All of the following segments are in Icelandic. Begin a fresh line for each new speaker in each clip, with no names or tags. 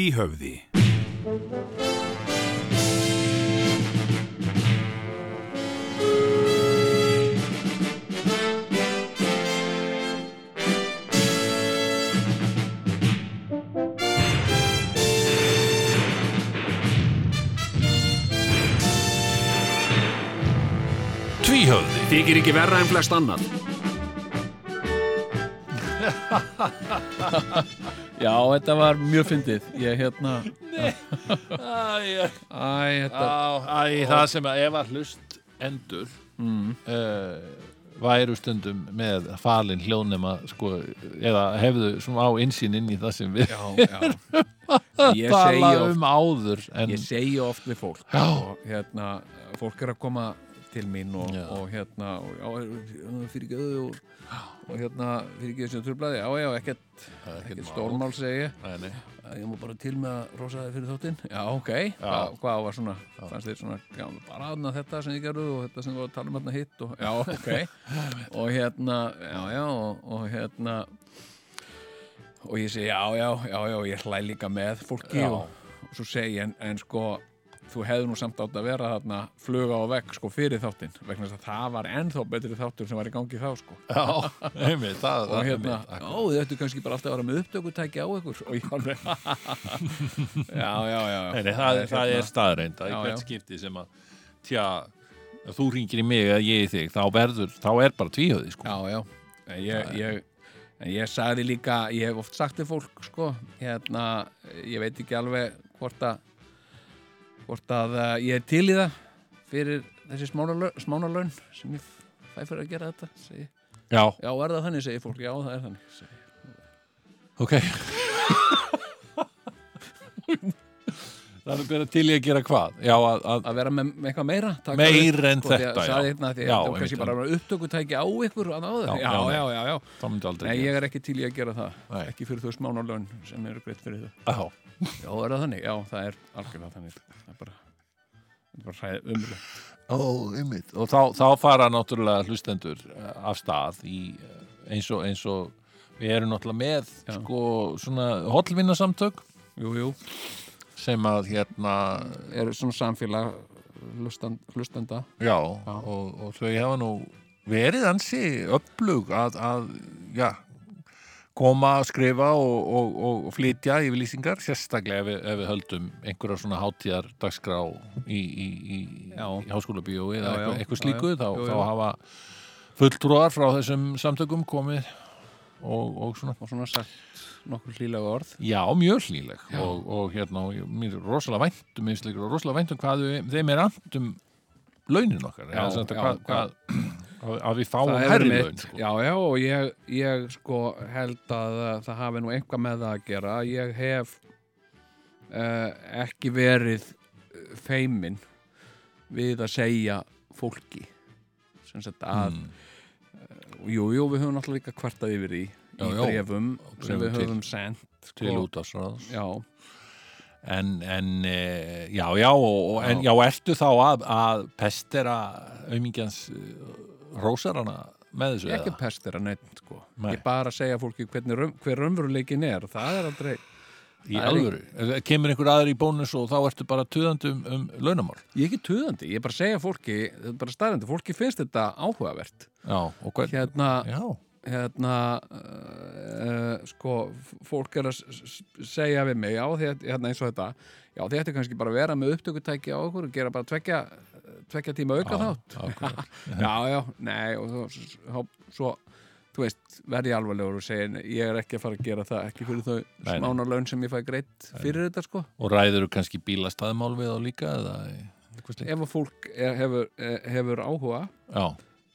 Tvíhöfði
Tvíhöfði
Þykir ekki verra en flest annan
Já, þetta var mjög fyndið Ég hérna
Æ, æ,
Æ, þetta
á, æ, það sem að ef að hlust endur
Mm.
uh, væru stundum með falin hljóðnema sko, eða hefðu svona á insýn inn í það sem við
já, já. Ég segi
tala
oft
um áður en
Ég segi oft við fólk
Já.
og hérna, fólk er að koma til mín og,
Já.
og hérna og, já, fyrir geðu og, og hérna, fyrir geðu sem trublaði já, já, ekkert, ekkert stórmál segi ég.
Nei, nei.
Að ég má bara til með að rosa þið fyrir þáttinn já, ok, Hvað, hvað var svona fannst þið svona, já, bara aðna þetta sem þið gerðu og þetta sem þið voru að tala um aðna hitt og, já, ok, og hérna já, já, og, og hérna og ég segi, já, já, já, já, ég hlæ líka með fólki
Já.
og, og svo segi ég, en, en sko þú hefði nú samt átt að vera þarna fluga á vegg sko fyrir þáttinn vegna þess að það var ennþá betri þáttur sem var í gangi þá sko
Já, einmitt, það,
og
það
hérna,
einmitt,
já, þið ættu kannski bara alltaf að vera með upptökutæki á ykkur og ég alveg já, já, já
Nei, nei, það, er, það er
hérna-
staðreind að í
Já,
hvert
já.
skipti sem að tja, ef þú ringir í mig eða ég í þig, þá verður, þá er bara tvíhöði sko.
já, já, En ég, ég en ég sagði líka, ég hef oft sagt til fólk sko, hérna ég veit ekki alveg hvort að hvort að eh, ég er til í það fyrir þessi smánalaun, smánalaun sem ég fæ fyrir að gera þetta segi. ég.
Já,
já, er það þannig, segir fólk, já, það er þannig segi. ég.
ok Það er verið til ég að gera hvað Já, að, að
að vera með, með eitthvað meira taka
Meir
upp,
en
sko, því að
þetta, já.
sagði hérna, því að
Já,
þetta var kannski
einmitt.
bara að upptökutæki á ykkur að náður
Já,
já,
já,
já, já, já,
það myndi aldrei
Nei,
gerast.
ég er ekki til í að gera það
Nei.
ekki fyrir þau smánarlaun sem eru greitt fyrir þau
Já,
já, er það þannig? Já, það er algjörlega þannig það er bara, það er bara hræð umlega
Ó, einmitt. Og þá, þá fara náttúrulega hlustendur eh, af stað í, eh, eins og, eins og við erum náttúrulega með sko, svona hotlvinnasamtök
jú, jú,
sem að hérna
eru svona samfélag hlustand, hlustanda
já, Og, og þau hafa nú verið ansi upplug að, að já, koma að skrifa og, og, og, og flytja yfirlýsingar sérstaklega ef við, ef við höldum einhverja svona hátíðar dagskrá í, í, í,
Já.
í háskóla bíói eða
Já, já,
eitthvað, eitthvað
já,
slíku
já.
Þá,
Jú,
þá
jú.
hafa fulltrúar frá þessum samtökum komið og, og svona
og svona sagt nokkur hlýlega orð
Já, mjög hlýleg og, og hérna, og ég- mér er rosalega vænt um einsleikur og rosalega vænt um hvað við, þeim er ant um launin okkar
Já,
eða sem þetta
já,
hvað, hvað, að- að við fáum
það er
herri
mitt,
laun sko.
já, já, og ég, ég sko held að uh, það hafi nú eitthvað með það að gera ég hef uh, ekki verið uh, feimin við að segja fólki sem sagt að
Mm.
og jú, jú, við höfum náttúrulega líka kvartað yfir því
Já,
í
já.
brefum sem
bréfum
við
til.
höfum sent
til
sko.
útastráðs
já,
en, en e, já, já, og, já. En, já ertu þá að, að pestera aumingjans rósarana með þessu
ég ekki
eða?
pestir að neitt sko.
Nei.
ég bara að segja fólki hvernig, raun- hver raunveruleikin er það er aldrei
í
það er
alvöru, Ef- kemur einhver aðri í bónus og þá ertu bara tuðandi um, um launamál
ég er ekki töðandi, ég er bara að segja fólki þetta er bara staðrendu, fólki finnst þetta áhugavert
já, og hvern
hérna,
já,
hérna uh, sko, f- fólk er að s- s- segja við mig, já, því að, hérna eins og þetta já, þið ættu kannski bara að vera með upptökutæki á okkur og gera bara tvekja, tvekja tíma auka þátt
ákveð.
já, já, nei, og svo, svo, svo þú veist, verði alvarlegur og segja, "Nei, ég er ekki að fara að gera það ekki fyrir þau
Nei, nei.
smánarlaun sem ég fæ greitt fyrir þetta, sko
og ræður kannski bílastæðmál við þá líka eða eitthvað slíkt?
ef að fólk er, hefur, eh, hefur áhuga
já,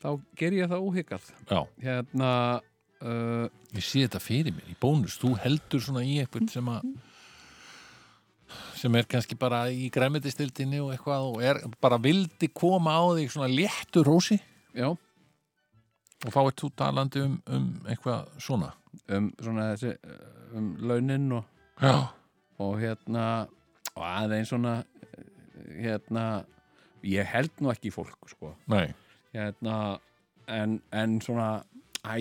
þá ger ég það óhyggað
já,
hérna uh,
ég sé þetta fyrir mér í bónus, þú heldur svona í eitthvað sem að sem er kannski bara í græmitistildinni og eitthvað og er bara vildi koma á þig svona léttur rósi
já
og þá ert þú talandi um, um eitthvað svona
um svona þessi eh, um launin og,
já,
og hérna og aðeins svona eh, hérna ég held nú ekki í fólk sko
nei,
hérna en, en svona æ,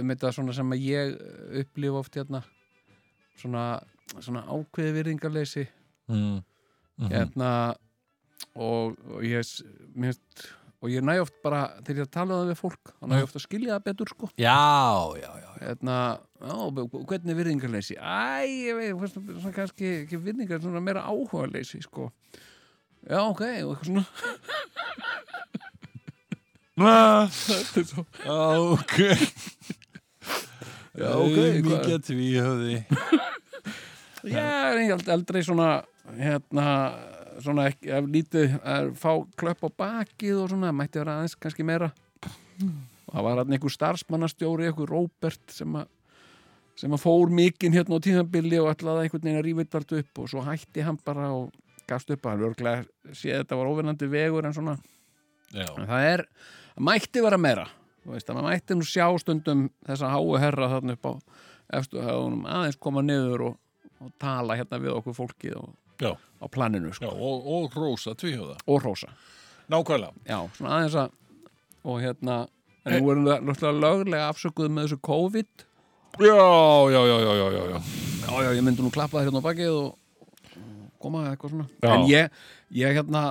um þetta svona sem að ég upplifa oft hérna svona svona ákveði virðingarleysi
mm. Mhm.
hérna og, og ég s- mér finnst og ég næ oft bara, þegar ég tala um það við fólk þá næ ég oft að skilja það betur sko
Já, já, já
hérna, já, b- b- hvernig er virðingarleysi æ, ég veit, hversu- svona kannski ekki virðingar, svona meira áhugaleysi sko já, ok, og eitthvað svona
Ah,
Þetta er svo-
Ok
Já, ok, hvað-
Mikið tvíhöfði
Já, en ég held aldrei svona hérna, svona ekki, ef lítið að fá klöpp á bakið og svona, mætti vera aðeins kannski meira og það var hann einhver starfsmannastjóri, einhver Róbert sem að sem að fór mikinn hérna á tíðanbili og ætlaði einhvern veginn að rífa þetta allt upp og svo hætti hann bara og gafst upp að hann örglega séð þetta var óvinnandi vegur en svona
Já,
En það er, það mætti vera meira þú veist, að maður mætti nú sjá stundum þessa háu herra þarna upp á efstu höfunum aðeins koma niður og, og tala hérna við okkur fólkið og,
já,
á planinu
já
sko,
og, og rosa tvíhöfða
og hrósa
Nákvæmlega
já, svona aðeins að og hérna, en nú erum við náttúrulega löglega afsökuð með þessu COVID
Já, já, já, já, já, já, já.
já, já, ég myndi nú klappa það hérna á bakið og og koma eitthvað svona
Já.
en ég, ég hérna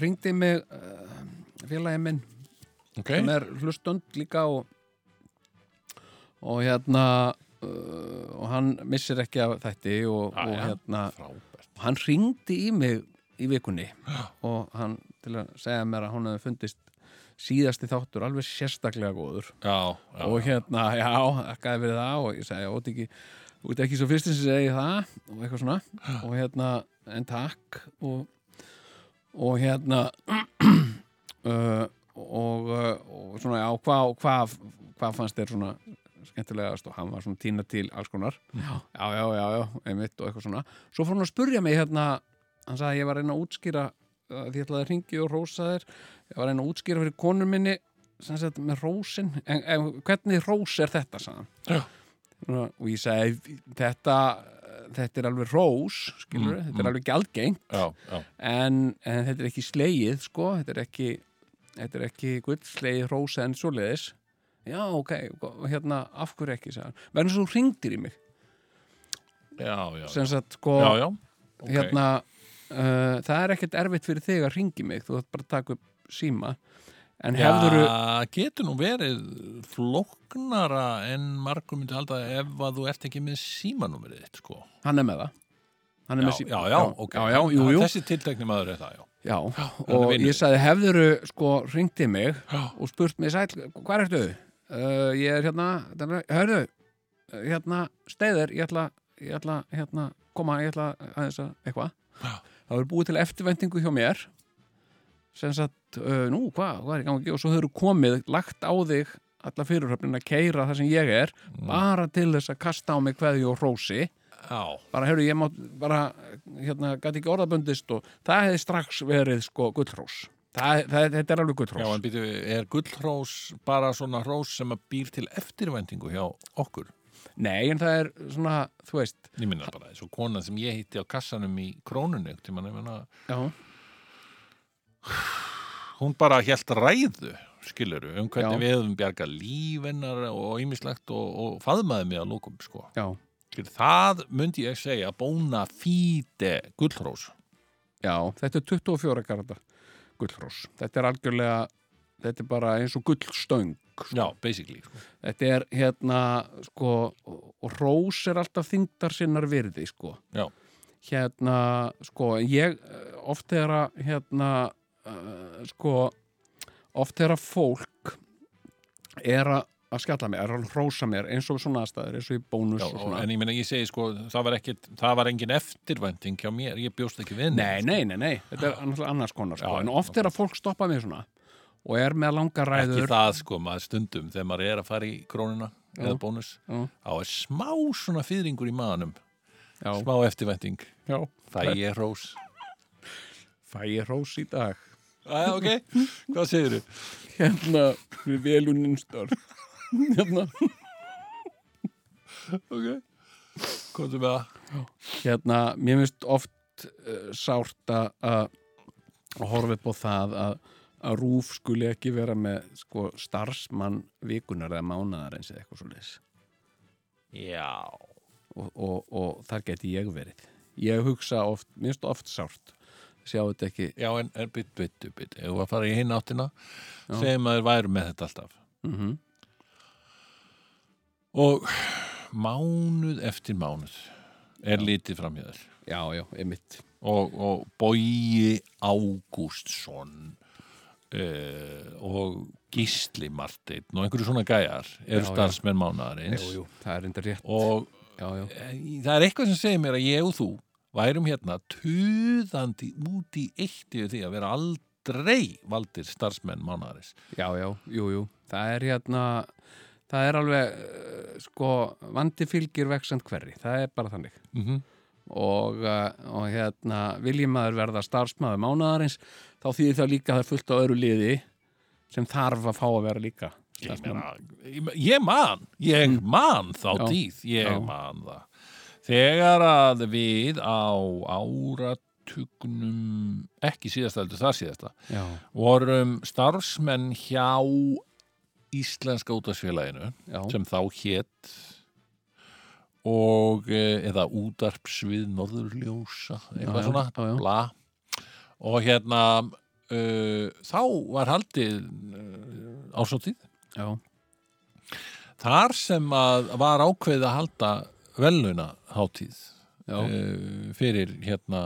ringdi mig uh, félagi minn
Ok,
sem er hlustund líka og, og hérna uh, og hann missir ekki af þætti og,
Ah, Já,
og
já.
hérna
frábært
hann ringdi í mig í vikunni og hann til að segja mér að hann hefði fundist síðasti þáttur alveg sérstaklega góður
Já, já,
og hérna, já, þakkaði fyrir það og ég segi, ótt ekki, þú ert ekki svo fyrst sem segi það og eitthvað svona og hérna, en takk og, og hérna uh, og, uh, og svona, já, hvað hvað hva fannst þér svona skemmtilegast og hann var svona tína til alls konar já, já, já, já, einmitt og eitthvað svona svo fór hann að spurja mig hérna hann sagði að ég var að reyna að útskýra uh, því ég ætlaði að ringi og rósa þér ég var að reyna að útskýra fyrir konur minni sem sagt með rósin en, en hvernig rós er þetta sagðan
Já.
og ég segi þetta, þetta er alveg rós skilur,
Mm,
þetta er
mm.
alveg gjaldgeng
já, já,
en, en þetta er ekki slegið sko, þetta er ekki þetta er ekki gull slegið rós en svoleiðis já ok, og hérna af hverju ekki sagðan, verður svo hringdir í mig
já, já, já,
sem sagt sko
já, já. ok.
hérna, uh, það er ekkert erfitt fyrir þig að ringi mig, þú ætti bara að taka upp síma en
Já,
hefðuru
getur nú verið flóknara en margum myndi halda ef að þú ert ekki með símanúmerið þitt, sko.
hann er með það hann er
Já,
með sí-
já, já, ok.
já, já, jú, jú,
Þessi tiltekni maður er það, já.
já,
er
og
vinur.
ég sagði hefðuru sko ringdi mig
Já.
og spurt mig sæll, hvað ertu? Uh, ég er hérna, hérna hörðu, uh, hérna steiðir, ég ætla, ég ætla hérna, koma, ég ætla aðeins að eitthvað
Já.
það verður búið til eftirvendingu hjá mér sem sagt, uh, nú, hvað, hvað er í gangi og svo hefur komið, lagt á þig alla fyrirhöfnin að keira það sem ég er
Mm.
bara til þess að kasta á mig hverju og rósi
Já,
bara, heyrðu, ég mátt bara, hérna, gæti ekki orðabundist og það hefði strax verið, sko, gullrós. Það, það, þetta er alveg
já,
gullrós.
en býtum við, er gullhrós bara svona hrós sem að býr til eftirvæntingu hjá okkur?
Nei, en það er svona, þú veist,
Ég minna bara, þessu konan sem ég hitti á kassanum í krónunni, til mann, ég menna,
já,
hún bara hjælt ræðu skiluru, um
Já.
hvernig við höfum bjarga lífennar og ímislegt og, og faðmaði mig að lókum sko.
já,
Skilur, það myndi ég segja bóna fíte gullrós
já, þetta er 24 garda gullrós. Þetta er algjörlega, þetta er bara eins og gullstöng.
já, basically sko.
Þetta er, hérna, sko, og rós er alltaf þyngdar sinnar virði, sko.
já,
hérna, sko, ég eh, oft er að, hérna, uh, sko, oft er að fólk er að, að skjalla mér, er að hrósa mér eins og svona aðstæður, eins og í bónus
já,
og
og,
svona.
en ég minna ég segi sko það var, ekkit, það var engin eftirvænting hjá mér, ég bjóst ekki við
Nei,
neitt,
nei, nei, nei, þetta er annars, annars konar, sko,
sko. Já,
en oft er að fólk stoppa mér svona og er með langa
sko. ekki
ræður.
það sko maður stundum þegar maður er að fara í krónuna eða bónus,
Já.
þá er smá svona fýðringur í maðanum
Já,
smá eftirvænting,
já,
það ég rós
fæ ég hrós í dag.
Æ, ok, hvað segirðu?
Hérna, við velunin störf. hérna.
Ok, komdu með það
hérna, mér finnst oft uh, sárt að að horfa upp á það að, að rúf skuli ekki vera með sko, starfsmann vikunar eða mánaðar eins eða eitthvað svo leis
Já,
og, og, og þar geti ég verið ég hugsa oft, minnst oft sárt sjá þetta ekki
Já, en, en bytt, bytt, bytt, ef þú að fara í hinn áttina segjum að þeir væru með þetta alltaf
mm
Mhm. og mánuð eftir mánuð er litið fram hjá þér
já, já, einmitt
og, og Bogi Ágústsson eh, og Gísli Marteinn og einhverju svona gæjar eru
Já, já.
starfsmenn mánaðarins
jú, það er enda rétt
og
já, já,
eh, það er eitthvað sem segir mér að ég og þú værum hérna tuðandi út í eitt yfir því að vera aldrei valdir starfsmenn mánaðarins
já, já, jú, jú það er hérna það er alveg, eh, sko vandi fylgir vexand hverri, það er bara þannig
mm -hmm.
og, eh, og hérna viljum maður verða starfsmaður mánaðarins þá þýðir það líka að það er fullt á öru liði sem þarf að fá að vera líka
ég, meina, ég- ég man ég man þá
Mm. Já.
tíð ég
Já.
man það þegar að við á áratugnum ekki síðasta heldur það síðasta
já,
vorum starfsmenn hjá Íslenska útvarsfélaginu
já,
sem þá hét og eh, eða útarpsvið norðurljósa
Já,
eitthvað
já,
svona,
já, já.
bla og hérna uh, þá var haldið uh, ásóttíð
já,
Þar sem að var ákveðið að halda veluna hátíð
já,
Eh, fyrir hérna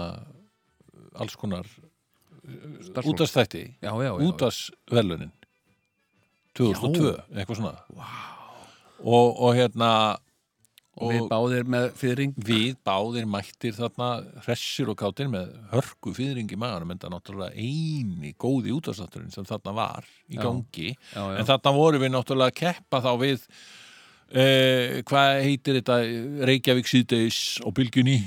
alls konar
starfsfólk.
útastætti,
já, já, já, já.
útasvelunin 2002, eitthvað svona og, og hérna
og við
og-
báðir með fyrring
við báðir mættir þarna hressir og kátir með hörku fyrring í maðurum en það náttúrulega eini góði útastætturinn sem þarna var í
Já.
gangi
já, já,
En þarna vorum við náttúrulega að keppa þá við uh, hvað heitir þetta Reykjavík síðdeis og bylgjunni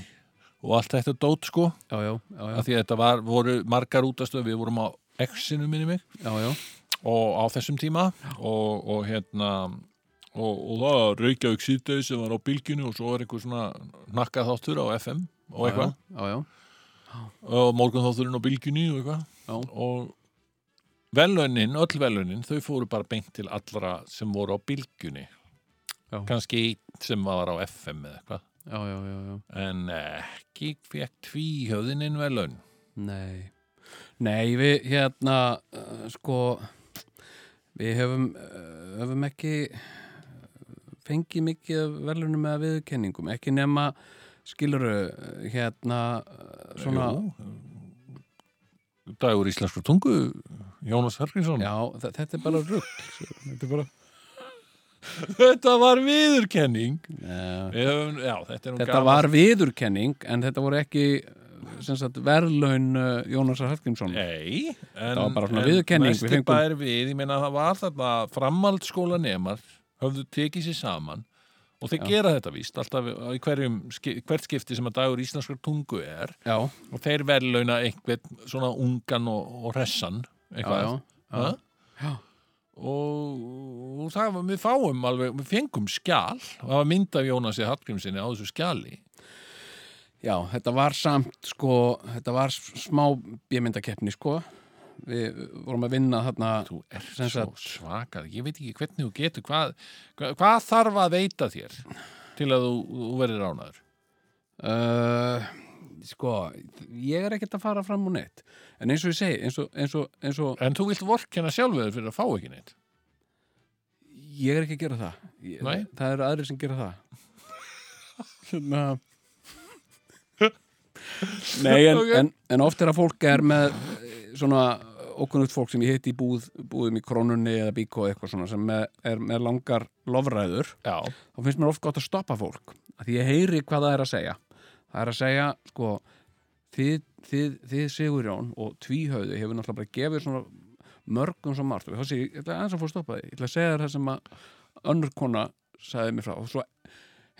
og allt þetta dót sko
já, já, já, já,
af því að þetta var, voru margar útastöð við vorum á X-inu minni mig
já, já,
og á þessum tíma og, og hérna og, og það var Reykjavík síðdeis sem var á bylgjunni og svo var einhver svona nakkað þáttur á FM og eitthvað
já, já,
og morgun þátturinn á bylgjunni og eitthvað
já,
og velunin, öll velunin þau fóru bara beint til allra sem voru á bylgjunni
Já.
kannski einn sem var á FM eða eitthvað
já, já, já, já.
en ekki fekk tvíhjöðinin velun
Nei. Nei, við hérna, uh, sko, við höfum, uh, höfum ekki eh, fengið mikið velunum með viðkenningum, ekki nema, skiluru, uh, hérna, uh, svona,
Jú, Dagur íslensku tungu Jónas Herkinsson
já, þa- þetta er bara rugg, þetta er bara,
Þetta var viðurkenning
uh,
Við höfum, Já, þetta er nú
þetta
gaman.
var viðurkenning, en þetta voru ekki, uh, sem sagt, verðlaun uh, Jónasar Hallgrímsson.
Nei, en,
Það var bara svona
en
viðurkenning, við
Mesti
fengum-
bær við, ég meina það var þarna framhaldsskóla nemar höfðu tekið sér saman og þeir
Já.
gera þetta víst alltaf í hverjum, ski- hvert skipti sem að dagur íslenskar tungu er
Já,
og þeir verðlauna einhvern svona ungan og, og hressan
já, já,
eitthvað
já,
Ha?
já,
og, og það var, við fáum alveg, við fengum skjal og það var mynd af Jónasi Hallgrímsinni á þessu skjali
Já, þetta var samt sko, þetta var s- smá bjömyndakeppni sko við vorum að vinna þarna
þú ert
Sem
svo
sagt-
svakað ég veit ekki hvernig þú getur hvað, hvað, hvað þarf að veita þér til að þú, þú verður ránaður
uh, sko, ég er ekkert að fara fram úr neitt en eins og ég segi, eins og, eins og, eins og
en þú vilt vorkenna sjálfur fyrir að fá ekki neitt
ég er ekki að gera það ég,
Nei.
það eru aðrir sem gera það hérna Nei, en,
Ok.
en, en oft er að fólk er með eh, svona okkunnugt fólk sem ég hitti í búð, búðum í krónunni eða bíkó eitthvað svona sem með, er með langar lofræður
já,
þá finnst mér oft gott að stoppa fólk að því ég heyri hvað það er að segja það er að segja, sko þið, þið, þið Sigurjón og tvíhauðu hefur náttúrulega bara gefið svona mörgum svo margt og þá segir, ég ætla aðeins að fór að stoppa því ég ætla að segja þér það sem að önnur kona sagði mér frá og svo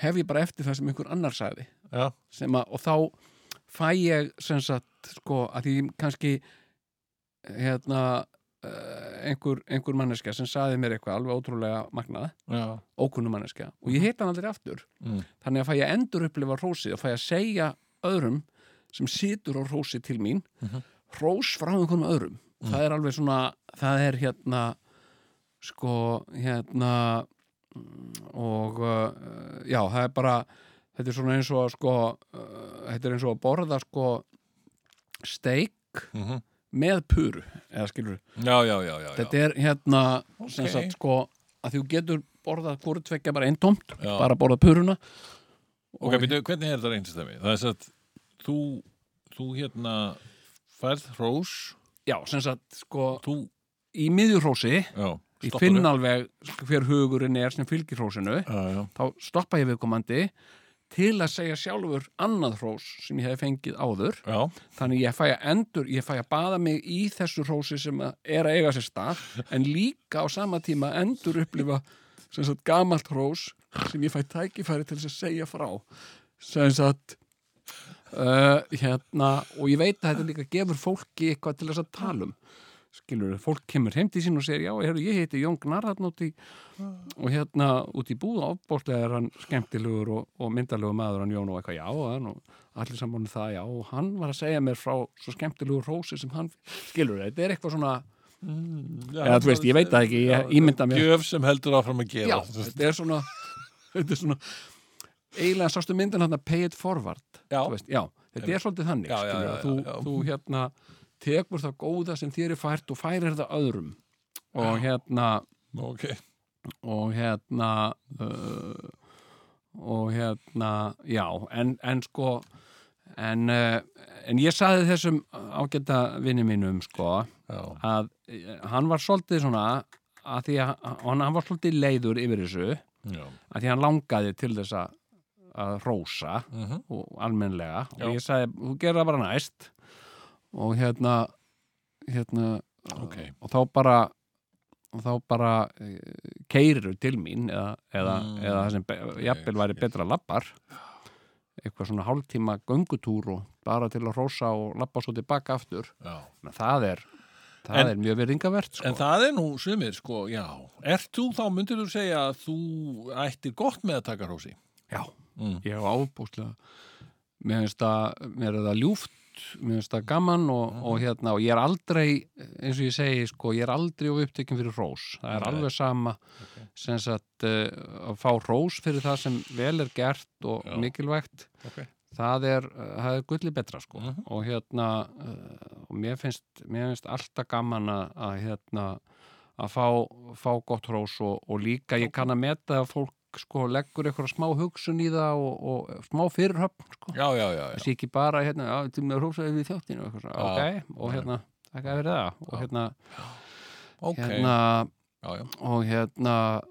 hef ég bara eftir það sem einhver annar sagði
já,
sem að, og þá fæ ég sem sagt, sko, að því kannski hérna eh, einhver, einhver manneska sem sagði mér eitthvað alveg ótrúlega magnað
já.
ókunnum manneskja og
Mhm.
ég heita hann aldrei aftur
Mm.
þannig að fæ ég endur upplifa hrósið og fæ ég að segja öðrum sem situr á hrósið til mín
Mhm.
hrós frá einhvernum öðrum það er alveg svona, það er hérna sko, hérna mm, og uh, já, eh, það er bara þetta er svona eins og að sko uh, þetta er eins og að borða sko steik
Mhm.
með puru eða skilur,
já, já, já, já, já.
þetta er hérna sem
Ókei.
sagt sko að þú getur borðað hvort tvekja bara eintómt
Já.
bara borðað puruna
Ok, byrju, hvernig er þetta reynstæmi? Það er svo að þú, þú hérna færð hrós,
já, sem sagt sko
þú,
í miðjurhrósi,
já,
ég
stoppar
finn
upp.
alveg hver hugurinn er sem fylgir hrósinu
Já, já,
þá stoppa ég viðkomandi til að segja sjálfur annað hrós sem ég hef fengið áður
já,
þannig ég fæ að endur, ég fæ að baða mig í þessu hrósi sem að er að eiga sér stað en líka á sama tíma endur upplifa sem sagt gamalt hrós sem ég fæ tækifæri til þess að segja frá sem sagt uh, hérna og ég veit að þetta líka gefur fólki eitthvað til þess að tala um skilur, fólk kemur heim til sín og segir já, heru, ég heiti Jón Gnar þarna út í og hérna út í búð ábóðlega er hann skemmtilegur og, og myndalegur maður hann Jón og eitthvað já hann, og allir saman um það já og hann var að segja mér frá svo skemmtilegur rósi sem hann skilur þetta er eitthvað svona
já.
eða þú veist ég veit það ekki ég ímynda mér
Gjöf sem heldur áfram að
já
gera.
þetta er svona þetta er svona eiginlega sástu myndin hann að pay it forward
Já.
þú veist, já þetta er svolítið þannig
Já, já,
skilur,
já,
að þú,
já, já.
þú hérna tekur það góða sem þér er fært og færir það öðrum og hérna
Ok,
og hérna uh, og hérna já, en, en sko en, uh, en ég saði þessum ágæta vinni mínum sko
já,
að eh, hann var svolítið svona að því að hann, hann var svolítið leiður yfir þessu að
já.
því að hann langaði til þess að að rósa
Mm
og almennlega
Já.
og ég sagði, þú gerir það bara næst og hérna hérna
Ok,
og þá bara og þá bara keirir til mín eða, eða,
Mm.
eða það sem be, jafnvel væri
skil.
betra lappar eitthvað svona hálftíma göngutúr og bara til að rósa og lappa svo tilbaka aftur
já.
Men það er, það
En-
er mjög virðingavert sko.
En það er nú sumir, sko, já. Ert þú, þá myndir þú segja að þú ættir gott með að taka hrósi.
Já,
Mm.
ég hef ábúslega mér finnst það, mér er það ljúft mér finnst það gaman og,
Mm.
og hérna og ég er aldrei, eins og ég segi sko, ég er aldrei of upptekinn fyrir hrós það er
Nei.
alveg sama sem sagt uh, að fá hrós fyrir það sem vel er gert og
Já.
mikilvægt
Ok.
það er, uh, það er gulli betra sko
Mhm.
og hérna uh, og mér finnst, mér finnst alltaf gaman að, að hérna að fá, fá gott hrós og, og líka ég kann að meta að fólk sko leggur eitthvað smá hugsun í það og, og smá fyrirhöfn sko
Já, já, já, já.
þessi ekki bara hérna, já, þú með hrósaði við þjóttinu og eitthvað svona,
Já.
ok, og hérna þakka fyrir það og
Já.
hérna,
Ok,
hérna
já, já.
og hérna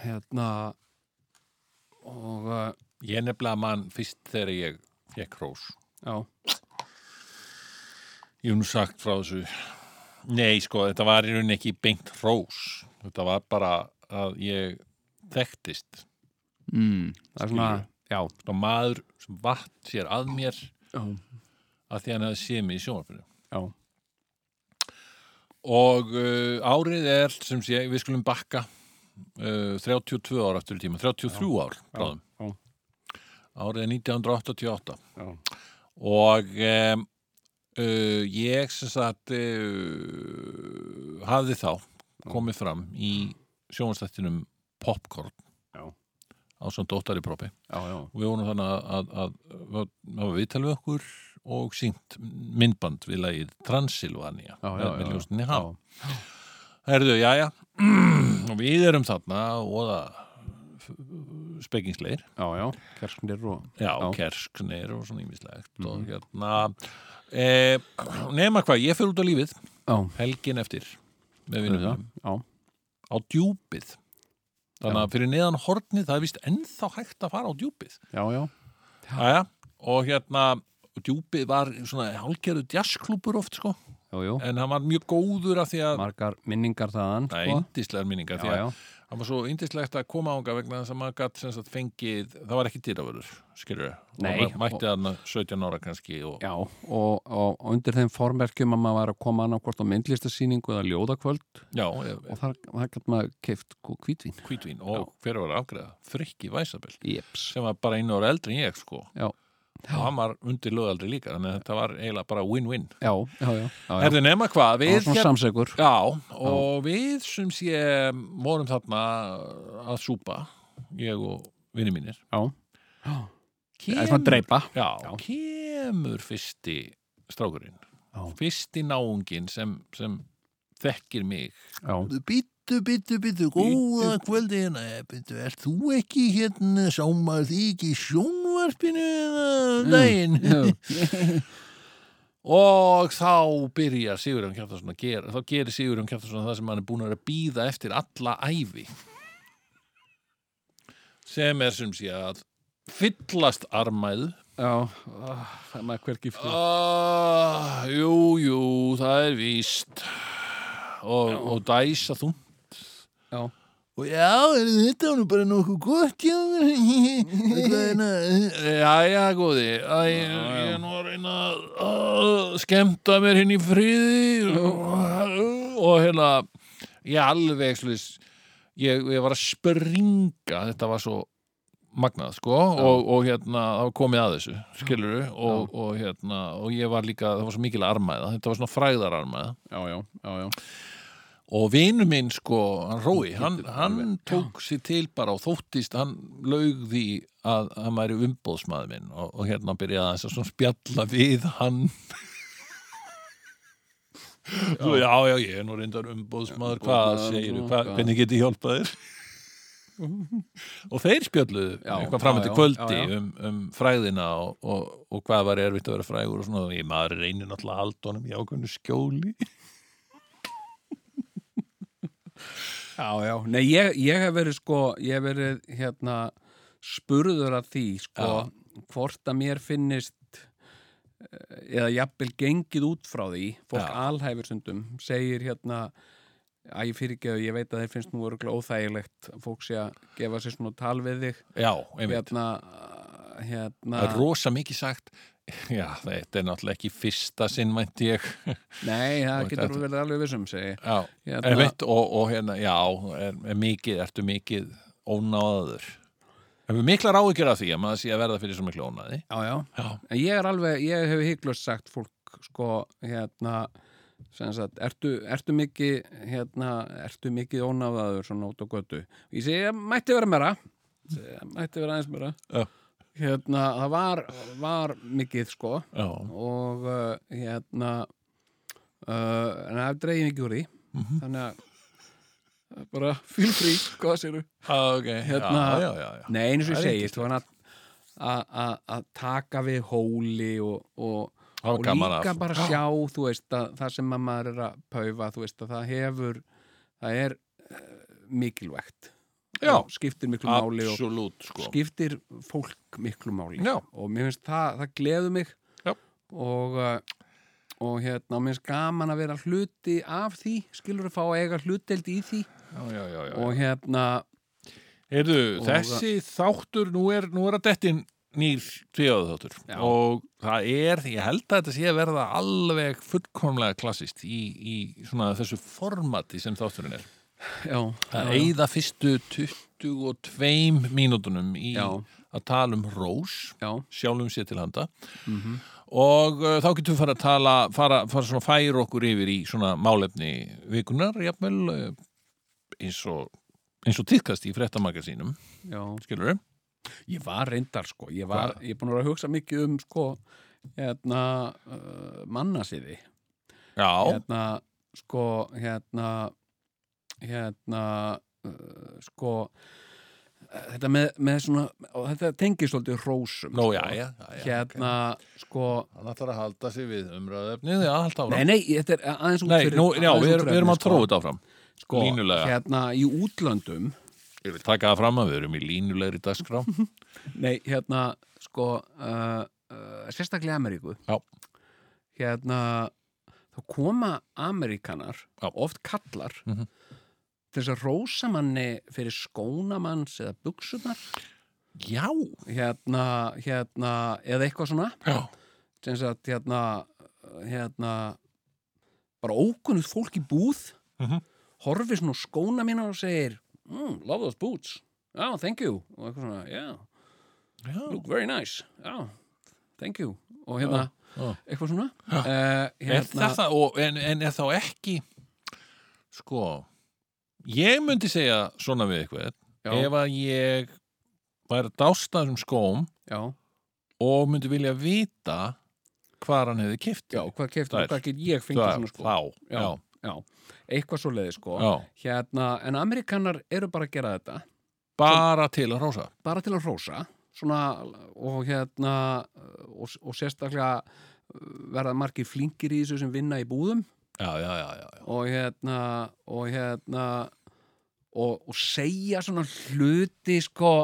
uh, hérna og uh,
Ég nefnilega mann fyrst þegar ég fekk hrós.
já,
Ég hef nú sagt frá þessu. Nei, sko, þetta var í rauninni ekki beint hrós. Þetta var bara að ég þekktist.
mm. það er svona já,
Svona maður sem vatt sér að mér
já,
að því hann hefði séð mig í sjónvarpinu.
já,
Og uh, árið er, sem sé, við skulum bakka uh, 32 ár aftur í tíma, 33 ár, bráðum.
já,
Árið er 1988.
já,
og um, uh, ég sem sagt uh, hafði þá komið fram í sjónvastættinum Popcorn
Já.
á svona dóttari propi
já, já,
og við vorum þannig að, að, að, að hafa viðtal við okkur og syngt myndband við lagið Transylvania
Já, já,
með-
já,
með
já.
ljóstinni
já,
há Herðu, jæja og við erum þarna og það spekingsleir
já, já, kersknir og
Já,
Já. Mhm.
kersknir og svona ímislegt og hérna e, nema hvað, ég fyrir út á lífið
já,
helgin eftir með
við
vinnum
það,
mínum,
já,
á djúpið þannig að fyrir neðan hornið það er vist ennþá hægt að fara á djúpið
já, já,
Æja, og hérna djúpið var svona hálgerðu jazzklúpur oft sko,
já, já
en hann var mjög góður af því að
margar minningar þaðan
Það er
sko.
yndislegar minningar því
já,
að
já,
það var svo yndislegt að koma ánga vegna þess að maður gatt sem sagt fengið, það var ekki dýravörður, skilur
Nei,
og maður mætti þarna 17 ára kannski og
já og, og, og undir þeim formerkjum að maður var að koma annað hvort á myndlistasýningu eða ljóðakvöld
Já, eða-
og þar, þar gætt maður sko, keift kvítvín
hvítvín og hver var að afgreða? Frikki Væsabell
jeps,
sem var bara einu ára eldri en ég sko
já,
og hann var undir lögaldri líka þannig að þetta var eiginlega bara win-win
já, já, já, já, já.
Herðu nema
Það
hvað,
var
við hérna-
svona samsegur
Já, og við sem sé vorum þarna að súpa ég og vinni mínir
Já.
Það er svona dreipa
Já,
Já.
kemur fyrsti strákurinn
Já.
fyrsti náungin sem, sem þekkir mig
Já,
Bittu, bittu, bittu, góða kvöldi hérna Bittu, er þú ekki hérna sá maður því ekki í sjónvarpinu eða daginn og þá byrjar Sigurjón Kjartason að gera þá gerir Sigurjón Kjartason það sem hann er búin að vera að býða eftir alla æfi sem er sem sé að fyllast armæðu
já ah, Það er maður hvergi fyrir
Ah, jú, jú, það er víst og, og dæsa þú
Já.
og já, er þetta nú bara nokkuð gott já já, já, góði Æ, ég, ég er nú að reyna að, að skemmta mér hinn í friði og, og hérna ég alveg slis, ég, ég var að springa þetta var svo magnað sko og, og hérna það var komið að þessu skiluru og, og hérna og ég var líka, það var svo mikil armæða þetta var svona fræðararmæða
Já, já, já, já
og vinur minn sko, hann Rói hann, hann tók sér til bara og þóttist hann laug því að hann væri umbóðsmaður minn og, og hérna byrjaði þess að svona spjalla við hann Svo, já, já, ég er nú reyndar umbóðsmaður hvað
umbóðsmaður,
segir,
svona,
hvað,
hvað?"
hvernig get ég hjálpað þér og þeir spjalluðu
Já,
eitthvað fram
já,
eftir
já,
kvöldi
já, já.
Um, um fræðina og, og, og hvað var erfitt að vera frægur og svona, ég maður reynir náttúrulega að halda honum í ákveðnu skjóli
Já, já,
Nei, ég, ég hef verið sko, ég hef verið hérna spurður að því sko, hvort að mér finnist eh, eða jafnvel gengið út frá því, fólk
Já.
alhæfur sundum segir hérna að ég fyrirgeðu, ég veit að þeir finnst nú örgulega óþægilegt að fólk sé að gefa sér svona tal við þig
já, einmitt
hérna, hérna
Það er rosa mikið sagt Já, þetta er náttúrulega ekki fyrsta sinn mænt ég
nei, það
Og
getur
þetta-
verið alveg vissum segi ég.
Já,
Hérna-
einmitt og, og hérna, já, er, er mikið, ertu mikið ónáður Hefur miklar áhyggjur af því að maður sé að verða fyrir svo miklu ónáði
já, já,
Já,
En ég er alveg, ég hef hygglust sagt fólk, sko, hérna, sem sagt, ertu, ertu mikið, hérna, ertu mikið ónáðaður svona út á götu? Ég segi, ég mætti vera meira, segi, ég mætti vera aðeins meira.
Já.
Hérna, það var, var mikið, sko,
já,
og uh, hérna, uh, en það dreigir mikið úr því, þannig að, uh, bara, feel free, hvað séru?
ah, ok,
Hérna-
já, já, já, já.
Nei, eins og
Það
ég
er
segi, þú hann að að- að að taka við hóli og, og
Það var
og
gaman
líka
að
bara sjá, þú veist, að það sem að maður er að paufa, þú veist, að það hefur það er uh, mikilvægt
Já.
Og skiptir miklu máli og
Absolutt, sko
skiptir fólk miklu máli
Já.
og mér finnst það, það gleður mig
Já.
og uh, og hérna, mér finnst gaman að vera hluti af því, skilur að fá að eiga hluteld í því
Já, já, já, já.
og hérna,
Heyrðu,
Og-
þessi þáttur, nú er, nú er að dettin nýr tvíðaðu þáttur
Já.
og það er, ég held að þetta sé að verða alveg fullkomlega klassist í, í svona þessu formati sem þátturinn er.
já
Að
já, já.
eigða fyrstu 22 mínútunum í
Já.
að tala um rós,
já,
sjálfum sér til handa
Mhm.
og uh, þá getum við fara að tala, fara, fara svona færa okkur yfir í svona málefni vikunar, jafnvel uh, eins og, eins og týrkast í fréttamagasínum,
já.
skilur við?
Ég var reyndar sko, ég var,
Hvað?
ég er búin að vera að hugsa mikið um sko, hérna, uh, mannasiði,
Já,
hérna, sko, hérna, hérna, uh, sko, eh, þetta með, með svona, og þetta tengir svolítið hrósum.
Nú,
sko.
já, já, já, já
Hérna, sko,
Hann ætlar að halda sig við umræðefnið, já, halda áfram
nei, nei, þetta er aðeins út
Nei,
fyrir.
nú, já,
aðeins út
við, erum-
fyrir
við erum
efnið,
að tróða þetta áfram
sko,
línulega.
Hérna, í útlöndum,
Ég vil taka það fram að við erum í línulegri dagskrá
nei, hérna, sko, uh, uh, sérstaklega Ameríku.
Já,
hérna þá koma Ameríkanar
Já.
oft kallar
Mhm.
til þess að rósa manni fyrir skónamanns eða buksunar
já,
hérna, hérna, eða eitthvað svona
já.
sem sagt hérna, hérna bara ókunnult fólk í búð
Mhm.
horfir svona á skóna mína og segir mm, love those boots, já, thank you og eitthvað svona, yeah,
já.
look very nice já, thank you og hérna,
já.
eitthvað svona uh,
Er þetta, og, en, en er þá ekki Sko Ég myndi segja svona við eitthvað
Já.
Ef að ég væri að dásta þessum skóm
já,
og myndi vilja vita hvar hann hefði kift
já, hvað kefti og
Það er-
hvað get ég fengið
þá,
svona sko
þá,
Já.
já,
já, eitthvað svo leiði sko
já
hérna, en Amerikanar eru bara að gera þetta
bara til að rosa
bara til að hrósa svona, og hérna og, og sérstaklega eh, verða margir flinkir í þessu sem vinna í búðum
já, já, já, já, já.
og hérna og hérna og, og segja svona hluti sko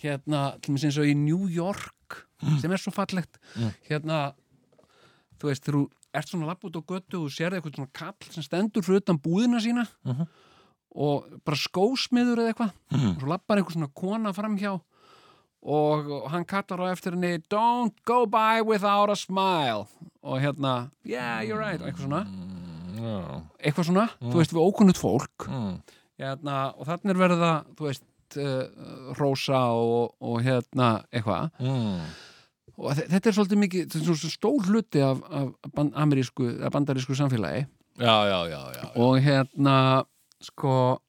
hérna, til mér eins og í New York sem er svo fallegt
Mm.
hérna, þú veist, þegar þú ert svona lapp út á götu og þú sérði eitthvað svona kall sem stendur fyrir utan búðina sína
Mhm.
og bara skósmiður eða eitthvað
Mm.
og svo lappar einhver svona kona framhjá og, og hann kallar á eftir henni Don't go by without a smile og hérna, yeah, you're right og eitthvað svona,
Mm, já.
eitthvað svona þú veist, við ókunnut fólk
Mm.
hérna, og þannig er verið að, þú veist uh, rósa og, og hérna eitthvað,
Mm.
og þe- þetta er svolítið mikið þetta er svona stór hluti af, af ban- amerísku, af bandarísku samfélagi
já, já, já, já, já.
og hérna, sko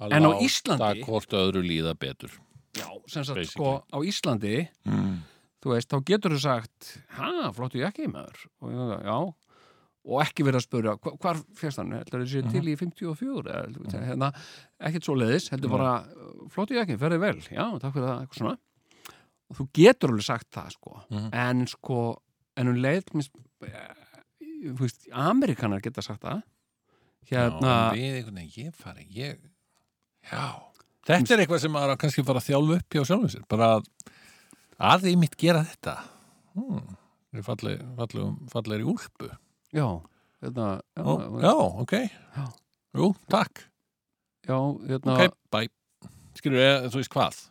Að
En á
láta
Íslandi-
hvort öðru líða betur
já, sem sagt,
Basically.
sko, á Íslandi
mm.
þú veist, þá getur þú sagt ha, flottu jakki maður og, já, já, og ekki verið að spura hva- hvar fjast hann, heldur þessi
Mhm.
til í 54 eða, mm -hmm. hérna, ekkert svo leiðis
Mhm.
heldur bara, flottu jakki, ferði vel já, takk fyrir það, eitthvað svona og þú getur alveg sagt það, sko
Mhm.
en sko, en um leið mis, eh, þú veist, Amerikanar geta sagt það hérna,
já, en við einhvern veginn, ég fari ég, já þetta er eitthvað sem maður á kannski að fara að þjálfa upp hjá sjálfum sér, bara að að ég mitt gera þetta hmm. er falleg, falleg, fallegri úlpu
já hérna, já,
Ó, já, ok
Já.
jú, takk,
já, hérna
ok, bye skilur, eða, þú veist hvað
í-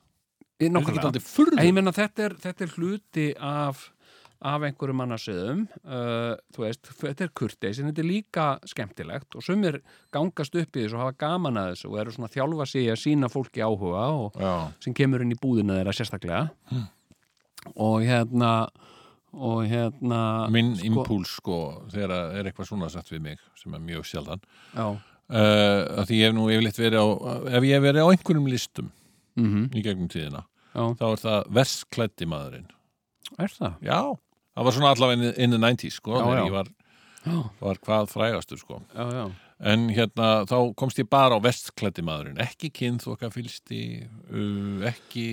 þetta
nákvæmlega.
ekki aldrei furðu
En ég meina þetta er, þetta er hluti af, af einhverjum annarsöðum, uh, þú veist, þetta er kurteis, en þetta er líka skemmtilegt og sumir gangast upp í þessu og hafa gaman að þessu og eru svona að þjálfa sig í að sína fólki áhuga og
já,
sem kemur inn í búðina þeirra sérstaklega
Hmm.
og hérna og hérna
minn
sko-
impúls sko, þegar að er eitthvað svona sett við mig sem er mjög sjaldan
já,
uh, að því ég hef nú yfirleitt verið á ef ég hef verið á einhverjum listum
mm
í gegnum tíðina
já,
þá er það vestklætti maðurinn
er það?
já, það var svona allavega in the 90s sko,
Já,
þegar
já.
ég var,
Já,
var hvað frægastur sko.
já, já,
en hérna þá komst ég bara á vestklætti maðurinn ekki kynþoka fylsti uh, ekki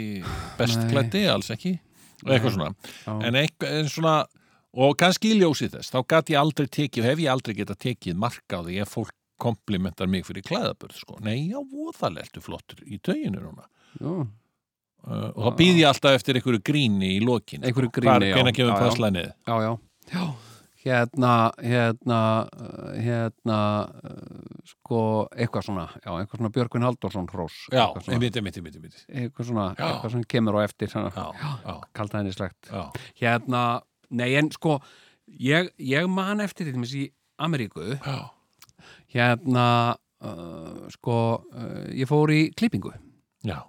bestklætti, alls ekki og eitthvað svona,
já.
en, eitthvað, en svona og kannski í ljósi þess, þá gat ég aldrei tekið, hef ég aldrei getað tekið marka á því ef fólk komplimentar mig fyrir klæðaburð sko. nei, já, voðalegtu flottur í tauginu núna
já.
uh, og þá býð ég alltaf eftir einhverju gríni í lokin
Einhverju
Hvar,
gríni, já.
hvenær kemur
Já, já.
passlænið?
já, já, já. hérna, hérna uh, hérna uh, sko, eitthvað svona já, eitthvað svona Björgvin Halldórsson hrós
Já,
eitthvað svona,
einmitt, einmitt, einmitt, einmitt.
eitthvað svona,
Já.
eitthvað svona kemur á eftir svona,
Já, já,
kalda henni slegt
já,
hérna, nei en sko ég, ég man eftir til dæmis í Ameríku
já.
hérna uh, sko, uh, ég fór í klippingu
Já,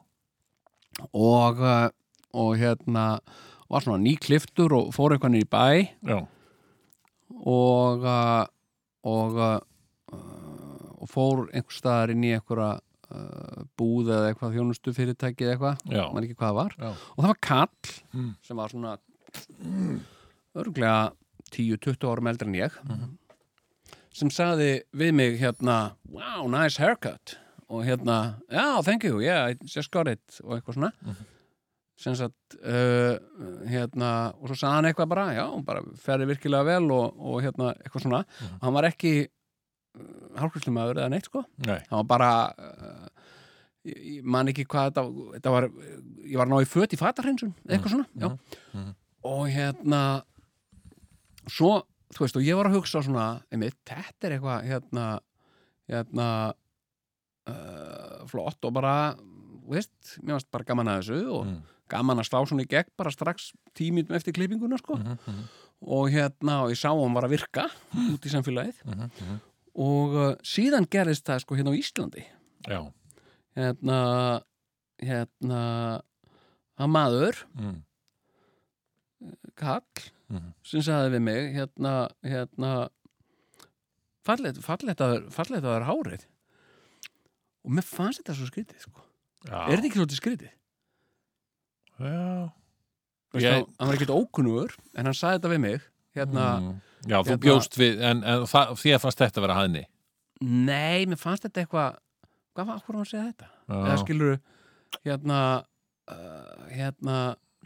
og, uh, og hérna var svona nýkliftur og fór eitthvað niður í bæ
já,
og uh, og uh, og fór einhver staðar inn í einhverja uh, búð eða eitthvað þjónustu fyrirtæki eða eitthvað,
já,
maður ekki hvað það var
já.
og það var kall
Mm.
sem var svona mm, örglega 10-20 árum eldri en ég
Mhm.
sem sagði við mig hérna wow, nice haircut og hérna, já, thank you, yeah, I just got it og eitthvað svona
Mhm.
sem sagt uh, hérna, og svo sagði hann eitthvað bara, já, hún bara ferði virkilega vel og, og hérna, eitthvað svona
Mhm.
og hann var ekki hálfkvíslumæður eða neitt, sko
Nei,
hann var bara uh, ég, ég man ekki hvað þetta, þetta var ég var að ná í föt í fatarhreinsun eitthvað svona, já
mhm.
og hérna svo, þú veist, og ég var að hugsa svona einmitt, þetta er eitthvað hérna, hérna uh, flott og bara þú veist, mér varst bara gaman að þessu og
Mm.
gaman að slá svona í gegn bara strax tímið eftir klippinguna sko
Mhm, mhm,
og hérna, og ég sá að hann var að virka
Mm.
út í samfélagið
mhm, mhm.
og uh, síðan gerðist það sko hérna á Íslandi
já,
hérna hérna að maður,
mm,
kall
mhm.
sem sagði við mig hérna, hérna fallegt, fallegt, að, vera- fallegt að vera hárið og mér fannst þetta svo skrítið sko.
já.
er þetta ekki svolítið skrítið?
Já,
Þú veist,
Ég-
hann- hann var ekkert ókunnugur en hann sagði þetta við mig hérna,
mm. já þú
Hérna-
bjóst við, en, en það, því að fannst þetta vera hæðni.
nei, mér fannst þetta eitthvað hvað var, hvað var hann að segja þetta? eða
Já,
skilur hérna uh, hérna,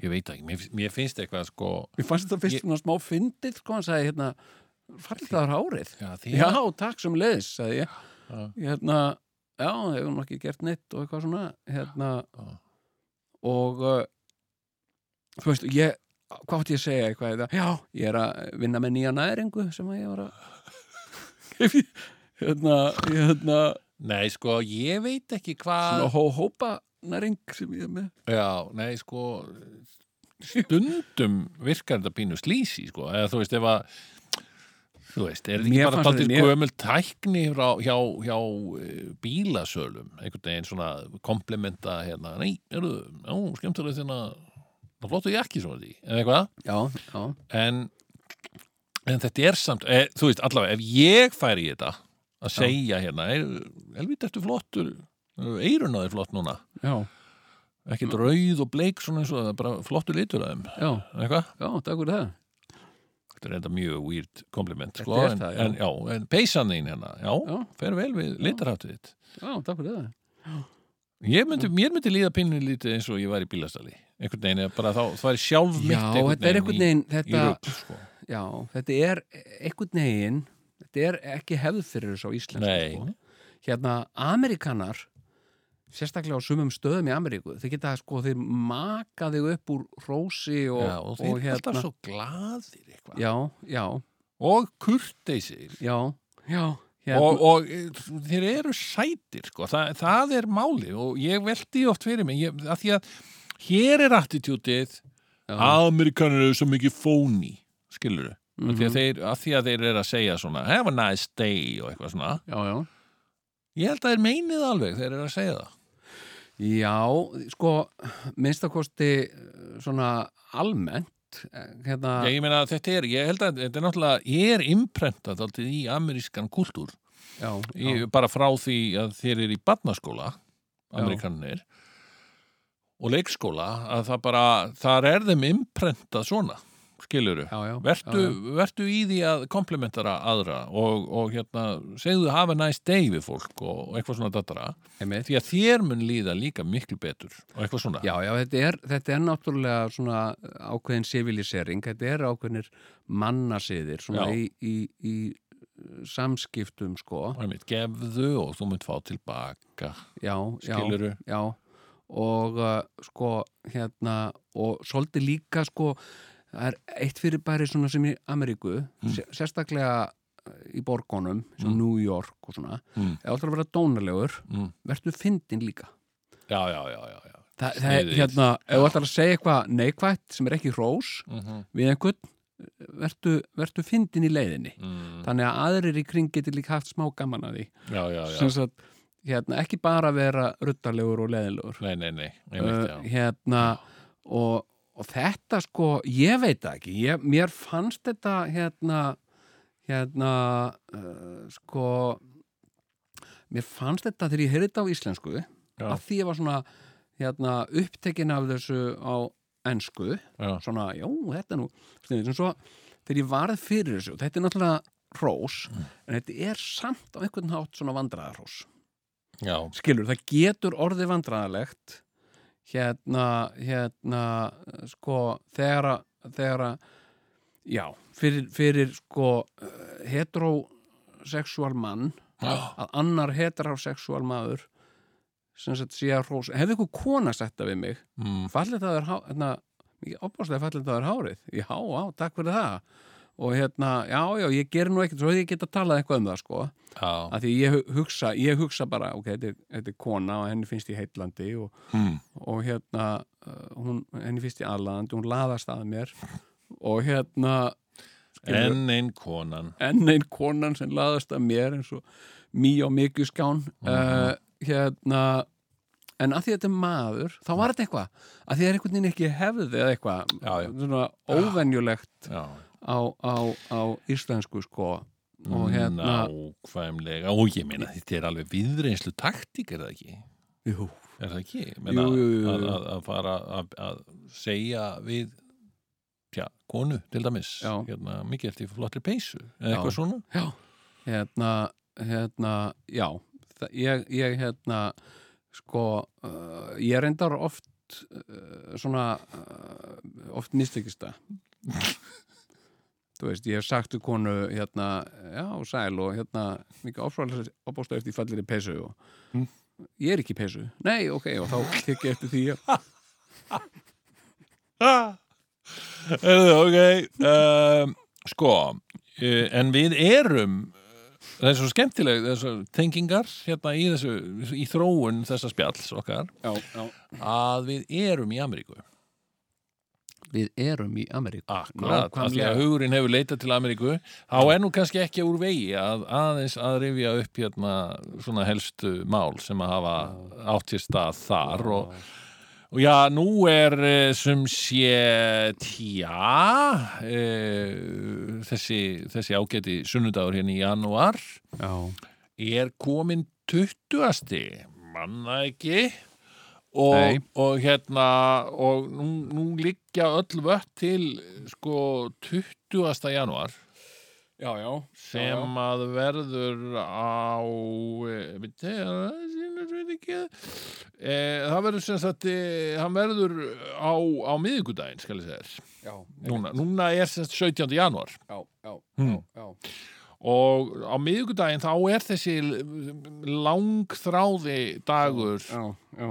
ég veit ekki, mér, mér finnst eitthvað sko,
mér fannst þetta fyrst
Ég-
svona smá fyndið, sko, hann sagði hérna fallið það hárið
já, því
já,
að,
takk sem leiðis, sagði ég
Já.
hérna, já, hefur hann ekki gert neitt og eitthvað svona, hérna
Já.
og uh, þú veist, ég hvað átti ég að segja eitthvað í það? já, ég er að vinna með nýja næringu sem að ég var að hérna, hérna
nei sko, ég veit ekki hvað,
svona hó-hópa næring sem ég er með
já, nei sko, stundum virkar þetta pínu slísi sko, eða þú veist ef að, þú veist, er
Mér
þetta ekki bara
fannst
daldið
þetta- mér-
gömul tækni frá, hjá, hjá eh, bílasölum, einhvern veginn svona komplementa hérna, nei, eru, já, skemmtilega þinn að, hérna, það flottu ég ekki svona því, eða eitthvað?
já, já,
en, en þetta er samt e, þú veist, allavega, ef ég færi í þetta að segja hérna elvita, ertu flottur, eirun á þér flott núna
já,
ekkert
Mm.
rauð og bleik svona eins og það er bara flottur litur að þeim,
já,
eitthvað
já, takk fyrir það
þetta er enda mjög weird kompliment sko,
Þetta er
en,
það, já.
en, já, en peysan þín hérna já,
Já.
fer vel við litarháttið þitt
já, takk fyrir það
Ég myndi, mér myndi líða pinni lítið eins og ég var í bílastali einhvern veginn, eða bara þá, það er sjálf mitt
já, þetta er einhvern veginn
í, í
þetta,
rugl, sko.
já, þetta er einhvern veginn þetta er ekki hefð fyrir þessu á Íslands
Nei.
hérna, Amerikanar sérstaklega á sumum stöðum í Ameríku þeir geta sko, þeir maka þig upp úr rósi og,
já, og þeir eru alltaf
hérna
svo glaðir eitthvað
já, já,
og kurteisir
já, já hérna,
og, og e, þeir eru sætir sko. Þa, það er máli og ég veldi oft fyrir mig ég, að því að hér er attitútið
já,
Amerikanar eru svo mikið fóni skilur
mhm,
þau þeir, að því að þeir eru að segja svona have a nice day og eitthvað svona
já, já
ég held að þeir meinið alveg þeir eru að segja það
Já, sko, minnstakosti eh, svona almennt eh, hérna,
ég, ég meina að þetta er, ég held að þetta er náttúrulega ég er imprentað alltaf í amerískan kultúr
já, já,
í, bara frá því að þeir eru í barnaskóla
Já.
amerikanir og leikskóla að það bara, þar er þeim imprentað svona, skiluru
já, já,
vertu,
já,
vertu í því að komplementara aðra og, og hérna segðu hafa nice day við fólk og, og eitthvað svona dattara,
já, einmitt.
því að þér mun líða líka miklu betur og eitthvað svona
já, já þetta, er, þetta er náttúrulega svona ákveðin civilisering, þetta er ákveðinir mannasiðir svona
Já.
í, í, í eh, samskiptum sko,
Og einmitt, gefðu og þú munt fá tilbaka
já, já,
skiluru,
já og uh, sko hérna og svolítið líka sko það er eitt fyrirbæri svona sem í Ameríku mm. sérstaklega eh, í borgunum, sem New York og svona,
Mm.
eða alltaf að vera dónalegur
Mm.
verður fyndin líka
já, já, já, já, já.
Þa, það er
Sniðugir.
hérna, ef alltaf að segja eitthvað neikvætt sem er ekki hrós
Mm -hmm.
við einhvern verður, verður fyndin í leiðinni
mm.
þannig að aðrir í kring getur líka haft smá gaman að því
já, já, já,
sem sagt, hérna, ekki bara vera ruttalegur og leiðilegur
nei, nei, nei einmitt,
uh,
já.
hérna og, og þetta sko, ég veit það ekki ég, mér fannst þetta hérna hérna uh, sko mér fannst þetta þegar ég heyrði þetta á íslensku
Já.
að því ég var svona hérna, upptekin af þessu á ensku
já.
svona, já, þetta er nú sniðið, en svo þegar ég varð fyrir þessu og þetta er náttúrulega hrós
Mm.
en þetta er samt á einhvern hátt svona vandræðarhrós
já,
skilur, það getur orðið vandræðalegt hérna, hérna eh, sko, þegar að- þegar að, já, fyrir, fyrir sko eh, heterosexual mann
já,
að annar heterosexual maður sem sett sé að hrós hefði ykkur kona sett það við mig
mm.
fallið það er há- hérna, mikið opáslega fallið það er hárið já, á, takk fyrir það og hérna, já, já, ég gerir nú ekkert svo ég geta talað eitthvað um það, sko
já.
að því ég hu- hugsa, ég hugsa bara ok, þetta er, þetta er kona og henni finnst í heitlandi og,
Mm.
og hérna uh, hún, henni finnst í aðlandi, hún laðast að mér og hérna skilur,
enn einn konan
enn einn konan sem laðast að mér eins og mý og mikið skján
Mhm.
uh, hérna en að því þetta er maður, þá var þetta eitthvað að því það er einhvern veginn ekki hefðið eða eitthvað,
Já, já.
svona óvenjulegt
já,
á, á, á íslensku sko og hérna
nákvæmlega og ég meina þetta er alveg viðreynslu taktík er það ekki
Jú.
Er það ekki? Meina,
Jú, jú, jú,
Að,
jú.
að, að fara að, að segja við tja, konu til dæmis
Já.
hérna, mikið eftir flottri peysu eða eitthvað svona
Já, hérna, hérna, já, Þa- ég, ég hérna, sko, uh, ég reyndar oft uh, svona, uh, oft mistekist það. Þú veist, ég hef sagt við konu, hérna, já, sæl og hérna, mikið áfrálega ábústu eftir ég fallir í peysu og ég er ekki í peysu. Nei, ok, og þá tek ég eftir því að
Erðu, ok um, Sko eh, en við erum eh, það er svo skemmtileg þessu tengingar hérna í þessu, í þróun þessa spjalls okkar,
já, já.
að við erum í Ameríku
við erum í Ameríku.
Akkurat, af því
Nákvæmlega.
að hugurinn hefur leitað til Ameríku þá er nú kannski ekki úr vegi að aðeins að rifja upp hérna svona helstu mál sem að hafa áttist að þar og, og já, nú er eh, sem sé tja e, þessi, þessi ágæti sunnudagur hérna í janúar
Já,
er komin 20. manna ekki
Nei.
og, og hérna og nú, nú liggja öll vött til sko 20. januar
já, já.
sem að verður á eh, bíddu, er það sýnir við ekki, eh, það verður sem sagt eh, hann verður á, á miðvikudaginn skal ég segja þér.
Já,
núna, núna er sem sagt 17. januar
já, já,
Hmm.
já.
og á miðvikudaginn þá er þessi langþráði dagur
Já, já.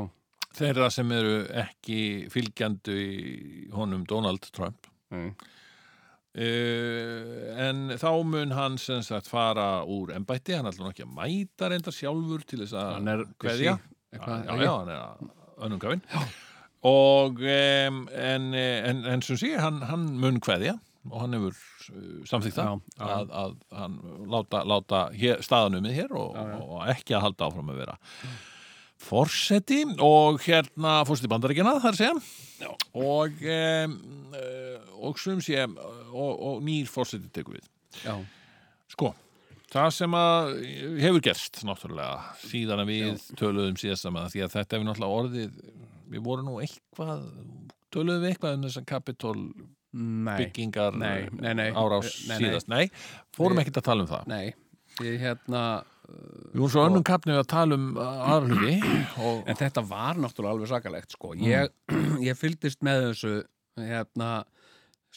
þeirra sem eru ekki fylgjandi í honum Donald Trump
Nei.
Uh, en þá mun hann sem sagt fara úr embætti, hann ætlum ekki að mæta reyndar sjálfur til þess að
Hann er
kveðja
eitthvað-
já, já, hann er önnum gafinn og um, en, en, en sem sé, hann, hann mun kveðja og hann hefur uh, samþykkt það
Já, já.
Að, að hann láta, láta hér, staðanumið hér og,
Já, já.
og ekki að halda áfram að vera forseti og hérna fórseti bandaríkina þar segja og um, og sum sé og, og nýr fórseti tekur við
Já,
sko, það sem að hefur gerst náttúrulega síðan að við töluðum síðast saman því að þetta hefur náttúrulega orðið við vorum nú eitthvað töluðum við eitthvað um þessan kapitól
nei,
byggingar
Nei, nei, nei.
árás
Nei, nei.
síðast, nei, fórum
Við-
ekkert að tala um það
nei Ég hérna
Við vorum svo önnum kapnum að tala um aðrluti og
En þetta var náttúrulega alveg sakalegt sko.
Hmm.
ég, ég fylgdist með þessu hérna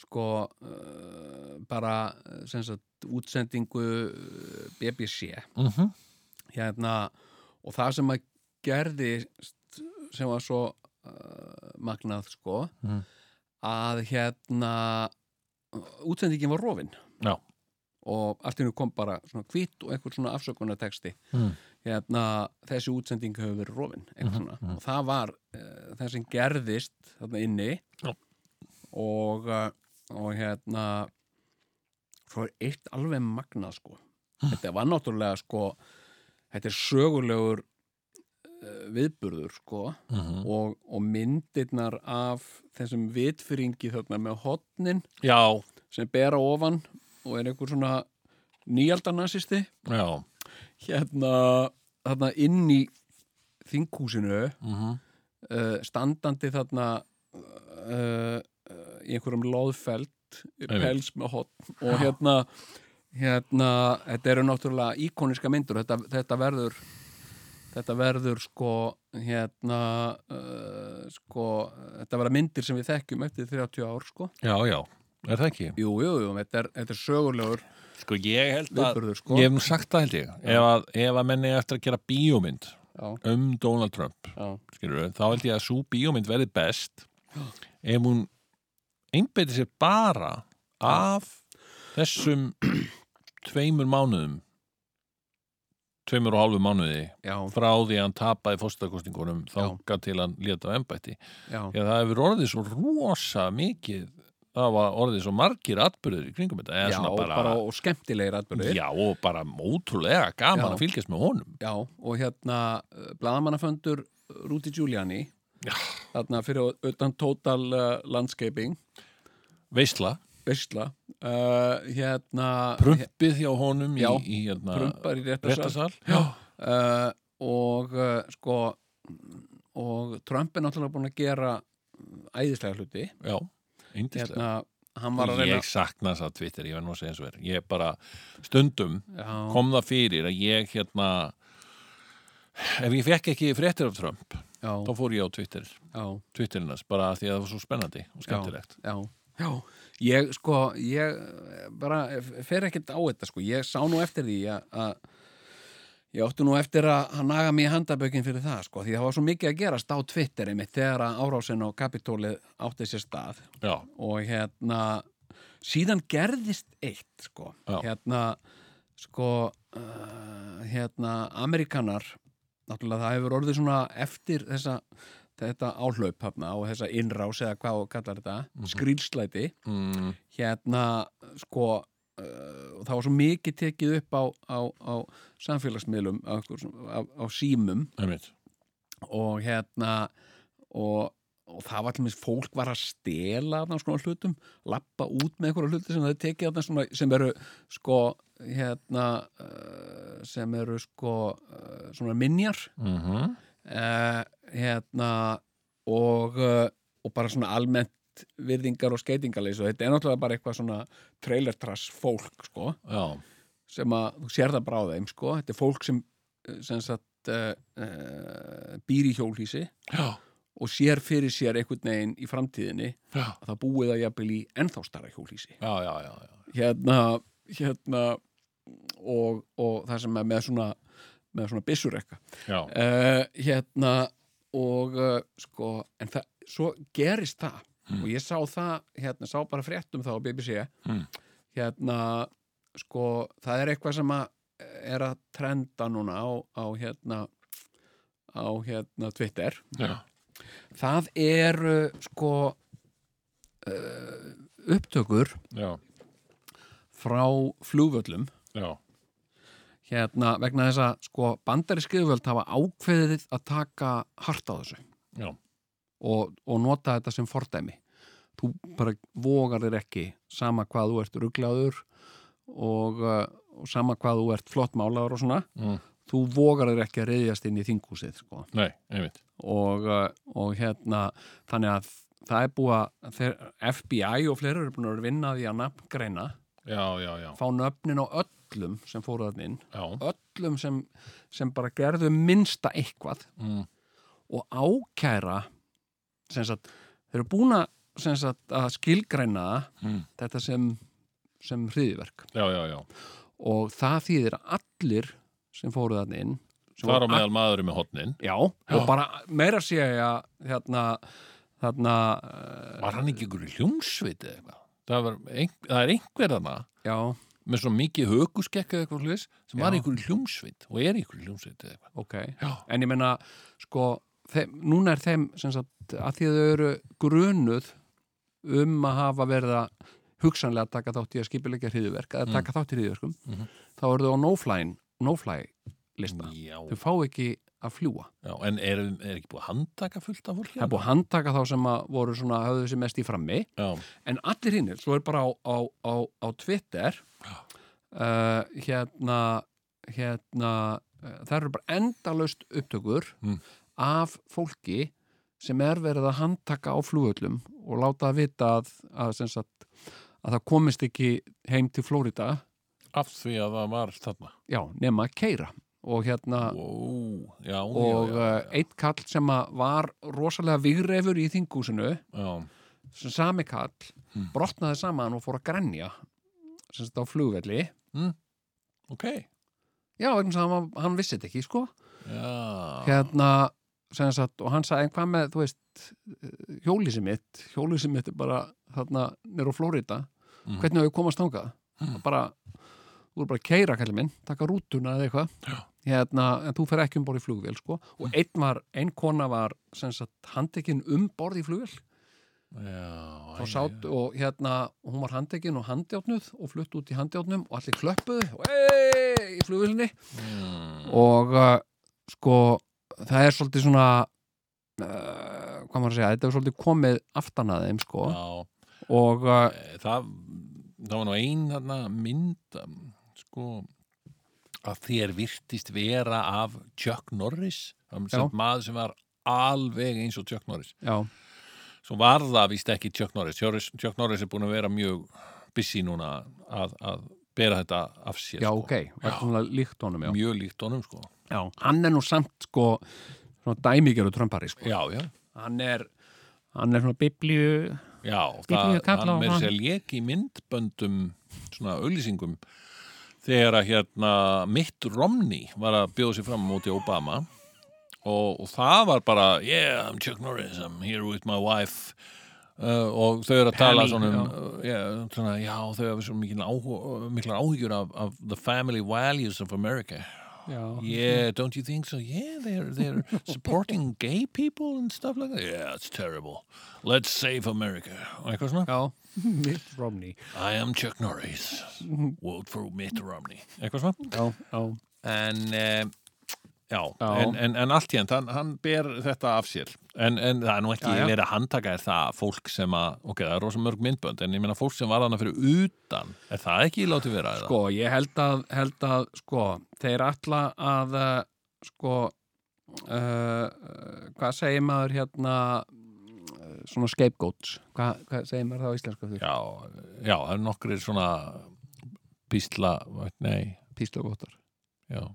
sko uh, bara sem sagt útsendingu uh, BBC
mm -hmm.
hérna og það sem að gerði sem var svo uh, magnað sko
Mhm.
að hérna útsendingin var rofin
Já.
og allt henni kom bara svona hvitt og einhvern svona afsökunarteksti
Mm. Mhm,
hérna þessi útsending hefur verið rofin eitthvað svona og það var uh, það sem gerðist þarna inni
Já.
og, uh, og hérna svo er eitt alveg magnað sko
Hm.
þetta var náttúrulega sko þetta er sögulegur uh, viðburður sko
Mhm.
og, og myndirnar af þessum vitfyringi þarna með hotnin
já,
sem bera ofan og er einhver svona nýjaldanasisti
já
hérna þarna inn í þinghúsinu
mm -hmm.
uh, standandi þarna uh, uh, í einhverjum loðfelt pels með hotn og hérna hérna, þetta eru náttúrulega íkoniska myndur, þetta, þetta verður þetta verður sko hérna uh, sko, þetta verða myndir sem við þekkjum eftir 30 ár sko,
já, já, er það ekki?
jú, jú, jú þetta er, þetta er sögulegur
Sko ég held að
viðburður sko
Ég hef nú sagt það held ég ef að, ef að menni eftir að gera bíómynd
já,
um Donald Trump
já,
skilur, þá held ég að svo bíómynd verði best ef hún einbeiti sér bara af þessum tveimur mánuðum tveimur og hálfu mánuði
já,
frá því að hann tapaði fórstakostingunum
Já.
þáka til hann léta á embætti
já,
Já, það hefur orðið svo rosa mikið það var orðið svo margir atbyrður í kringum þetta eða
já
svona
bara, bara og skemmtilegir atbyrðir
Já, og bara ótrúlega gaman
Já.
að fylgjast með honum.
Já, og hérna bladamannaföndur Rúti Giuliani
Já.
þarna fyrir utan Total uh, Landscaping
Veisla,
Vesla uh, hérna
prumpið hjá honum
Já,
í, í hérna,
prumpar í réttarsal
réttarsal.
uh, og uh, Eh, sko og Trump er náttúrulega búin að gera mm, æðislega hluti
já, yndislega
hérna, hann var að reyna
Ég sakna þess að Twitter, ég verð nú að segja eins og verð Ég bara, stundum
já,
kom það fyrir að ég hérna Ef ég fekk ekki fréttir af Trump
já,
þá fór ég á Twitter,
já,
Twitterinas bara af því að það var svo spennandi og skemmtilegt
já, já ég sko, ég eh, bara eh, fer ekkert á þetta sko, ég sá nú eftir því að- að ég átti nú eftir að hann naga mér handabökin fyrir það sko, því það var svo mikið að gerast á Twitteri mitt þegar að árásin og kapitólið átti sér stað
Já,
og hérna síðan gerðist eitt sko
Já.
hérna sko uh, hérna amerikanar náttúrulega það hefur orðið svona eftir þessa þetta áhlaup hafna og þessa innrás eða hvað þú kallar þetta, mm skrýlslæti
mm,
hérna sko uh, og það var svo mikið tekið upp á, á, á samfélagsmiðlum á, einhver svona- á, á símum
einmitt
og hérna og, og það var til mér fólk var að stela þarna svona hlutum lappa út með einhverja hluti sem það er tekið þarna svona sem eru sko hérna uh, sem eru sko uh, svona minjar
mm
uh, hérna og, uh, og bara svona almennt virðingar og skeitingarleys og þetta er náttúrulega bara eitthvað svona trailertrass fólk sko
Já,
sem að þú sér það bara á þeim sko þetta er fólk sem, eh, sem sagt, uh, uh, býr í hjólhísi
já,
og sér fyrir sér einhvern veginn í framtíðinni
já
að það búið að jafnvel í ennþá starra hjólhísi
Já, já, já, já.
hérna, hérna og, og það sem er með svona með svona byssurekka
já.
uh, hérna og uh, sko en það, svo gerist það
Mm.
og ég sá það, hérna, sá bara fréttum þá á BBC
Mm.
hérna, sko það er eitthvað sem að er að trenda núna á, á hérna á hérna Twitter
já.
Það eru sko uh, upptökur
já.
frá flugvöllum
já.
hérna vegna þess að sko bandarískiðvöld hafa ákveðið að taka hart á þessu
Já.
og, og nota þetta sem fordæmi. Þú bara vogar þér ekki sama hvað þú ert rugglaður og, uh, og sama hvað þú ert flottmálaður og svona.
Mm.
Þú vogar þér ekki að reyðjast inn í þingúsið sko.
Nei, einmitt
og, uh, og hérna þannig að það er búið að þeir, FBI og fleiri eru búin að vera að vinna að því að nafngreina,
Já, já, já,
fá nöfnin á öllum sem fóru þarna inn,
já.
öllum sem, sem bara gerðu minnsta eitthvað
Mm.
og ákæra sem sagt, þeir eru búin að, sem sagt, að skilgreina það,
Mm.
þetta sem, sem hriðiverk
já, já, já
og það þýðir að allir sem fóru þarna inn sem
Þar á
voru
meðal maðurinn með hotnin
Já, og bara meira sé ég að hérna, hérna uh,
Var hann ekki ykkur hljómsveit eða eitthvað? Það, var, ein, það er einhverðana
já,
með svo mikið hökuskekka eða eitthvað hlis sem var
Já.
ykkur hljómsveit og er ykkur hljómsveit eða eitthvað
ok
Já,
en ég meina, sko þeim, núna er þeim, sem sagt, að því að þau eru grunuð um að hafa verið að hugsanlega taka þátt í að skipilegja hriðuverk eða taka þátt í hriðuverkum
Mm. Mhm.
þá eru þau á no-fly no-fly lista,
já,
þau fá ekki að fljúa
já En er, er ekki búið að handtaka fullt af fólki?
það er búið að handtaka þá sem að voru svona höfðu þessi mest í frammi
Já,
En allir hinnir, svo er bara á, á, á, á Twitter uh, hérna hérna uh, það eru bara endalaust upptökur
Mm.
af fólki sem er verið að handtaka á flugöllum og láta að vita að, að, sem sagt, að það komist ekki heim til Flórida
af því að það var þarna
já, nema að keira og hérna
Ó, já,
og
já, já,
uh, eitt kall sem að var rosalega vigreifur í þingúsinu
já.
sem sami kall brotnaði saman og fór að grenja sem þetta á flugvelli
Ok,
já, vegna sem hann, hann vissi þetta ekki, sko
já
hérna, sem sagt, og hann sagði en hvað með, þú veist, eh, hjólísið mitt hjólísið mitt er bara þarna nýr á Flórida,
Mm.
hvernig hefur komast þangað mm. bara, þú er bara að keira kallið minn, taka rútuna eða eitthvað
Já.
hérna, en þú fer ekki um borð í flugvél, sko og einn var, einn kona var sem sagt, handekinn um borð í flugvél
Já, æ,
þá sátt og hérna og hún var handekinn og handjátnuð og flutt út í handjátnum og allir klöppuðu og ei, í flugvölinni
mm,
og uh, sko það er svolítið svona uh, hvað maður að segja, þetta er svolítið komið aftan að þeim sko
Já, e,
og uh,
það, það var nú ein þarna mynd um, sko að þér virtist vera af Chuck Norris hann
Já.
sem maður sem var alveg eins og Chuck Norris
já,
svo var það vist ekki Chuck Norris Chuck Chuck Norris er búin að vera mjög busy núna að, að bera þetta af sér
já,
sko.
ok, var svona líkt honum, já.
mjög líkt honum sko
já. Hann er nú samt, sko, svona dæmigeru trömpari, sko.
já, já,
Hann er, hann er svona biblíu,
já
Biblíu kalla
hann
á
með
hann.
sér lék í myndböndum svona auðlýsingum þegar að hérna Mitt Romney var að bjóða sér fram á móti Obama og, og það var bara yeah, I'm Chuck Norris, I'm here with my wife Uh, og þau eru að tala
Pammy,
svona, um,
já.
uh, yeah, svona já, þau eru svo mikil áhuga, miklar áhugjur af, af the family values of America
já,
Yeah, don't you think so? Yeah, they're they're supporting gay people and stuff like that. Yeah, it's terrible. Let's save America. Og eitthvað svona.
já, Mitt Romney.
I am Chuck Norris. Vote for Mitt Romney. Eitthvað svona.
Já, já,
En eh, já,
Já.
En, en, en allt hérnt, hann, hann ber þetta af sér. En, en það er nú ekki
Já, já.
verið að handtaka er það fólk sem að, ok, það er rosa mörg myndbönd, en ég meina fólk sem var hana fyrir utan, er það ekki látið vera eða?
sko, ég held að, held að, sko, þeir alla að, eh, sko, uh, hvað segir maður hérna, eh, svona scapegoats, hvað, hvað segir maður það á íslensku aftur?
Já, já, það er nokkrir svona písla, nei,
Píslagóttar.
já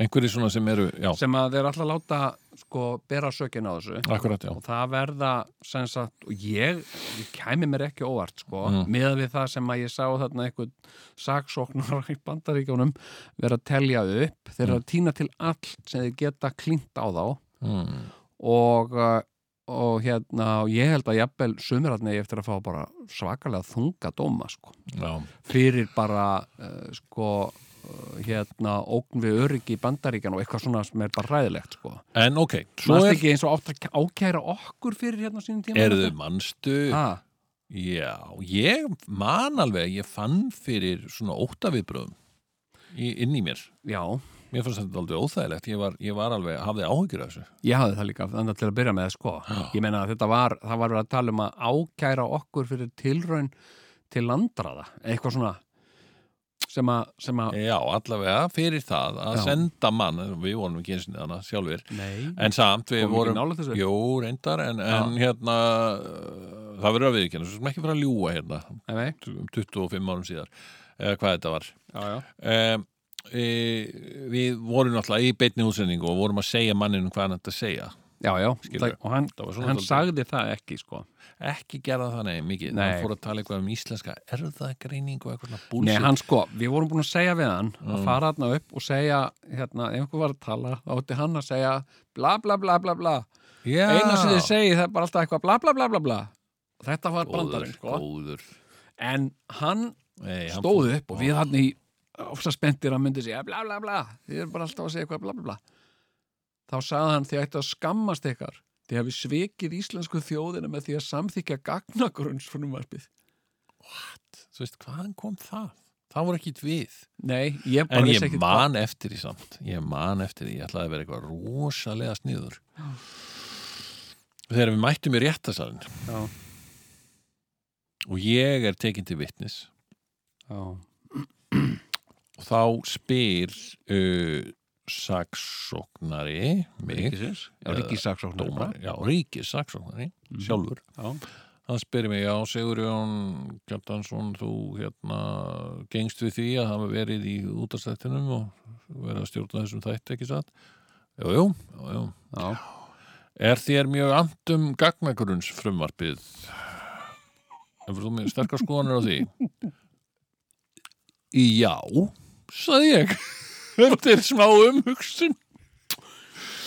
einhverjir svona sem eru, já,
Sem að þeir alla láta, sko, bera sökina á þessu.
akkurat, já
og það verða sem sagt, og ég, ég kæmi mér ekki óvart sko,
Mm.
miðað við það sem að ég sá þarna einhvern saksóknar í bandaríkjónum vera að telja upp þeir eru að týna til allt sem þeir geta klínt á þá
mm.
og, uh, og hérna og ég held að jafnvel sumirarni eftir að fá bara svakalega þunga dóma sko,
já,
fyrir bara uh, sko uh, hérna, ógn við öryggi í bandaríkjan og eitthvað svona sem er bara ræðilegt sko.
en ok
Svo
svo er,
ekki eins og átt að ákæra okkur fyrir hérna á sínum tíma
er þau mannstu
ah.
já, ég man alveg ég fann fyrir svona óttaviðbröðum í- inn í mér
Já,
mér fannst þetta aldrei óþægilegt ég var, ég var alveg, hafði áhyggjur af þessu
ég hafði það líka þannig til að byrja með sko. Ég meina að þetta var, það var verið að tala um að ákæra okkur fyrir tilraun til landraða, eitthvað svona sem að, sem að
já, allavega fyrir það að
Já.
senda mann við vorum ekki eins og þannig sjálfur
Nei,
en samt við
Komum ekki
vorum
nálægt þessu?
jú, reyndar, en, en hérna uh, það verður að viðkynna, svo sem ekki fara að ljúga hérna,
nei,
um 25 árum síðar eða hvað þetta var
já, já
um, e, við vorum náttúrulega í beinni útsendingu og vorum að segja manninu hvað hann ætti að segja
Já, já,
Skilurðu.
það, og hann,
Það var svona
hann
dálítið.
sagði það ekki sko.
ekki gerða það nei, mikið,
Nei.
hann fór að tala eitthvað um íslenska erðagreiningu og eitthvað svona
Nei,
búlsitt
hann sko, við vorum búin að segja við hann
Mm.
að fara hann upp og segja hérna, ef einhver var að tala, þá átti hann að segja bla bla bla bla bla
Já,
eina sem þið segi það er bara alltaf eitthvað bla bla bla bla bla Og Þetta var brandarinn
góður,
sko.
góður
En hann
nei, hann fór-
stóð upp og við hann í ofsa spenntir að myndi segja bla bla bla þið eru bara alltaf að segja eitthvað bla bla bla þá sagði hann þið ættu að skammast ykkar þið hafi svikið íslensku þjóðina með því að samþykja gagnagrunns frumvarpið
þú veist, hvaðan kom það? það voru ekkit við
nei, ég bara
en
vissi
ég
ekkert hvað-
man eftir því samt ég man eftir því, ég ætlaði að vera eitthvað rosalega sniður þegar við mættum í réttasalinn
Já.
og ég er tekin til vitnis
já,
og þá spyr uh, saksóknari mig,
ríkisins já,
eða
ríkisaksóknar
dómar, já, ríkis saksóknari sjálfur,
já,
hann spyr mig já, Sigurjón Kjartansson þú hérna gengst við því að hafa verið í útastættinum og verið að stjórna þessum þætti ekki satt jú, jú, jú, jú
já,
Er þér mjög um andum gagnagrunns frumvarpið? Hefur þú með sterkar skoðanir á því? Já, sagði ég. Eftir smá umhugsun.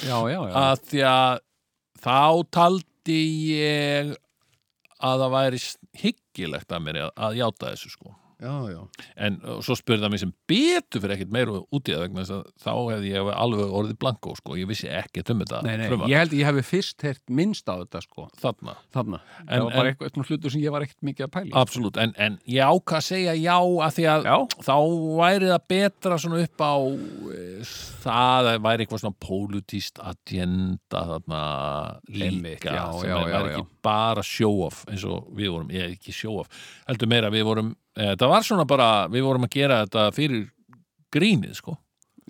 já, já, já.
Að því að þá taldi ég að það væri hyggilegt að mér að, að játa þessu sko.
já, já.
En uh, svo spurði það mig sem betur fyrir ekkert meira út í það vegna þess að þá hefði ég alveg orðið blankó sko. Ég vissi ekkert um þetta
Nei, nei,
frumvarp
ég held ég hefði fyrst heyrt minnst á þetta sko,
þarna.
þarna
En-
það var bara
en-
eitthvað, eitthvað hlutur sem ég var ekkert mikið að pæla í.
Absolutt, en, en ég ákvað að segja já að því að
Já.
þá væri það betra svona upp á eh, það að væri eitthvað svona pólutíst agenda þarna líka
Einmitt, já,
sem
já, já,
er-
já.
væri ekki bara show-off eins og við vorum, ég er ekki show-off eh, heldur meira, við vorum, e, það var svona bara við vorum að gera þetta fyrir grínið sko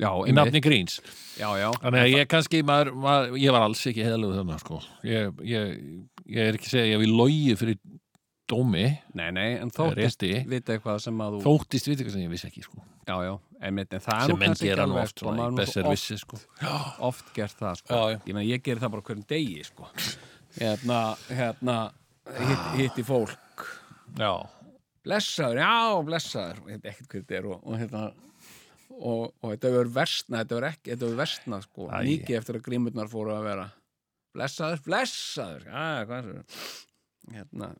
já,
í
einmitt.
nafni gríns
já, já,
Þannig að ég kannski, maður, maður, ég var alls ekki heðalegu þarna, sko. Ég, ég, ég er ekki að segja, ég við logið fyrir dómi,
nei, nei en þóttist
rétti,
vita eitthvað sem að þú,
þóttist við eitthvað sem ég vissi ekki, sko.
já, já, einmitt en það er
Sem
nú
menn
kannski
gera
ekki
nú
alveg
oft,
sko,
svona,
maður er
í
nú
besser
svo oft,
vissi, sko.
oft gert það sko.
Já, já.
ég meina, ég geri það bara hverjum degi sko. hérna, hérna hitt,
Ah.
hitti fólk
Já,
blessaður, já, blessaður og hérna ekkert hverju þetta er og, og hérna og, og þetta hefur versna, þetta hefur ekki þetta hefur versna, sko,
Æi.
mikið eftir að grímurnar fóru að vera blessaður, blessaður, já, hvað er það hérna,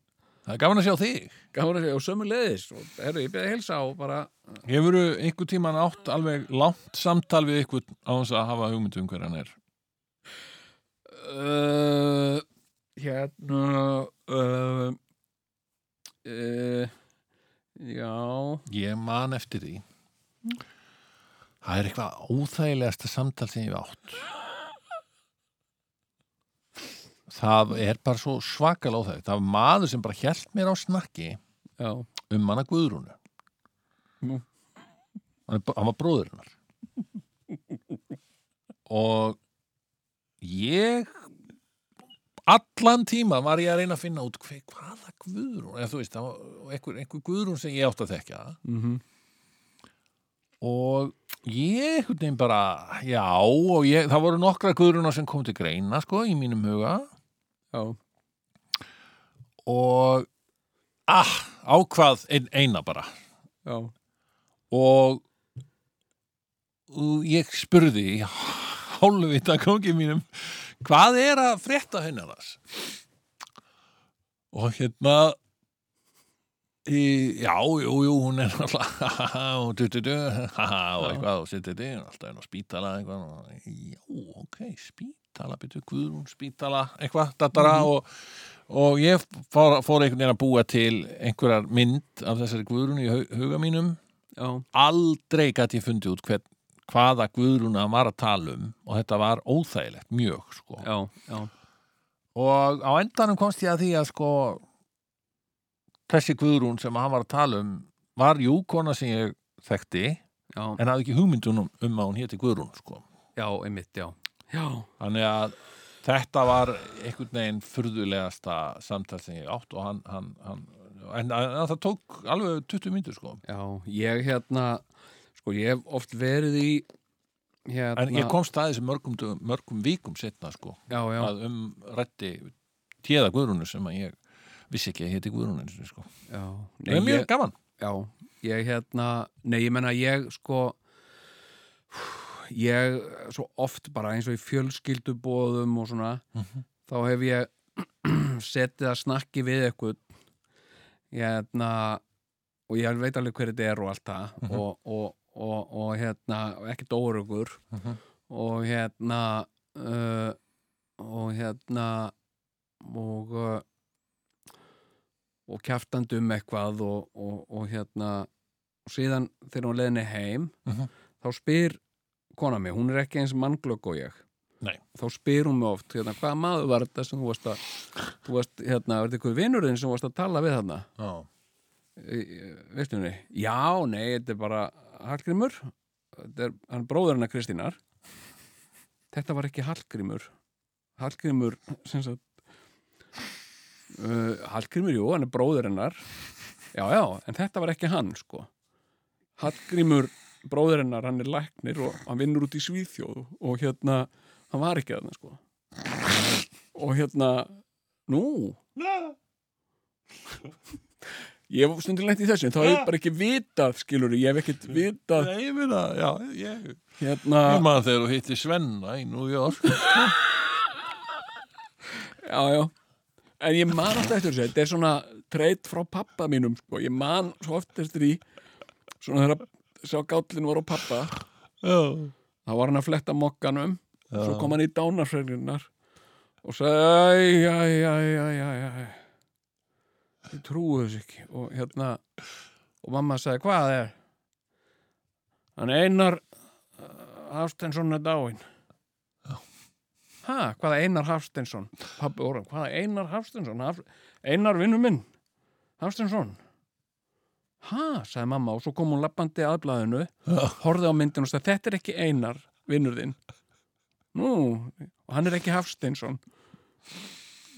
það er gaman að sjá þig.
gáður þessi og sömu leiðis og herru, ég beðið að helsa og bara
Hefurðu einhver tíman átt alveg langt samtal við einhvern á þess að hafa hugmynd um hver hann er?
uh, hérna uh, uh, já
Ég man eftir því. Það er eitthvað óþægilegasta samtal sem ég hef átt. Það er bara svo svakal óþægilegt. Það var maður sem bara hjælt mér á snakki
já,
um hana Guðrúnu.
Nú.
Hann, er- hann var bróður hennar. Og ég allan tíma var ég að reyna að finna út hver, hvaða Guðrún, eða þú veist, það var einhver, einhver Guðrún sem ég átti að þekka það
mm -hmm.
og ég einhvern veginn bara, já og ég, það voru nokkra guðrunar sem kom til greina sko, í mínum huga
já,
og ah, ákvað ein, eina bara
já,
og, og ég spurði í hálfvita kongi mínum hvað er að frétta hennar þess og hérna í, já, jú, jú, hún er alltaf og du-du-du og eitthvað og sitt-du-du alltaf er á spítala eitthvað og, já, ok, spítala, byrju Guðrún spítala eitthvað, datara og, og ég fór, fór einhvern veginn að búa til einhverjar mynd af þessari Guðrún í hau- huga mínum
já,
aldrei gæti ég fundið út hver, hvaða Guðrúna var að tala um og þetta var óþægilegt mjög sko.
já, já.
og á endanum komst ég að því að sko þessi Guðrún sem hann var að tala um var jú kona sem ég þekkti
Já,
en hafði ekki hugmyndunum um að hún héti Guðrún sko.
já, einmitt, já. Já,
þannig að þetta var einhvern veginn furðulegasta samtal sem ég átt og hann, hann, hann en, en það tók alveg 20 myndur sko.
já, ég hérna, sko, ég hef oft verið í, hérna,
en ég komst að þessi mörgum, dögum- mörgum vikum setna sko.
já, já,
að um rætti téða Guðrúnu sem að ég vissi ekki að héti Guðrúnu einu sinni, sko.
já,
það er mjög
ég,
gaman
já, ég hérna, nei, ég menna, ég, sko, ég, svo oft bara eins og í fjölskyldubóðum og svona, þá hef ég setið að snakki við eitthvað, hérna, og ég veit alveg hver þetta er og allt það, og, og, og, og, hérna, ekkert óurugur, og hérna uh, og hérna og uh, og kjaftandu um eitthvað og, og, og hérna og síðan þegar hún leðinni heim
Mhm.
þá spyr kona mig, hún er ekki eins mannglögg og ég
Nei.
þá spyr hún mig oft hérna, hvaða maður var þetta sem þú varst að þú varst, hérna, var þetta eitthvað vinurinn sem þú varst að tala við þarna
Já.
veistu henni, já, nei, þetta er bara Hallgrímur þetta er, hann er bróður hennar Kristínar þetta var ekki Hallgrímur Hallgrímur sem sagt uh, Hallgrímur, jú, hann er bróður hennar já, já, en þetta var ekki hann sko, Hallgrímur bróður hennar, hann er læknir og hann vinnur út í Svíþjóð og hérna hann var ekki þarna sko og hérna nú, ég hef stundir lengt í þessu en þá hef ég bara ekki vitað, skilur ég hef ekkert vitað
Nei, ég meina, já, ég
hérna
Ég man þegar þú hitti Svenna í New York
Já, já. En ég man alltaf eftir þessu, þetta er svona treyt frá pappa mínum, sko. Ég man svo oft eftir því, svona þegar sá gállin var á pappa,
Já,
þá var hann að fletta mokkanum, svo
Já.
kom hann í dánafsreglunar og sagði, æ, æ, æ, æ, æ, æ, æ, ég trúi þessu ekki. Og hérna, og mamma sagði, hvað er? Hann Einar Hafstensson er dáinn. Hæ, hvaða Einar Hafstensson? Pabbi orðan, hvaða Einar Hafstensson? Haf... Einar vinnu minn, Hafstensson. ha, sagði mamma og svo kom hún lappandi aðblaðinu, horfði á myndin og sagði, þetta er ekki einar, vinnur þinn. Nú, og hann er ekki Hafsteinsson.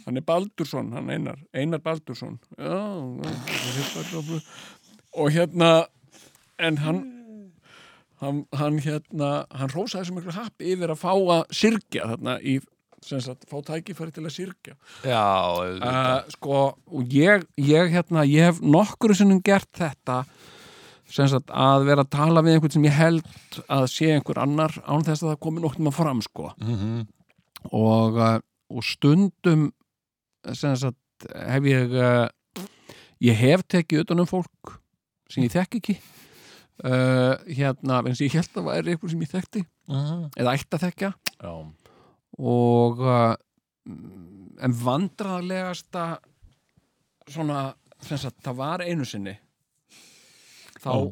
Hann er Baldursson, hann einar, einar Baldursson. Já, já, ég hef bara glöflu. og hérna, en hann, hann, hann hérna, hann rósaði sem ykkur happ yfir að fá að syrkja þarna í, sem sagt, fá tækifæri til að syrkja.
Ah. já,
Uh, sko, og ég, ég hérna, ég hef nokkru sinnum gert þetta sem sagt að vera að tala við einhvern sem ég held að sé einhver annar án þess að það komi nokknum að fram, sko
Mhm.
og, uh, og stundum sem sagt hef ég uh, ég hef tekið utan um fólk sem ég þekki ekki uh, hérna, eins og ég held að væri einhver sem ég þekkti, eða ætti að þekka
já,
og uh, mm, en vandraðlegasta svona sem sagt, það var einu sinni þá
Já.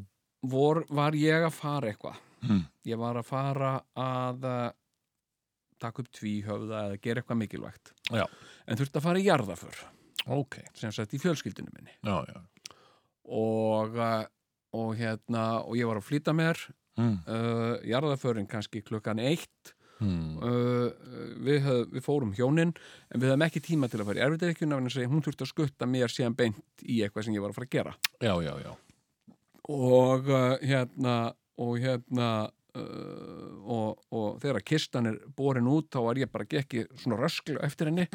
vor, var ég að fara eitthvað
Mm.
ég var að fara að uh, taka upp tvíhöfða eða gera eitthvað mikilvægt
Já.
en þurfti að fara í jarðaför
ok,
sem sagt í fjölskyldinu minni
já, já.
og, uh, og hérna og ég var að flýta mér
Mm.
uh, jarðaförin kannski klukkan eitt
Mm.
uh, við, höf, við fórum hjónin en við höfum ekki tíma til að fara í erfiðreikjuna en hún þurfti að skutta mér síðan beint í eitthvað sem ég var að fara að gera
já, já, já
og uh, hérna og hérna uh, og, og þegar kistan er borin út þá var ég bara gekki svona rösklu eftir henni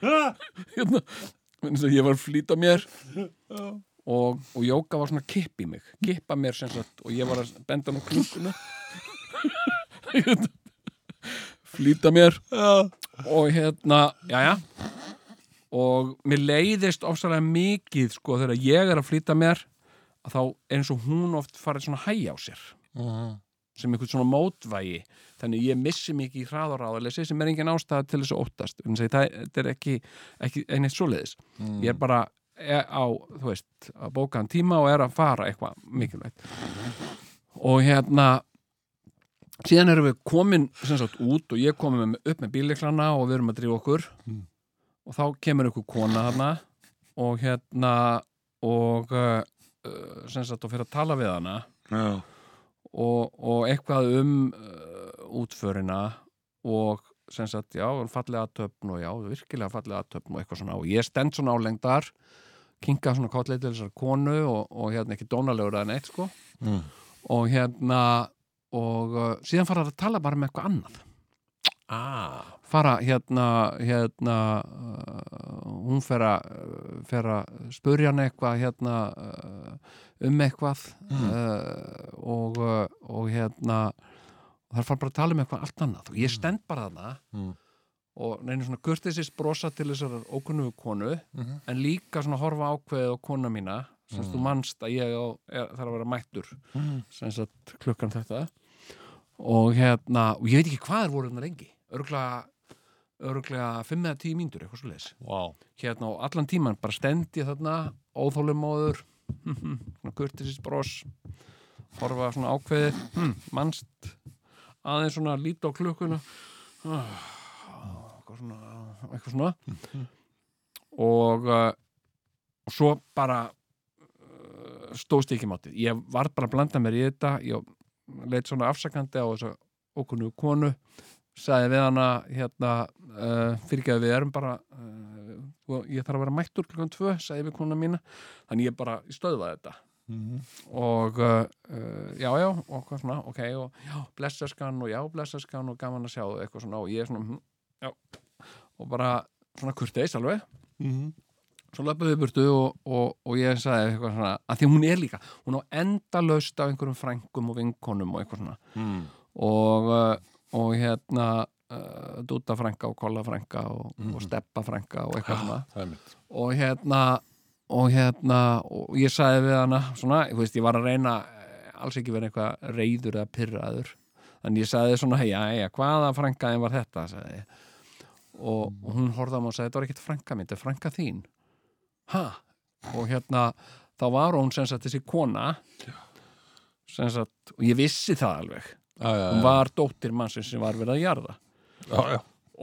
hérna minnst að ég var að flýta mér og, og Jóka var svona að kippa í mig kippa mér sem sagt og ég var að benda hann á klukkuna Hérna. flýta mér
já,
og hérna, jæja og mér leiðist ofsalega mikið sko þegar ég er að flýta mér að þá eins og hún oft farið svona hægja á sér
Mhm.
sem einhvern svona mótvægi þannig ég missi mikið í hraðaráðalesi sem er engin ástæða til þess að óttast þannig að það þetta er ekki, ekki einnett svoleiðis ég er bara er á, þú veist, að bóka hann tíma og er að fara eitthvað mikilvægt og hérna síðan erum við komin sem sagt út og ég komin með, upp með bíliklana og við erum að drífa okkur og þá kemur einhver kona hana og hérna og uh, uh, sem sagt og fyrir að tala við hana
já,
og, og eitthvað um uh, útförina og sem sagt, já, um fallega töfn og já, virkilega fallega töfn og eitthvað svona og ég stend svona álengdar kinka svona kollið til þessar konu og, og hérna ekki dónalegur að neitt sko
Mm.
og hérna og uh, síðan fara þær að tala bara með eitthvað annað
ah,
fara hérna, hérna uh, hún fer að uh, fer að spurja hann eitthvað hérna uh, um eitthvað uh, og, uh, og hérna og þær fara bara að tala um eitthvað allt annað og ég stend bara þarna
Mm.
og neynir svona kurtisins brosa til þessar ókunnugu konu
Mhm.
en líka svona horfa ákveðið á kona mína sem mm. þú manst að ég á, er, þarf að vera mættur
Mm.
sem sagt klukkan þetta og hérna, og ég veit ekki hvað er voru þarna lengi, örgulega örgulega 5 eða 10 mínútur eitthvað svo leis
wow
hérna og allan tíman bara stend ég þarna óþólumóður svona kurtisins bros horfa svona ákveðið hm, manst aðeins svona líta á klukkuna Ah, eitthvað svona, eitthvað svona. og uh, og svo bara uh, stóðst ég ekki mátið ég var bara að blanda mér í þetta ég leitt svona afsakandi á þessa okkunnu konu sagði við hana hérna uh, fyrirgæði við erum bara uh, og ég þarf að vera mættur klukkan tvö sagði við konuna mína þannig ég bara stöðvaði þetta
Mhm.
og uh, uh, já, já, og hvað svona, ok og já, blessaskan og já, blessaskan og gaman að sjá þig, eitthvað svona og ég er svona, hm, já og bara svona kurteis alveg
Mhm.
svo löpum við burtu og, og, og ég sagði eitthvað svona, að því hún er líka hún á enda laust af einhverjum frængum og vinkonum og eitthvað svona
Mm.
og, uh, og hérna uh, Dúta frænga og Kolla frænga og, og Steppa frænga og eitthvað svona
það er mitt
og hérna og hérna, og ég sagði við hana svona, ég veist, ég var að reyna eh, alls ekki verið eitthvað reyður eða pyrraður þannig ég sagði svona, hei, hei, hvaða frænkaðin var þetta, sagði ég og, og hún horfði á mig og sagði, þetta var ekkit frænka mín, þetta er frænka þín ha, og hérna þá var hún sem sagt þessi kona sem sagt, og ég vissi það alveg
já, já,
hún var dóttir mannsins sem var verið að jarða
já, já.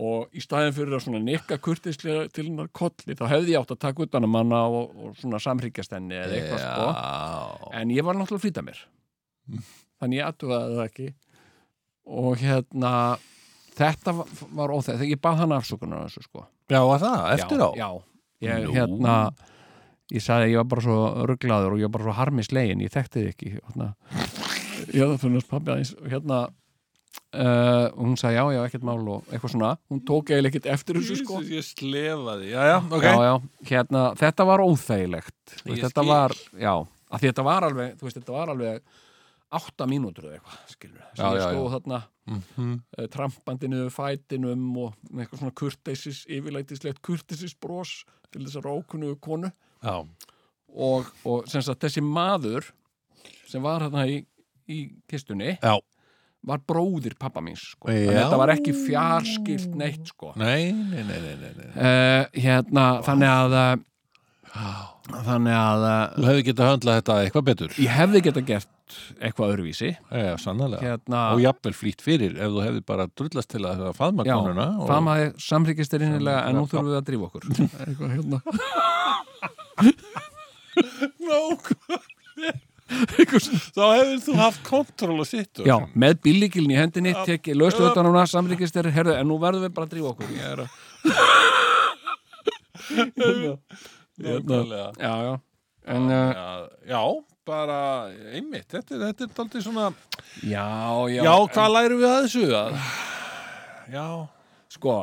og í staðin fyrir að svona nikka kurtislega til hennar kolli þá hefði ég átt að taka utan um hana og, og svona samhryggjast henni eða eitthvað sko
Já.
en ég var náttúrulega að flýta mér þannig ég aðtugaði það ekki og hérna þetta var, var óþægt ég bað hann afsökunar á þessu sko
Já, að það, eftir á
já, já. ég
Nú.
hérna ég sagði að ég var bara svo rugglaður og ég var bara svo harmislegin, ég þekkti þið ekki hérna, ég hafði funnast pabbi aðeins og hérna uh, og hún sagði já, já, ekkert mál og eitthvað svona hún tók eiginlega ekkert eftir þessu sko
Jesus, ég slefaði Já, já, ok
já, já, hérna, þetta var óþægilegt Þú
Ég
veist, þetta
skil.
var, já, að því þetta var alveg þú veist, þetta var alveg átta mínútur eða eitthvað, skilur sem
Já,
ég
já,
stóð þarna
Mhm.
eh, trampandi niður fætinum og með eitthvað svona kurteisis, yfirlætislegt kurteisis bros til þess að rákunu konu
já.
og, og sem sagt þessi maður sem var þarna í, í kistunni
já.
var bróðir pappa míns sko.
Já.
Þannig að þetta var ekki fjarskilt neitt sko.
Nei, nei, nei, nei, nei, nei.
uh, hérna, þannig að eh,
Já.
þannig að eh,
Þú hefði getað höndlað þetta eitthvað betur
ég hefði geta gert eitthvað öðruvísi
Já, sannlega
hérna,
Og jafnvel flýtt fyrir ef þú hefði bara drullast til að faðma
já,
konuna og...
famaði samryggist er innilega en nú þurfum við að drífa okkur eitthvað hérna
Þá hefur þú haft kontról og sittur
já, með bíllíkilin í hendinni tekið löstu þetta núna, samryggist er herðu, en nú verðum við bara að drífa okkur ég er að
Nákvæmlega.
já, já en, uh,
Já, já, bara einmitt, þetta, er- þetta er daldið svona
já, já,
Já, hvað lærum við að þessu? Að... Já,
sko,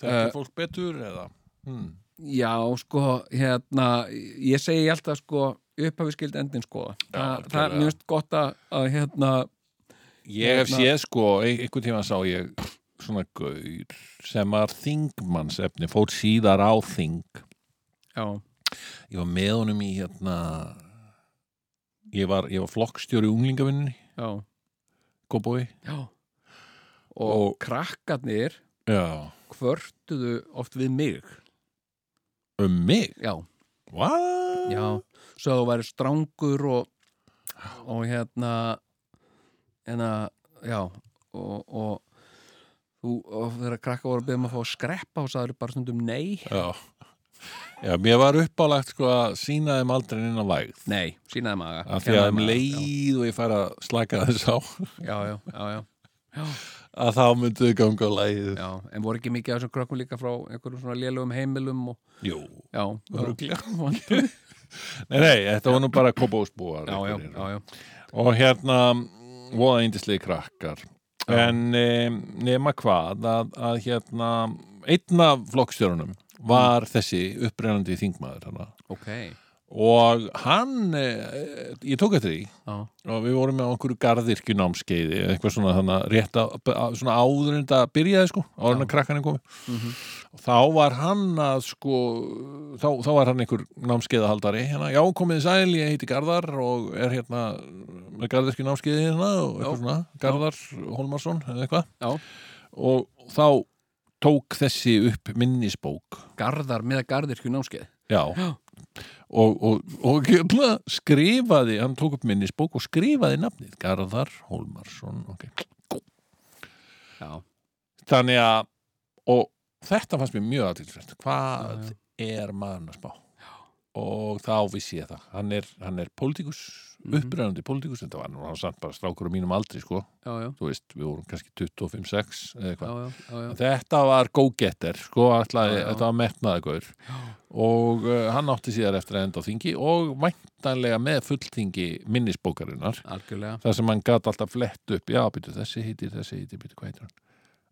þetta
Eh.
er fólk betur eða hmm.
já, sko hérna, ég segi alltaf sko upphafi skild endin sko
Já,
það, það er
algjörlega.
mjög gott að, að hérna
Ég hef
Hérna-
séð sko, ein- einhvern tíma sá ég svona gaur sem var þingmannsefni, fór síðar á þing
já,
Ég var með honum í hérna Ég var, ég var flokkstjóri unglingavinni,
já,
Kóbói
já og
Og-
krakkarnir
Já,
kvörtuðu oft við mig
um mig
já,
What?
já svo þú væri strangur og og hérna hérna, já og, og þú, og þegar krakka voru að beðum að fá að skreppa og sagður bara stundum nei
Já, já mér var uppálegt sko að sína þeim aldrei inn á vægð
nei, sínaði maga
af því að um leið og ég fær að slaka þess á
já, já, já, já,
að þá myndu þau ganga á lægið
já, en voru ekki mikið af þessum krakkum líka frá einhverjum svona lélugum heimilum og,
Jú,
já,
Örugglega.
já,
nei, nei, þetta var nú bara kobósbúar
já, já,
einhverjir.
já, já.
og hérna voða eindislega krakkar en e, nema hvað að, að hérna einn af flokkstjörunum var þessi upprennandi þingmaður hana.
ok já,
og hann e, ég tók eftir því og við vorum með einhverju garðirkjunámskeiði eða eitthvað svona þannig að rétt að, að svona áður en þetta byrjaði sko áður en að krakkaninn komi
Mhm.
og þá var hann að sko þá, þá var hann einhver námskeiðahaldari hérna, já komið þið sæl, ég heiti Garðar og er hérna með garðirkjunámskeiði hérna og eitthvað
Já.
svona Garðar Holmarsson eða eitthvað
já,
og þá tók þessi upp minnisbók
garðar með garðirkju námskeið
Já.
Já.
Og, og, og hérna skrifaði, hann tók upp minnisbók og skrifaði nafnið Garðar Hólmarsson. Okay.
já,
Þannig að, og þetta fannst mér mjög aðtilsvært. Hvað er maðurinn að spá? Og þá vissi ég það. Hann er, hann er pólitíkus, mm
Mhm.
upprænandi pólitíkus, þetta var nú hann samt bara strákur á mínum aldri, sko.
já, já,
Þú veist, við vorum kannski 25-6 eða eitthvað.
já, já, já, já.
Þetta var go-getter, sko, ætlaði,
Já, já.
þetta var metnaðagur og uh, hann átti síðar eftir að enda á þingi og væntanlega með fulltingi minnisbókarinnar,
Algjörlega.
þar sem hann gat alltaf flett upp, já, býtu, þessi heitir, þessi heitir, býtu, hvað heitir hann?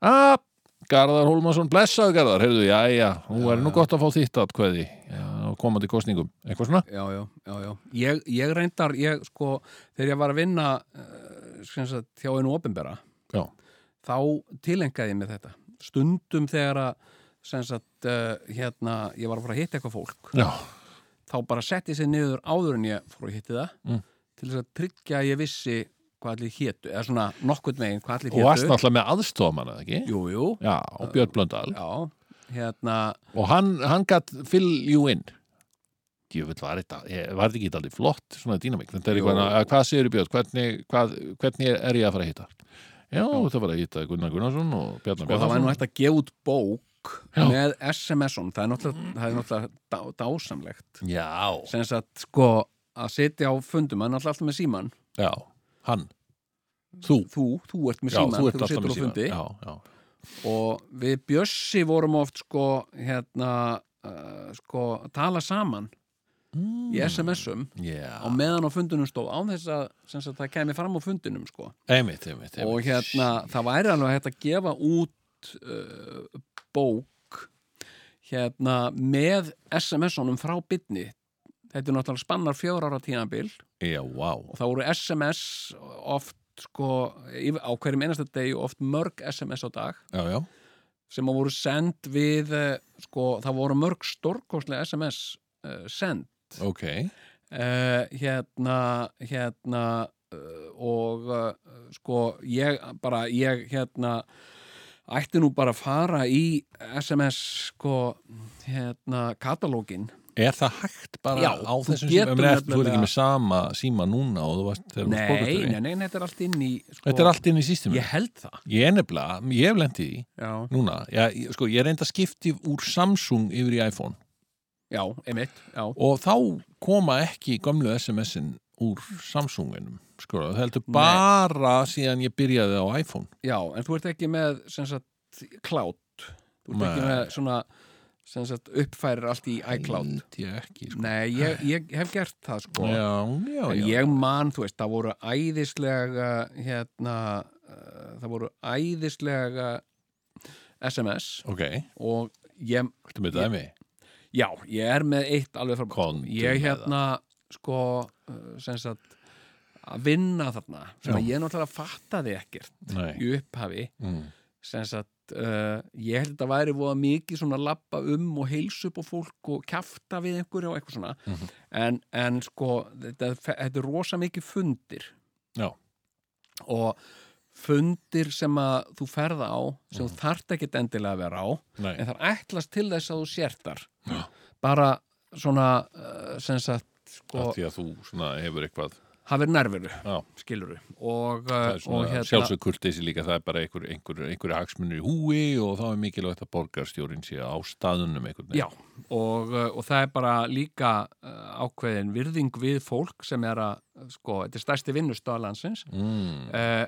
Ah, Garðar Hólmarsson, blessaðu Garðar, heyrðu, já, já, nú er nú
já.
gott að fá þitt atkvæði, já, komandi kostningum, eitthvað svona?
Já, já, já, já. Ég, ég reyndar, ég sko, þegar ég var að vinna uh, sagt, hjá einu opinbera,
Já,
þá tilengaði ég með þetta. Stundum þegar að, sem sagt, uh, hérna, ég var að fara að hitta eitthvað fólk,
já,
þá bara setti ég sér niður áður en ég fór að hitta það,
Mm.
til þess að tryggja að ég vissi hvað allir hétu, eða svona nokkurt megin hvað allir
og
hétu.
varst náttúrulega með aðstofamannað, ekki?
Jú, jú,
Já, og Björn Blöndal,
já, hérna,
og hann, hann gatt fill you in Jöfull var þetta, ég- var þetta ekki aldrei flott svona dýnamík, þetta er
Jú.
eitthvað, að, hvað segir Björn, hvernig, hvað, hvernig er ég að fara að hitta? Já, þetta var að hitta Gunnar Gunnarsson og Bjarnar
og Sko, það var nú
Bjarnarsson
hægt að gefa út bók
Já. Mm.
með SMS-un það er náttúrulega, það er náttúrulega dá, dásamlegt
Já,
sem að sko að sitja á fundum hann er náttúrulega alltaf með síman
já, hann Þú,
þú, þú ert með
já,
síman
þú ert alltaf
situr
með
á fundi
síma Já, já,
og við Bjössi vorum oft sko hérna uh, sko að tala saman
Mm.
í SMS-um á
já
meðan á fundunum stóð án þess að sem sagt, það kemi fram á fundunum sko
Einmitt, einmitt, einmitt
og hérna það væri alveg hægt að gefa út uh, bók hérna með SMS-unum frá bytni þetta er náttúrulega spannar fjör ára tímabil
Já, vá
og það voru SMS oft sko yfir- á hverjum einasta degi oft mörg SMS á dag
Já, já,
sem að voru send við eh, sko, það voru mörg stórkostlega SMS uh, send
ok
uh, hérna hérna uh, og uh, sko ég bara, ég hérna ætti nú bara að fara í SMS sko hérna katalógin
Er það hægt bara
Já,
á
þú
þessum
getur
síma? Þú ert
nefnilega-
ekki með sama síma núna og þú varst þegar þú varst
nei,
borgarstjóri.
nei, nei, þetta er allt inn í sko,
Þetta er allt inn í sísteminu.
ég held það
Ég er nefnilega, ég hef lendið í því
já,
núna, já, ég- sko, ég reynda skipti úr Samsung yfir í iPhone
já einmitt, já,
og þá koma ekki gömlu SMS-in úr Samsunginum sko, það heldur bara síðan ég byrjaði á iPhone
já en þú ert ekki með sem sagt cloud þú ert ekki
Nei.
með svona sem sagt uppfærir allt í iCloud
Held ég ekki, sko.
Nei, ég, ég hef gert það sko
já, já,
En
já.
ég man, þú veist, það voru æðislega hérna, uh, það voru æðislega SMS
ok,
og ég,
ertu með dæmi
já, ég er með eitt alveg frá
Komdu
Ég
með
hérna, sko, uh, sem sagt, að vinna þarna sem
Já.
að ég náttúrulega fattaði ekkert
Nei.
í upphafi
Mm.
sem sagt, uh, ég held að þetta væri voða mikið svona lappa um og heilsa upp á fólk og kjafta við einhverju og eitthvað svona
Mhm.
en, en sko, þetta, þetta er rosa mikið fundir
Já.
og fundir sem að þú ferða á sem þú þarft ekkit endilega að vera á
Mhm. Nei.
en það ætlast til þess að þú sértar
Já.
bara svona uh, sem sagt, sko,
Af því að þú svona, hefur eitthvað
hafið nærveru
Já.
skiluru og,
það
uh,
er
og
svona sjálfsög kurteisi líka það er bara einhver, einhver, einhverju hagsmunir í húi og þá er mikilvægt að borgarstjórin sé á staðunum einhvern
Já,
veginn.
og, uh, og það er bara líka uh, ákveðin virðing við fólk sem er að, uh, sko, þetta er stærsti vinnustöð landsins
mm.
uh,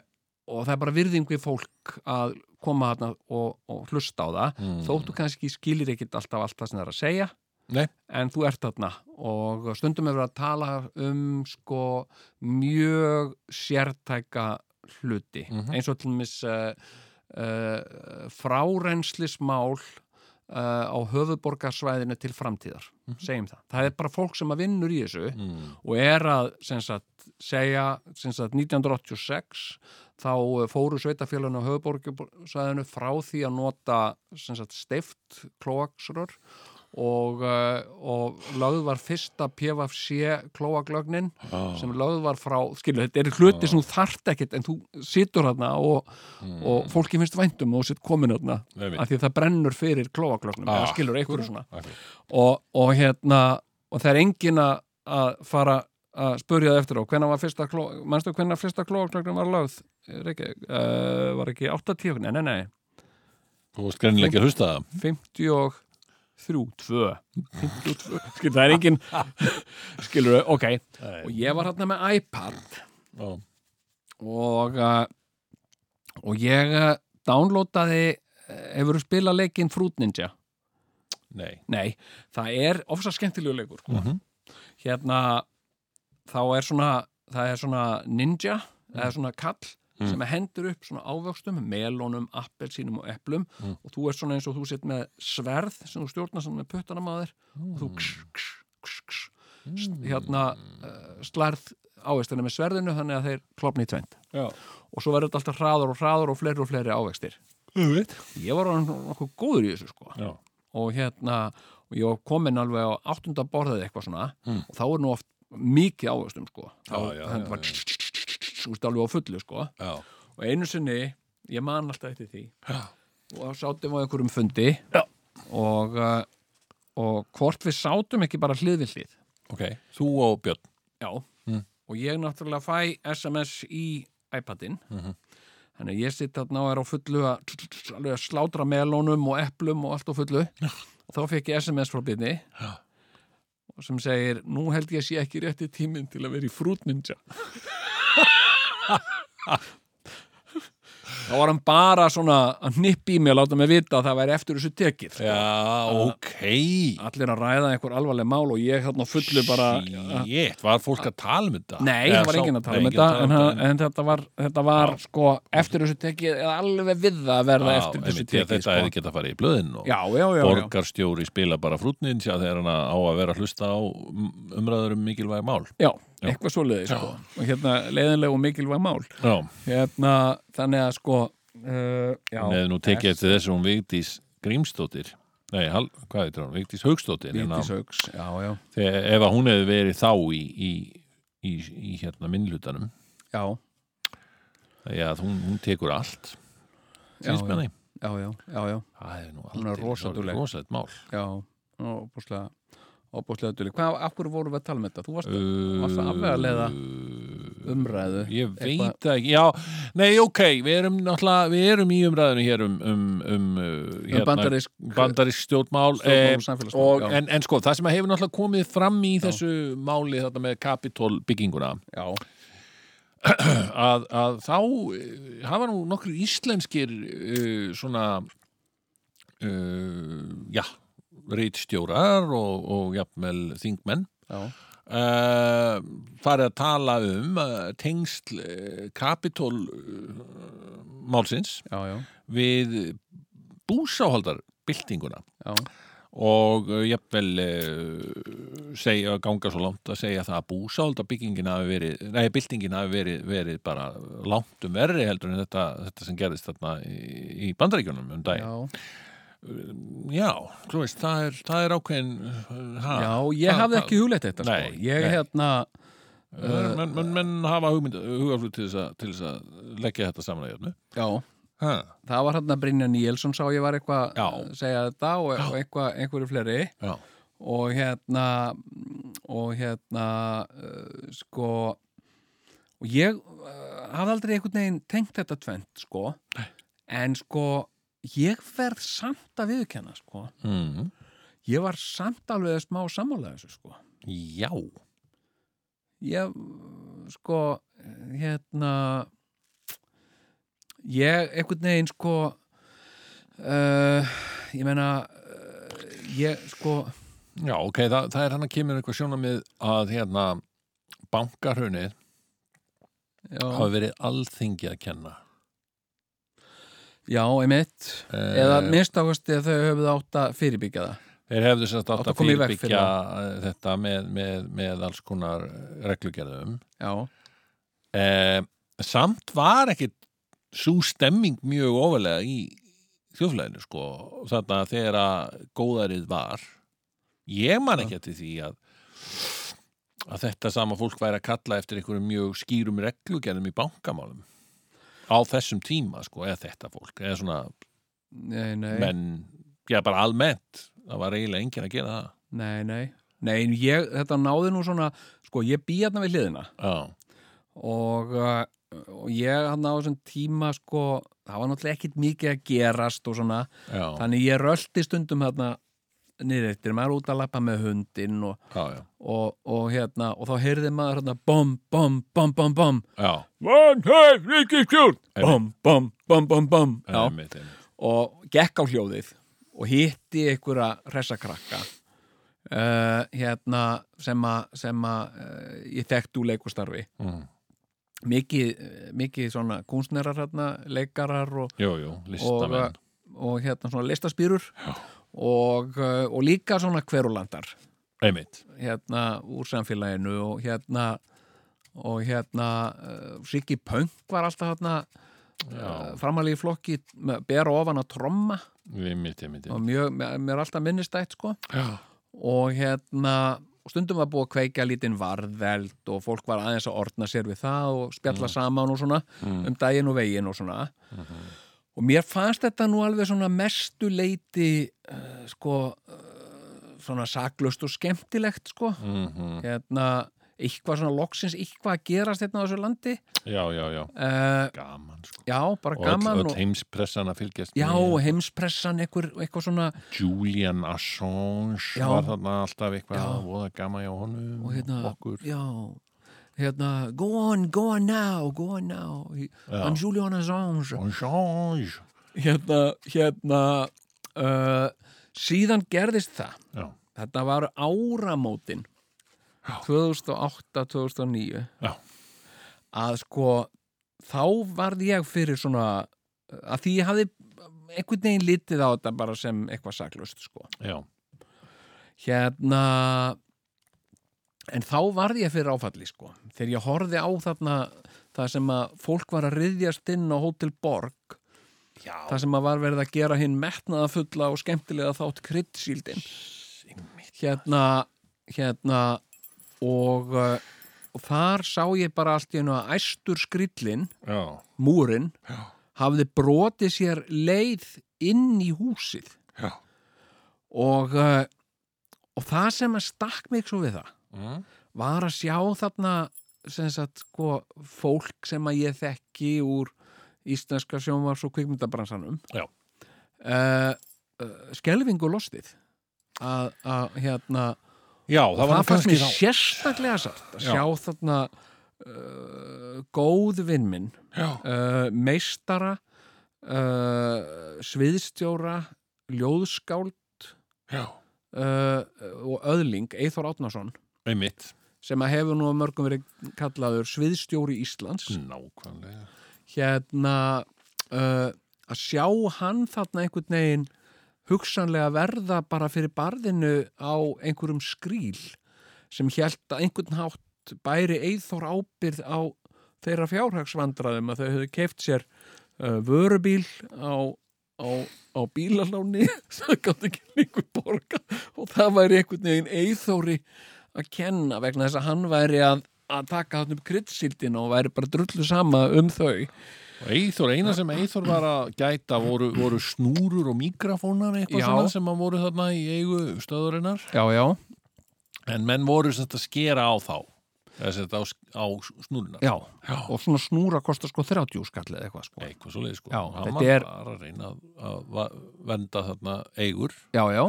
og það er bara virðing við fólk að koma þarna og, og hlusta á það
Mm.
þóttu kannski skilir ekkit alltaf allt það sem það er að segja
Nei.
en þú ert þarna og stundum hefur að tala um sko mjög sértæka hluti
Mhm.
eins og til mis uh, uh, frárenslismál uh, á höfuborgarsvæðinu til framtíðar
Mhm.
segjum það, það er bara fólk sem að vinnur í þessu
Mm.
og er að sem sagt, segja sem sagt, 1986 þá eh, fóru sveitafélaginu á höfuborgarsvæðinu frá því að nota sem sagt, steift klóaksrör og, eh, og lögð var fyrsta PFC klóaklögnin
Ah.
sem lögð var frá, skilur, þetta eru hluti sem þú þarft ekkert en þú situr þarna og, og fólki finnst um væntum og sitt komin þarna
Einmitt.
af því að það brennur fyrir klóaklögnum
Ah.
eða skilur einhverju svona
Ok.
og, og hérna, og það er engin að- að fara að spurja það eftir á hvenna var fyrsta kló, manstu hvenna fyrsta klóaklögnum var lögð Reykjavík, uh, var ekki 80, nei, nei, nei
Þú varst greinilega ekki að hlusta það
53 2 52, skilur, það er engin skilur, ok og ég var hérna með iPad
Já.
og uh, og ég uh, downloadaði hefur spilað leikinn Fruit Ninja
Nei
nei, það er ofsa skemmtilegu leikur sko.
Mhm.
hérna þá er svona það er svona ninja það er svona kall
Mm.
sem hendur upp svona ávöxtum, melónum, appelsínum og eplum
Mm.
og þú er svona eins og þú sitt með sverð sem þú stjórnar svona með puttanum að þér og
Mhm.
þú kss, kss, kss, kss, st- hérna uh, slærð ávextina með sverðinu þannig að þeir klopni í tvend
Já.
og svo verður þetta alltaf hraður og hraður og fleiri og fleiri ávextir
Þú veit
ég var orðinn nokkuð góður í þessu sko
Já.
og hérna og ég var komin alveg á áttunda borðið eitthvað svona
Mm.
og þá er nú oft mikið ávextum sko þá
Já, já,
þannig
já,
var
já.
þú veist alveg á fullu sko
Já.
og einu sinni, ég man alltaf eftir því
Já.
og sátum á einhverjum fundi
Já.
og uh, og hvort við sátum ekki bara hlið við hlið
Ok, þú og Björn
Já,
Mm.
og ég náttúrulega fæ SMS í iPadin
Mhm.
Þannig að ég sitt þarna og er á fullu að, t- t- t- alveg að slátra melónum og eplum og allt á fullu. Og þá fekk ég SMS frá byrni
Já.
sem segir, nú held ég að sé ekki rétti tíminn til að vera í Fruit Ninja. þá var hann bara svona að nippa í mig og láta mig vita að það væri eftir þessu tekið.
Já, ok
Allir að ræða einhver alvarleg mál og ég þarna á fullu bara...
Shit, var fólk að tala um þetta?
Nei,
Eða
það var
sá-
enginn að tala um
Nei, enginn
þetta
að
en,
tala
það- en þetta var, þetta var sko, eftir þessu tekið eða alveg við það að verða
Já,
eftir þessu
einmitt, því að
tekið
Þetta
sko.
hefði getað að fara í blöðin og
Já, já, já, já.
borgarstjóri spila bara frútnin sér þegar hann á að vera að hlusta á um- umræður um mikilvæg mál
já eitthvað svoleiði sko. og hérna leiðinlega og mikilvæg mál
Já,
hérna, þannig að sko uh, já,
Hún hefði nú tekið eftir þessu hún Vigdís Grímsdóttir Nei, hal, hvað heitir hún? Vigdís Haugsdóttir hérna,
Vigdís Hauks, já, já,
þegar, Ef að hún hefði verið þá í, í, í, í hérna minnlutanum
já,
Já, hún, hún tekur allt
já,
Sýnst með
já,
því
já, já, já, já,
Það er nú
Hún er
aldrei-
rosa
það er
dugleg.
rosalegt mál
já óbúslega, óbúslega duli hvað, af hverju vorum við að tala með þetta? Þú varst varst að afvegaleiða umræðu
Uh, Ég veit
Eitthvað-
það ekki, já, nei ok, við erum náttúrulega, við erum í umræðinu hér um, um, um, uh, hérna,
bandarísk-
bandarísk stjórnmál,
Stjórnmál
eh,
og samfélagsmál,
og,
já.
en, en sko, það sem að hefur náttúrulega komið fram í þessu máli þetta með Capitol bygginguna,
já,
að, að þá eh, hafa nú nokkur íslenskir uh, svona, uh, já, reitstjórar og, og jafnvel þingmenn
já,
uh, farið að tala um uh, tengsl uh, kapitól uh, málsins
já, já,
við búsáhaldarbyltinguna
já,
og uh, jafnvel uh, segja, ganga svo langt að segja það að búsáhaldarbyggingin hafi verið, nei, byltingin hafi verið, verið bara langt um verri heldur en þetta, þetta sem gerðist þarna í, í bandaríkjunum um dag.
já.
Já, þú veist, það er, það er ákveðin uh, ha,
Já, ég
það-
hafði
það-
ekki hugleitt þetta
Nei,
sko. Ég
nei.
hérna
Uh,
eh,
menn, menn, menn hafa hugmynd, hugaflut til þess, að, til þess að leggja þetta saman að jöfnu.
Já,
Ha.
það var hérna Brynja Níelsson sá ég var eitthvað
Já.
að segja þetta og, og eitthvað, einhverju fleiri
Já.
og hérna og hérna uh, sko og ég uh, hafði aldrei einhvern veginn tengt þetta tvent sko Nei. en sko ég verð samt að viðurkenna sko
Mm.
ég var samt alveg smá sammálega þessu sko
Já.
ég sko hérna ég einhvern veginn sko uh, ég meina uh, ég sko
Já, ok, það, það er hann að kemur eitthvað sjónamið að hérna bankarhunið
já,
hafa verið alþingi að kenna.
já einmitt
Eh,
eða minnst ákvæmst að þau höfðu átt að fyrirbyggja það
Þeir hefðu sérst
Átt
átt
að
að
koma í veg fyrir
fyrirbyggja eh, þetta með, með, með alls konar reglugerðum.
já,
Eh, samt var ekkit svo stemming mjög ofalega í þjóflæðinu sko þarna þegar að góðarið var ég man ekki eftir því að að þetta sama fólk væri að kalla eftir einhverjum mjög skýrum reglugerðum í bankamálum á þessum tíma sko, eða þetta fólk eða svona
nei, nei
menn, já bara almennt það var eiginlega enginn að gera
nei, nei, nei en ég, þetta náði nú svona sko, ég bý hérna við hliðina
það já,
og, uh, og ég hann á þessum tíma sko, það var náttúrulega ekkit mikið að gerast og svona
já,
Þannig ég rölti stundum hérna niður eftir, maður er út að lappa með hundinn og,
já, já,
og, og hérna og þá heyrði maður hérna bom, bom, bom, bom, bom
já,
One, hey, ríkistjórn
Einmitt.
Bom, bom, bom, bom, bom Já,
einmitt, einmitt.
og gekk á hljóðið og hitti einhverja hressakrakka uh, hérna sem að sem að uh, ég þekkt úr leikustarfi
Mm.
mikið, eh, mikið svona kúnsnerar hérna, leikarar og, uh,
jú, jú,
og,
listamenn
og hérna svona listaspýrur
Já.
og, uh, og líka svona hverulandar
einmitt,
hérna úr samfélaginu og hérna og hérna uh, Siggi Pöng var alltaf hérna uh, framalegi flokki með- bera ofan að tromma
einmitt, einmitt,
og
einmitt.
mjög, mér mér er alltaf minnistætt sko
já
og hérna og stundum var búið að kveikja lítinn varðeld og fólk var aðeins að ordna sér við það og
Mm.
spjalla saman og svona um daginn og veginn og svona
Mhm.
og mér fannst þetta nú alveg svona mestu leiti eh, uh, sko uh, svona saklust og skemmtilegt sko
Mhm.
hérna eitthvað svona loksins, eitthvað að gerast hérna á þessu landi
já, já, já,
uh,
gaman sko.
já, bara
og öll,
gaman
öll
og,
heimspressan að fylgjast
já,
með
heimspressan einhver, eitthvað svona
Julian Assange
Já.
var þarna alltaf eitthvað
Já.
að voða gaman hjá honum
og hérna,
okkur
já hérna, go on, go on now go on now, He-
Já.
hann Julian Assange
Assange
hérna, hérna uh, síðan gerðist það
já,
þetta var áramótin 2008-2009
já,
að sko þá varð ég fyrir svona að því ég hafði einhvern veginn litið á þetta bara sem eitthvað saklust sko.
já,
hérna en þá varð ég fyrir áfalli sko. þegar ég horfði á þarna það sem að fólk var að ryðjast inn á Hotel Borg
já.
það sem að var verið að gera hinn metnaða fulla og skemmtilega þátt kryddsíldin hérna hérna og, uh, og þar sá ég bara allt í einu að æstur skrillin
já.
múrin
Já.
hafði brotið sér leið inn í húsið
já.
og, uh, og það sem að stakk mig svo við það
Mm.
var að sjá þarna sem sagt, sko, fólk sem að ég þekki úr íslenska sjónvars og kvikmyndabransanum
Já.
uh, uh, skelfingu lostið að, að hérna
já,
og
það var nú
fannst
kannski
mér
þá
sérstaklega sátt að
Já.
sjá þarna uh, góð vinn minn
já,
uh, meistara uh, sviðstjóra ljóðskáld
já,
uh, og öðling, Eithor Átnason
einmitt
sem að hefur nú að mörgum verið kallaður sviðstjóri Íslands
nákvæmlega
hérna uh, að sjá hann þarna einhvern veginn hugsanlega verða bara fyrir barðinu á einhverjum skrýl sem hjælt að einhvern hátt bæri eithor ábyrð á þeirra fjárhagsvandræðum að þau hefðu keift sér uh, vörubíl á, á, á bílaláni það gátt ekki lengur borga og það væri einhvern veginn eithóri að kenna vegna þess að hann væri að, að taka þarna upp kryddsildin og væri bara drullu sama um þau
Og Eithor, eina sem Eithor var að gæta voru, voru snúrur og mikrofónar eitthvað
Já.
svona sem að voru þarna í eigu stöðurinnar
Já, já.
en menn voru sem þetta skera á þá eða sem þetta á, á snúrunar
Já,
Já.
og svona snúra kostar sko 30 skall eða eitthvað sko.
eitthvað svo leið sko
Já,
hann
þetta
var
er-
bara að reyna að, að va- vernda þarna eigur
Já, já.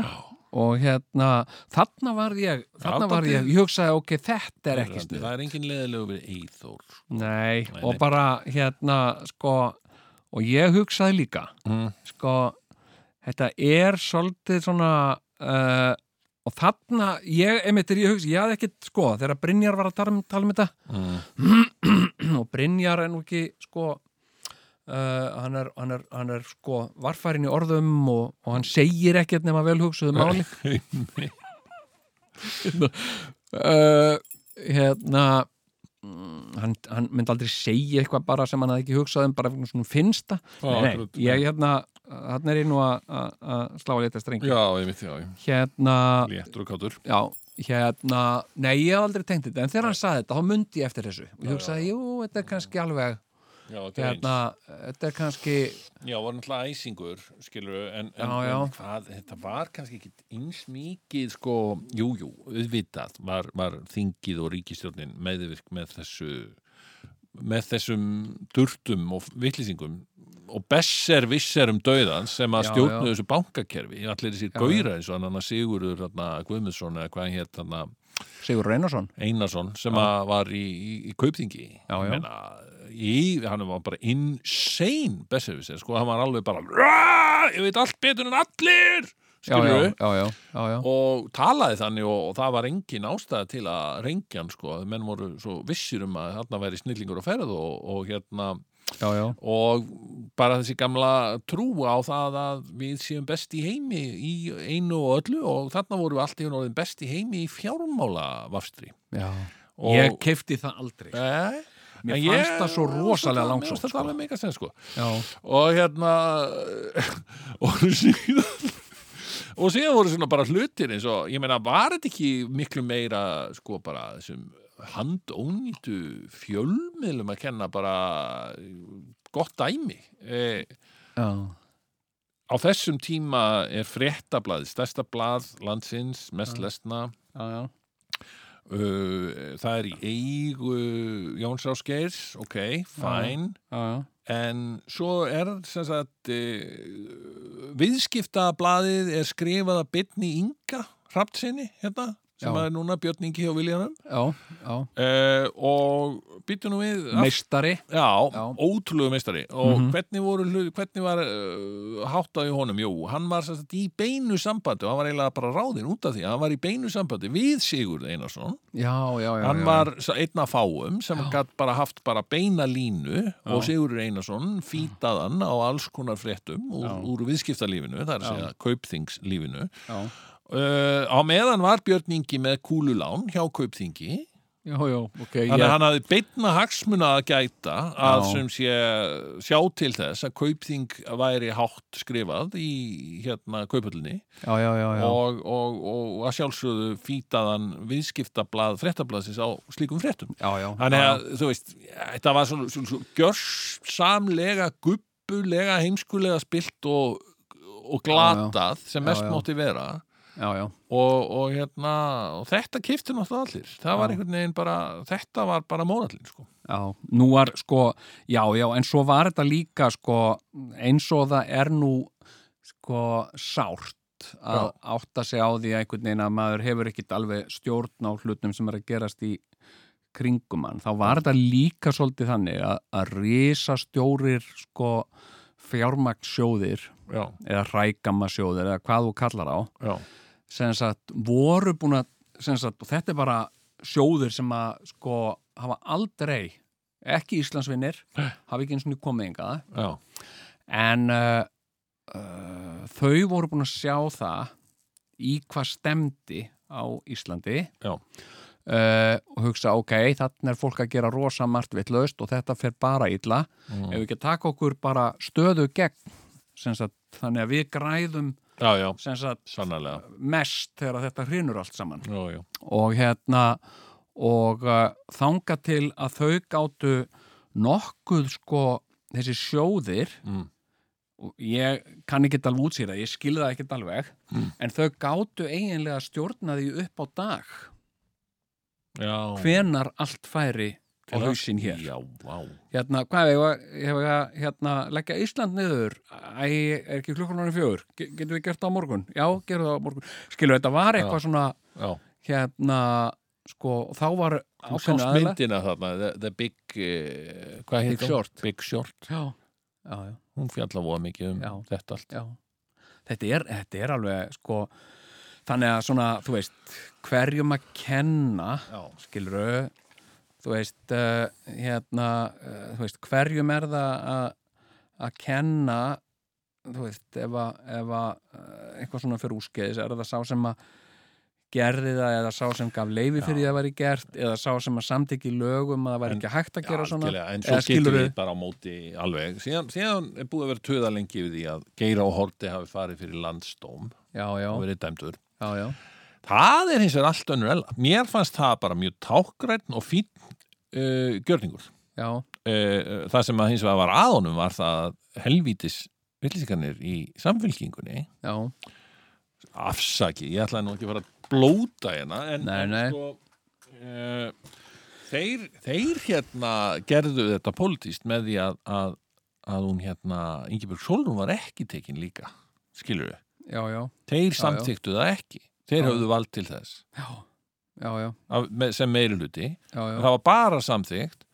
Og hérna, þarna var ég, þarna var ég, ég hugsaði, ok, þetta er ekki
það
snið.
er engin leðilegu við Eithor
Nei,
Nei,
og
nei.
bara hérna, sko, og ég hugsaði líka,
Mm.
sko, þetta er svolítið svona, uh, og þarna, ég, einmitt er ég hugsaði, ég hafði ekkit, sko, þegar Brynjar var að tala um, tala um þetta,
mm.
og Brynjar er nú ekki sko uh, hann, er, hann, er, hann er sko varfærin í orðum og, og hann segir ekkert nema vel hugsuðu máli
Eh,
uh, hérna mm, hann, hann myndi aldrei segja eitthvað bara sem hann hafði ekki hugsað um bara svona finnst það
Já,
Nei,
akkurat.
ég hérna, hann er ég nú að- að að slá að leta strengi
já, ég veit, já, ég-
hérna,
léttur og kátur
já, hérna nei, ég hef aldrei tengt þetta, en þegar hann saði þetta þá mundi ég eftir þessu og ég hugsaði, jú, þetta er kannski alveg
já, þetta er
hérna, þetta er kannski
Já, var náttúrulega æsingur, skilur en, en,
Já, já.
en hvað, þetta var kannski ekki eins mikið, sko, jú, jú, auðvitað var, var þingið og ríkistjórnin meðvirk með þessu með þessum durtum og vittlýsingum og besser visser um dauðans sem að
Já,
stjórnu
já.
þessu bankakerfi allir þessir
Já,
gauðra eins og hann að Sigurður þarna, Guðmundsson eða hvað hann hétt þarna,
Sigur Reynarsson
Einarsson sem að var í, í, í kaupþingi
Já, já.
Menna, í, hann var bara insane besefisir, sko, hann var alveg bara "Raaah, ég veit allt betur en allir
já, já,
skilur
já, já, já, já.
og talaði þannig og, og það var engin ástæða til að rengja hann sko, menn voru svo vissir um að þarna væri snillingur á ferð og, og hérna
já, já.
og bara þessi gamla trú á það að við séum best í heimi í einu og öllu og þarna voru við allt í hún orðin best í heimi í fjármála vafstri
já.
og
ég kefti það aldrei Mér
Nei, en
fannst það svo rosalega
Mér
langsótt,
fannst
sko.
Þetta alveg meika sen sko
já,
Og hérna Og síðan Og síðan voru svona bara hlutir eins og Ég meina, var þetta ekki miklu meira Sko bara þessum handónýtu fjölmiðlum að kenna bara gott dæmi eh,
já,
á þessum tíma
Mm.
er fréttablaði stærsta blað landsins, mest lesna
já, já.
uh, það er í eigu Jóns Áskeirs, ok, fæn
já, já.
en svo er sem sagt uh, viðskiptablaðið er skrifað að bytni Inga Hrafnsinni, hérna sem
Já.
er núna Björn Ingi hjá Viljanum
já, já.
uh, og byttu nú við aftur-
meistari
Já,
Já. Mhm.
ótrúlegu meistari og hvernig, voru, hlu- hvernig var uh, háttaði honum? Jú, hann var sem sagt, í beinu sambandi og hann var eiginlega bara ráðinn út af því hann var í beinu sambandi við Sigurð Einarsson
já, já, já,
hann
já.
var sa- einn af fáum sem gatt bara haft bara beina línu og Sigurður Einarsson fýtað hann á alls konar fréttum úr, úr viðskiptalífinu, það er að segja kaupþingslífinu
já,
uh, á meðan var Björn Ingi með kúlulán hjá kaupþingi
já, já, ok
Þannig að
ég-
hann hafði beitna hagsmuna að gæta að
Já.
sem sé sjá til þess að kaupþing væri hátt skrifað í hérna kaupöllinni
já, já, já, já.
og, og, og að sjálfsögðu fýtaðan viðskiptablað, fréttablaðsins á slíkum fréttum.
já, já,
Þannig
já,
að, þú veist, þetta var svona, svona, svona gjörsamlega, guppulega, heimskulega spilt og, og glatað sem mest
Já, já.
mátti vera
já, já,
og, og, hérna, og þetta kifti náttúrulega allir það var
Já.
einhvern veginn bara, þetta var bara mórallin sko.
já, nú var sko, já, já, en svo var þetta líka sko, eins og það er nú sko sárt að
Já.
átta sig á því að einhvern veginn að maður hefur ekkit alveg stjórn á hlutum sem er að gerast í kringum hann, þá var þetta líka svolítið þannig að, að risastjórir sko fjármagnssjóðir
já,
eða rækamasjóðir eða hvað þú kallar á
já,
sem sagt, voru búin að sem sagt, og þetta er bara sjóður sem að sko hafa aldrei ekki Íslandsvinnir hafa ekki eins og nú komið enga
já,
en uh, uh, þau voru búin að sjá það í hvað stemdi á Íslandi
Já.
Uh, og hugsa, ok, þannig er fólk að gera rosa margt vitlaust og þetta fer bara illa
Mm.
ef við ekki að taka okkur bara stöðu gegn sem sagt, þannig að við græðum
já, já
sem sagt,
sannarlega
mest þegar þetta hrinur allt saman
já, já,
og hérna og uh, þanga til að þau gátu nokkuð sko þessi sjóðir
Mm.
og ég kann ekki alveg útsýra, ég skilði það ekki alveg
Mm.
en þau gátu eiginlega stjórna því upp á dag
já.
hvenar allt færi á
Til að-
hausinn hér
já, vá.
hérna, hvað hefur ég, hef ég að hérna, leggja Ísland niður Æ, er ekki klukkan orðin fjögur, Ge- getum við gert það á morgun já, gerum við það á morgun skilur þetta var eitthvað svona
já.
hérna sko, þá var
Þú
ákveðin
sást
aðila-
myndina þarna the, the big, uh, hvað
Big
heitir hún?
Short.
big short,
já, já, já,
hún fjalla voða mikið um
Já.
þetta allt
já. Þetta, er, þetta er alveg sko þannig að svona, þú veist hverjum að kenna
já,
skilur þú veist uh, hérna, uh, þú veist, hverjum er það að að kenna þú veist, ef að, ef að uh, eitthvað svona fyrir úskeiðis, er það sá sem að gerði það eða sá sem gaf leifi fyrir því að það væri gert eða sá sem að samtiki lögum að það væri
En-
ekki hægt að
já
gera svona
algjörlega, en svo
eða
getur
skilurðu?
við bara á móti alveg, síðan, síðan er búið að vera töða lengi við því að Geira og Horti hafi farið fyrir landsdóm
já, já,
og verið dæmdur
já, já,
Það er hins vegar allt önnur ella. Mér fannst það bara mjög tákgræn og fín uh, gjörningur.
já,
Uh, það sem að hins vegar var aðonum var það að helvítis villisikanir í samfylkingunni
já,
afsaki, ég ætlaði nú ekki að fara að blóta hérna en,
Nei,
en
nei.
sko uh, þeir, þeir hérna gerðu þetta pólitíst með því að, að, að hún hérna Ingibjörg Solrún var ekki tekin líka skilur við,
já, já,
þeir
já.
samþyktu það ekki þeir
Já.
höfðu vald til þess
já, já, já,
af, með, sem meiri hluti
já, já.
það var bara samþygt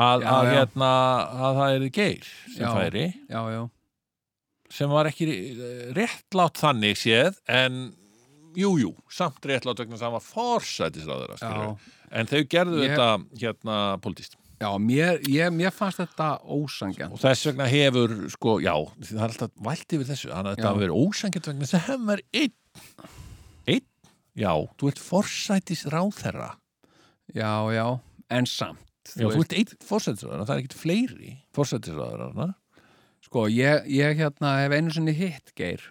að,
Já,
að,
já.
Hérna, að það er geir sem
Já.
færi
já, já,
sem var ekki réttlátt þannig séð en jújú, jú, samt réttlátt vegna þess að hann var
já,
forsætisráður en þau gerðu
Ég-
þetta hérna politist
já mér, ég, mér fannst þetta ósangjant
og þess vegna hefur sko, já, það er alltaf vælt yfir þessu þannig að
Já.
þetta hafa verið ósangjönd vegna þess að hann var einn einn, já, þú ert forsætisráðherra
já, já, en samt
Já, þú ert einn fórsættisraðurna, það er ekkert fleiri fórsættisraðurna.
sko, ég, ég hérna hef einu sinni hitt Geir,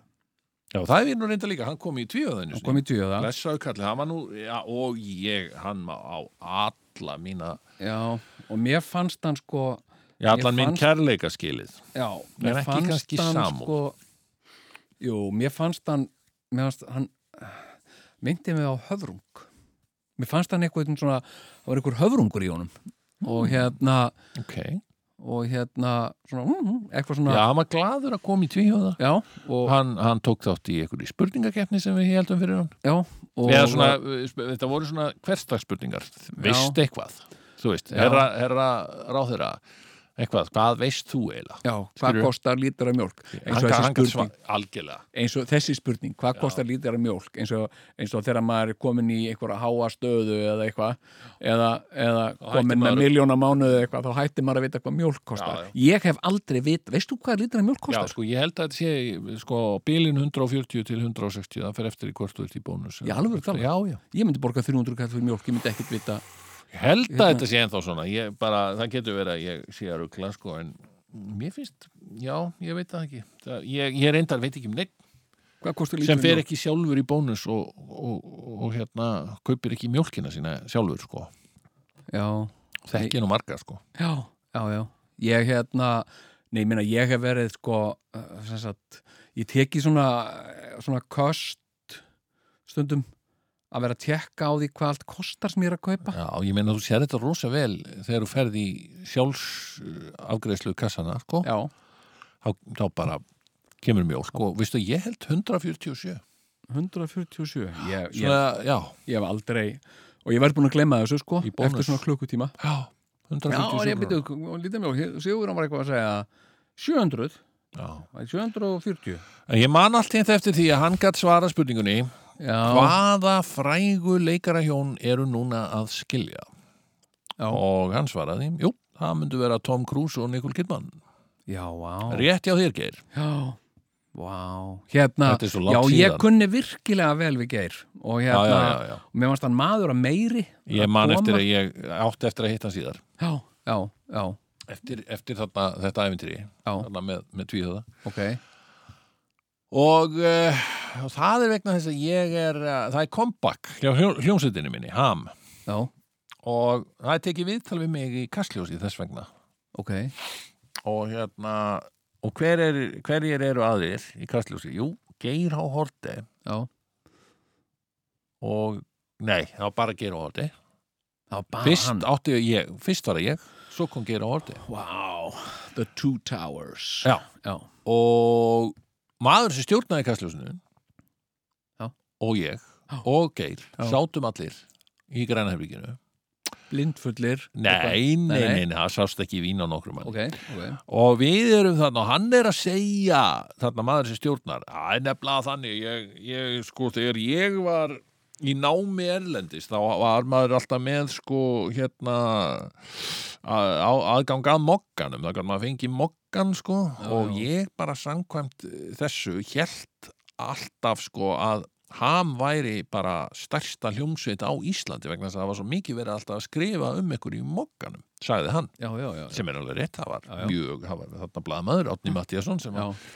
Já, það er nú reynda líka, hann kom í tvíöðinu.
hann kom í tjóða
Blessaðu kallið, hann var nú, já, og ég, hann má á alla mína,
já, og mér fannst hann sko
já,
Ég
allan minn
fannst-
kærleika skilið.
já, mér
ekki
fannst
kannski
hann
samúð.
sko jú, mér fannst hann mér fannst hann myndi mig á höfrung mér fannst hann eitthvað svona, það var einhver höfrungur í honum
Hmm.
og hérna,
ok
og hérna svona, mm, mm, eitthvað svona
Já, hann var gladur að koma í tvíhjóða
já, og,
hann, hann tók þátt í einhverju spurningakeppni sem við heldum fyrir hann
já, og
Eða svona, sp- þetta voru svona hverstagsspurningar Veist eitthvað, þú veist
Já.
Herra, herra ráðherra eitthvað, hvað veist þú eiginlega?
já, hvað
Skilurðu?
kostar lítra mjólk eins
Hann
og
gat-
þessi
hann gat
spurning
svar- Algjörlega
eins og þessi spurning, hvað kostar lítra mjólk eins og, eins og þegar maður er komin í einhverja háa stöðu eða eitthvað eða, eða komin
maður-
með miljóna mánuð eða eitthvað, þá hættir maður að vita hvað mjólk kostar
Já, já.
ég hef aldrei vit, veist þú hvað lítra mjólk
Já,
kostar?
sko, ég held að þetta sé sko, bilin 140 til 160 það fer eftir í hvort þú ert í bónus
Í alvöru talað?
Já, já
Ég myndi borga 300 kall fyrir mjólk, ég myndi ekkert vita
Ég held að þetta sé ennþá svona ég bara, það getur verið að ég sé að ruggla sko, en mér finnst, já, ég veit það ekki það, ég, ég reyndar veit ekki um neitt
hvað kostar lítra
sem fer
mjólk
ekki sjálfur í bónus og, og, og, hérna, kaupir ekki mjólkina sína sjálfur, sko
Já,
þekki nú marga, sko
já, já, já Ég hérna, nei, ég meina, ég hef verið sko, eh, sem sagt ég teki svona, eh, svona kost stundum að vera að tekka á því hvað allt kostar sem ég er að kaupa
Já, ég meina, þú sér þetta rosa vel þegar þú ferð í sjálfsafgreðslu kassana, sko
Já,
þá, þá bara kemur mjólk og veistu, ég held 147
147 ég, ég,
svona, já,
ég hef aldrei og ég verð búin að glemma þessu sko
Í bónus.
eftir svona klukkutíma
já,
Já,
147
ég byrju, lítið mjög, Sigur hann var eitthvað að segja 700,
já.
740 Já,
En Ég man allt hérna eftir því að hann gætt svara spurningunni
já,
hvaða frægu leikarahjón eru núna að skilja
Já.
og hann svaraði jú, það myndu vera Tom Cruise og Nicole Kidman
já
rétt hjá þér geir
Já, vá Hérna,
Þetta er svo langt
já, ég
síðan.
kunni virkilega vel við Geir og
já, já,
hérna,
já, já.
mér varst hann maður að meiri
ég man eftir að ég átti eftir að hitta hann síðar
Já, já, já,
eftir, eftir þarna, þetta æfintýri
Já.
þarna með, með tvíhöða
ok
og uh, það er vegna þess að ég er uh, það er comeback hjá hljó- hljómsveitinni minni, ham
Já,
og það er tekið viðtal við mig í kastljósi þess vegna
ok
og hérna og hver er, hverjir eru aðrir í kastljósi? Jú, Geir H. Horte
Já,
og nei, það var bara Geir H. Horte
það var bara
fyrst,
hann
átti ég, fyrst var það ég svo kom Geir H. Horte
Wow, the two towers
Já.
já,
og maður sem stjórnaði kastljósinu
Já.
og ég
Já.
og Geir
Já.
sátum allir í grænaherbygginu
blindfullir
Nei, nei,
Nei,
nei, nei, það sást ekki í vín á nokkrum mann.
Ok, ok
Og við erum þarna og hann er að segja þarna maður sem stjórnar Það er nefnilega þannig, ég, ég sko þegar ég var í námi erlendis þá var maður alltaf með sko hérna að, á, aðgang að mokkanum það kannu maður fengi mokkan sko
Já,
og
já.
ég bara samkvæmt eh, þessu hélt alltaf sko að ham væri bara stærsta hljómsveit á Íslandi vegna þess að það var svo mikið verið alltaf að skrifa um ykkur í mokkanum, sagði hann
Já, já, já, já.
sem er alveg rétt, það var
Já, já.
mjög það var þarna blaðmaður, Átni Mattíasson sem, var-
Já,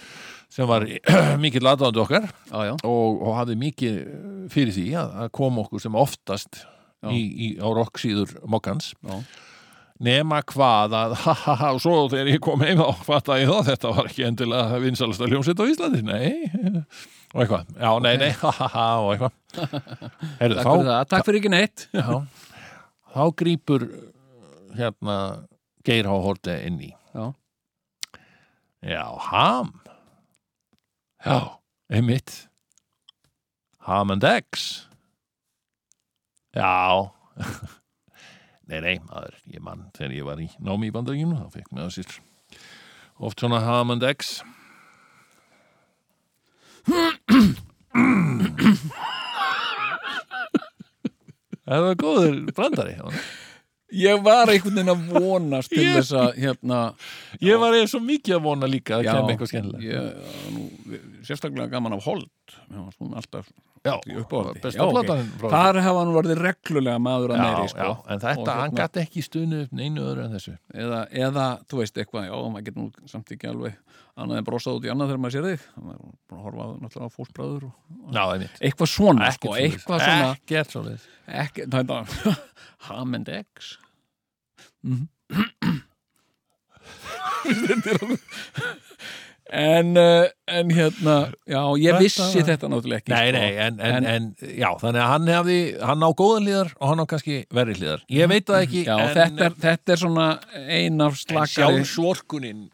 sem var mikill aðdáðandi okkar
já, já,
og, og hafði mikið fyrir því að, að koma okkur sem oftast
Já.
í, í, á rocksíður mokkans
já.
nema hvað að og svo þegar ég kom heim þá fattaði ég þá þetta var ekki endilega vinsalasta hljómsveit á Íslandi, nei og eitthvað, já, nei, nei, ha, ha, ha og eitthvað
Takk
Heyrðu, þá-
fyrir það, takk fyrir ekki neitt
Já, þá grýpur hérna Geir H. Horte inn í.
Já.
Já, ham. Já, einmitt. Ham and eggs. Já. nei, nei, maður, ég mann þegar ég var í námi í bandaríkinu, þá fekk mér að sér oft svona ham and eggs. Það var góður brandari.
Ég var einhvern veginn að vonast til
Ég-
þess að hérna
Ég var eða svo mikið að vona líka að
Já.
kemja eitthvað skemmilegt.
ég, nú, sérstaklega gaman af Holt Mér fannst hún alltaf
Já,
í uppáhaldi.
besta
Já, ok.
platan frá-
Þar hefði hann verið reglulega maður að
já,
meiri sko.
já, en þetta,
Og hérna-
hann gæti ekki stunni upp neinu öðru en þessu
eða, eða, þú veist eitthvað, já, maður getur nú samt ekki alveg annað en brosað út í annað þegar maður sér þig maður er búin að horfa á náttúrulega á fósbræður og...
Já, einmitt
eitthvað svona,
Ekkert
sko,
svoleiðis.
eitthvað svona
Ekkert svoleiðis
ekki, það er það ham and eggs Mhm. Þetta er alveg- en, uh, en hérna já, ég
Þetta
vissi
var-
þetta náttúrulega ekki
Nei,
sko.
nei, en, en, en, já, þannig að hann hefði, hann á góðan hlýðar og hann á kannski verri hlýðar. Ég veit það ekki,
já,
en,
þetta, er, þetta er svona ein af
en
slakari
sjálfsvorkunin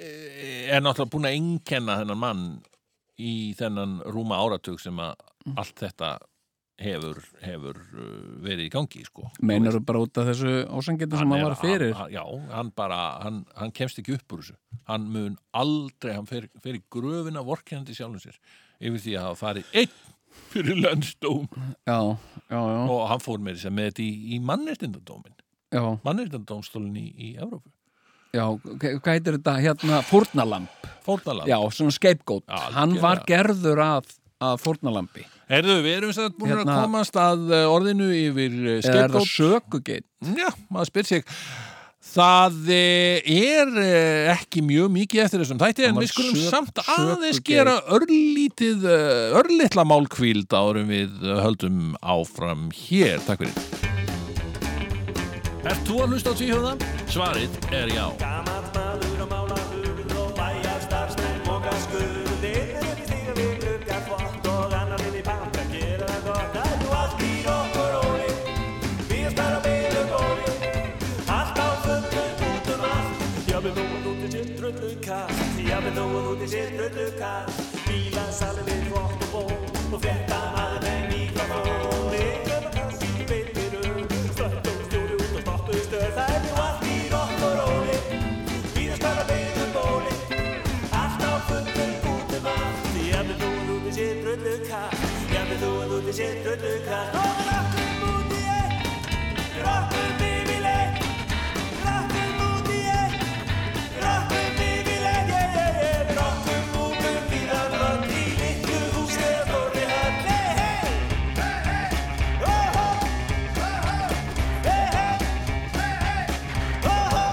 eh, er náttúrulega búin að einkenna þennan mann í þennan rúma áratug sem að allt þetta hefur, hefur eh, verið í gangi, sko.
meinar þú bara út af þessu ásengjandi sem hann
er-
var fyrir
hann- já, hann bara, hann, hann kemst ekki upp úr þessu hann mun aldrei, hann fer, fer í gröfina vorkjandi sjálfum sér yfir því að hafa farið einn fyrir lönnstóm
já, já, já,
og hann fór með þess að með þetta í, í mannreitindadómin
já,
mannreitindadómstólin í, í Evrópu
já hva- hvað heitir þetta hérna fórnalamb
fórnalamb
já, svona scapegoat
Algjörlega.
hann var gerður að, að fórnalambi
Herðu, við erum satt búin
Hérna-
að komast að eh, orðinu yfir eh,
eða er það
skeipgót
sökugeit
Já, maður spyr sig Það eh, er eh, ekki mjög mikið eftir þessum þætti en
var
við skulum
sök-
samt aðeins
sökugeit.
gera örlítið, eh, örlitla málkvíld árum við eh, höldum áfram hér. Takk fyrir. Ert þú að hlusta á tvíhjóða? Svarið er já.
Gamall maður og málaður og bæjar starfsmenn og gaskurðir er ekki stíga við glugga flott og annar inn í banka gera það gott að þú allt í okkur óli Við spara með og góli Allt á fullu út um allt Jafnir þú að út í sér drullu kast Jafnir þú að út í sér drullu kast Bílasalinn er flott og ból og frétta maður með mikrofón Legar og kannski beitir um Svöldum stjóri út og stoppu stöð Það er nú allt í okkur óli Við spara með og góli um Allt á fullu út um allt Jafnir þú að út í sér drullu kast Jafnir þú að út í sér drullu kast Og við öllum út í eitt Rockum við við leið, rockum út í einn, rockum við við leið, ég, ég, ég, rockum út um víðan völd í litlu hús eða stórri höll, hei, hei, hei, hei, ó, ó, ó, ó, hei, hei, hei, hei, ó, ó, ó, ó.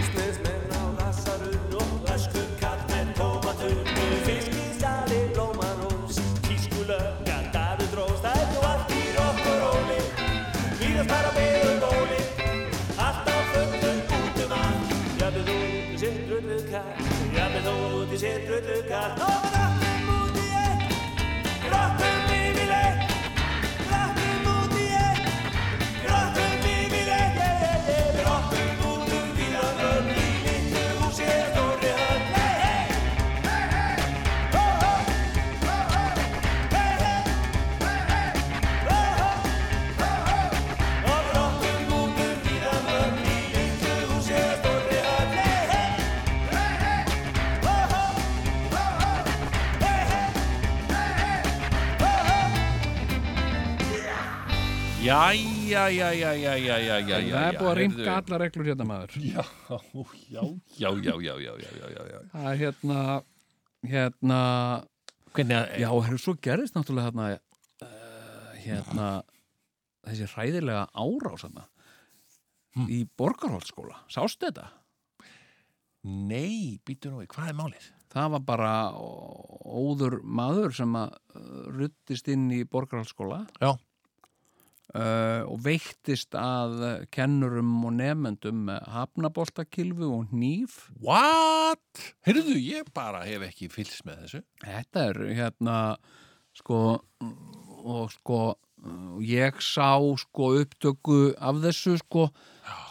Ísnesmenn á lasarum og ösku kall með tómatunni Fiskistali blómarós, tískulöggar daðu drós Það er nú allt í rokk og róli, víðast bara með um bóli Allt á fullu út um allt, jafnir þú út í sitt rullu kall Jafnir þú út í sitt rullu kall Þá við ráttum út í eitt, ráttum við í leitt Ráttum út í eitt Rottum við í leið, rottum út um víðan völd í litlu húsi eða stórri höll. Hey, hey, hey, hey, ho, ho, ho, ho, hey, hey, hey, hey, ho, ho, ho, ho. Og rottum út um víðan völd í litlu húsi eða stórri höll. Hey, hey, hey, hey, ho, ho, ho, ho, hey, hey, hey, hey, ho, ho.
Jæja, jæja, jæja, jæja, jæja.
það er búið að rýmka
heyrðu.
alla reglur hérna maður
Já, já, já, já, já, já, já, já, já, já.
það er hérna hérna
Hvernig að...
Já, herru, svo gerðist náttúrulega hérna, uh, hérna þessi hræðilega árás hérna
Hm.
í borgarholtsskóla, sástu þetta?
Nei, býtur nú í, hvað er málið?
Það var bara ó- óður maður sem að uh, ruttist inn í borgarholtsskóla
Já.
uh, og veiktist að uh, kennurum og nefendum með hafnaboltakilfu og hníf.
What? Heyrðu, ég bara hef ekki fylgst með þessu.
Þetta er hérna sko og sko og ég sá sko upptöku af þessu sko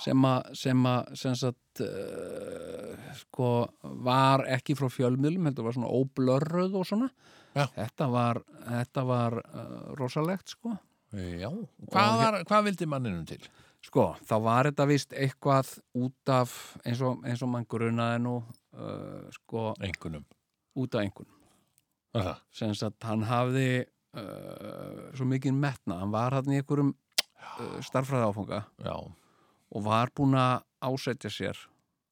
sem að sem að sem sagt uh, sko var ekki frá fjölmiðlum, heldur var svona óblörruð og svona.
Já.
Þetta var, þetta var uh, rosalegt sko.
Já, hvað, var, hvað vildi manninum til?
Sko, þá var þetta vist eitthvað út af, eins og, eins og mann grunaði nú, uh, sko,
Engunum.
út af einhvern.
Það.
sem sagt hann hafði uh, svo mikið metna hann var hann í einhverjum uh, starffræði áfunga
Já,
og var búin að ásetja sér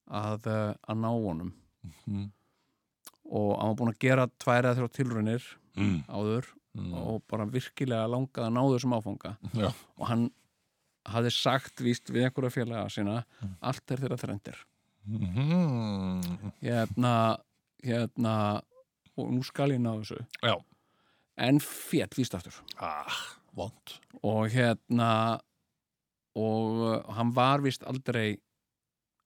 að, uh, að ná honum
Mhm.
og hann var búin að gera tværa þrjá tilraunir
Mm.
áður
Mm.
og bara virkilega langað að ná þessum áfunga
já,
og hann hafði sagt víst við einhverja félaga sína
Mm.
allt er þeirra þrendir
Mhm.
hérna, hérna og nú skal ég ná þessu
já.
en fétt víst aftur
Ah, vond.
og hérna og uh, hann var vist aldrei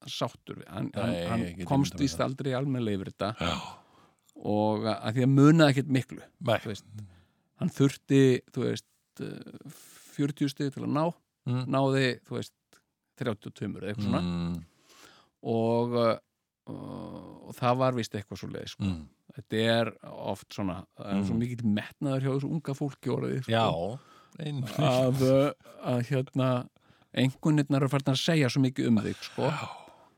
sáttur við hann, hann,
Nei,
hann
ég get
komst
ímyndað mér
vist
það.
aldrei almenlega yfir þetta
Já.
og uh, að því að munaði ekkert miklu
Nei.
Þú veist, hann þurfti þú veist uh, 40 stig til að ná
Mm.
náði þú veist 32 eða eitthvað svona
Mm.
og, uh, og það var vist eitthvað svo leið sko.
Mm.
þetta er oft svona það er svo mikill metnaður hjá þessu unga fólki orðið sko
Já. Ah, Ein,
að, uh, að hérna einhvernirnar eru farin að segja svo mikið um þig sko.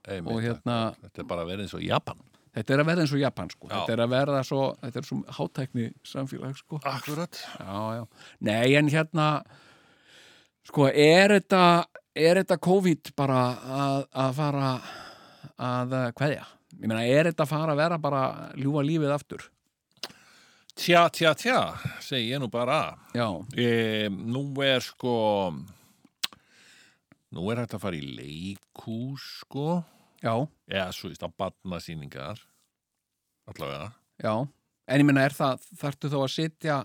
einmitt,
og hérna-
Þetta er bara verið eins og Japan.
þetta er að verða eins og Japan sko.
Já.
þetta er að verða svo, þetta er svo hátækni samfélag sko.
Akkurat.
já, já. nei en hérna sko er þetta er þetta COVID bara að, að fara að uh, kveðja ég meina er þetta að fara að vera bara að ljúfa lífið aftur
Tja, tja, tja, segi ég nú bara.
já,
E, nú er sko, nú er hægt að fara í leikús sko,
já,
eða svo veist að batna síningar, allavega.
já en ég meina er það, þarftu þá að sitja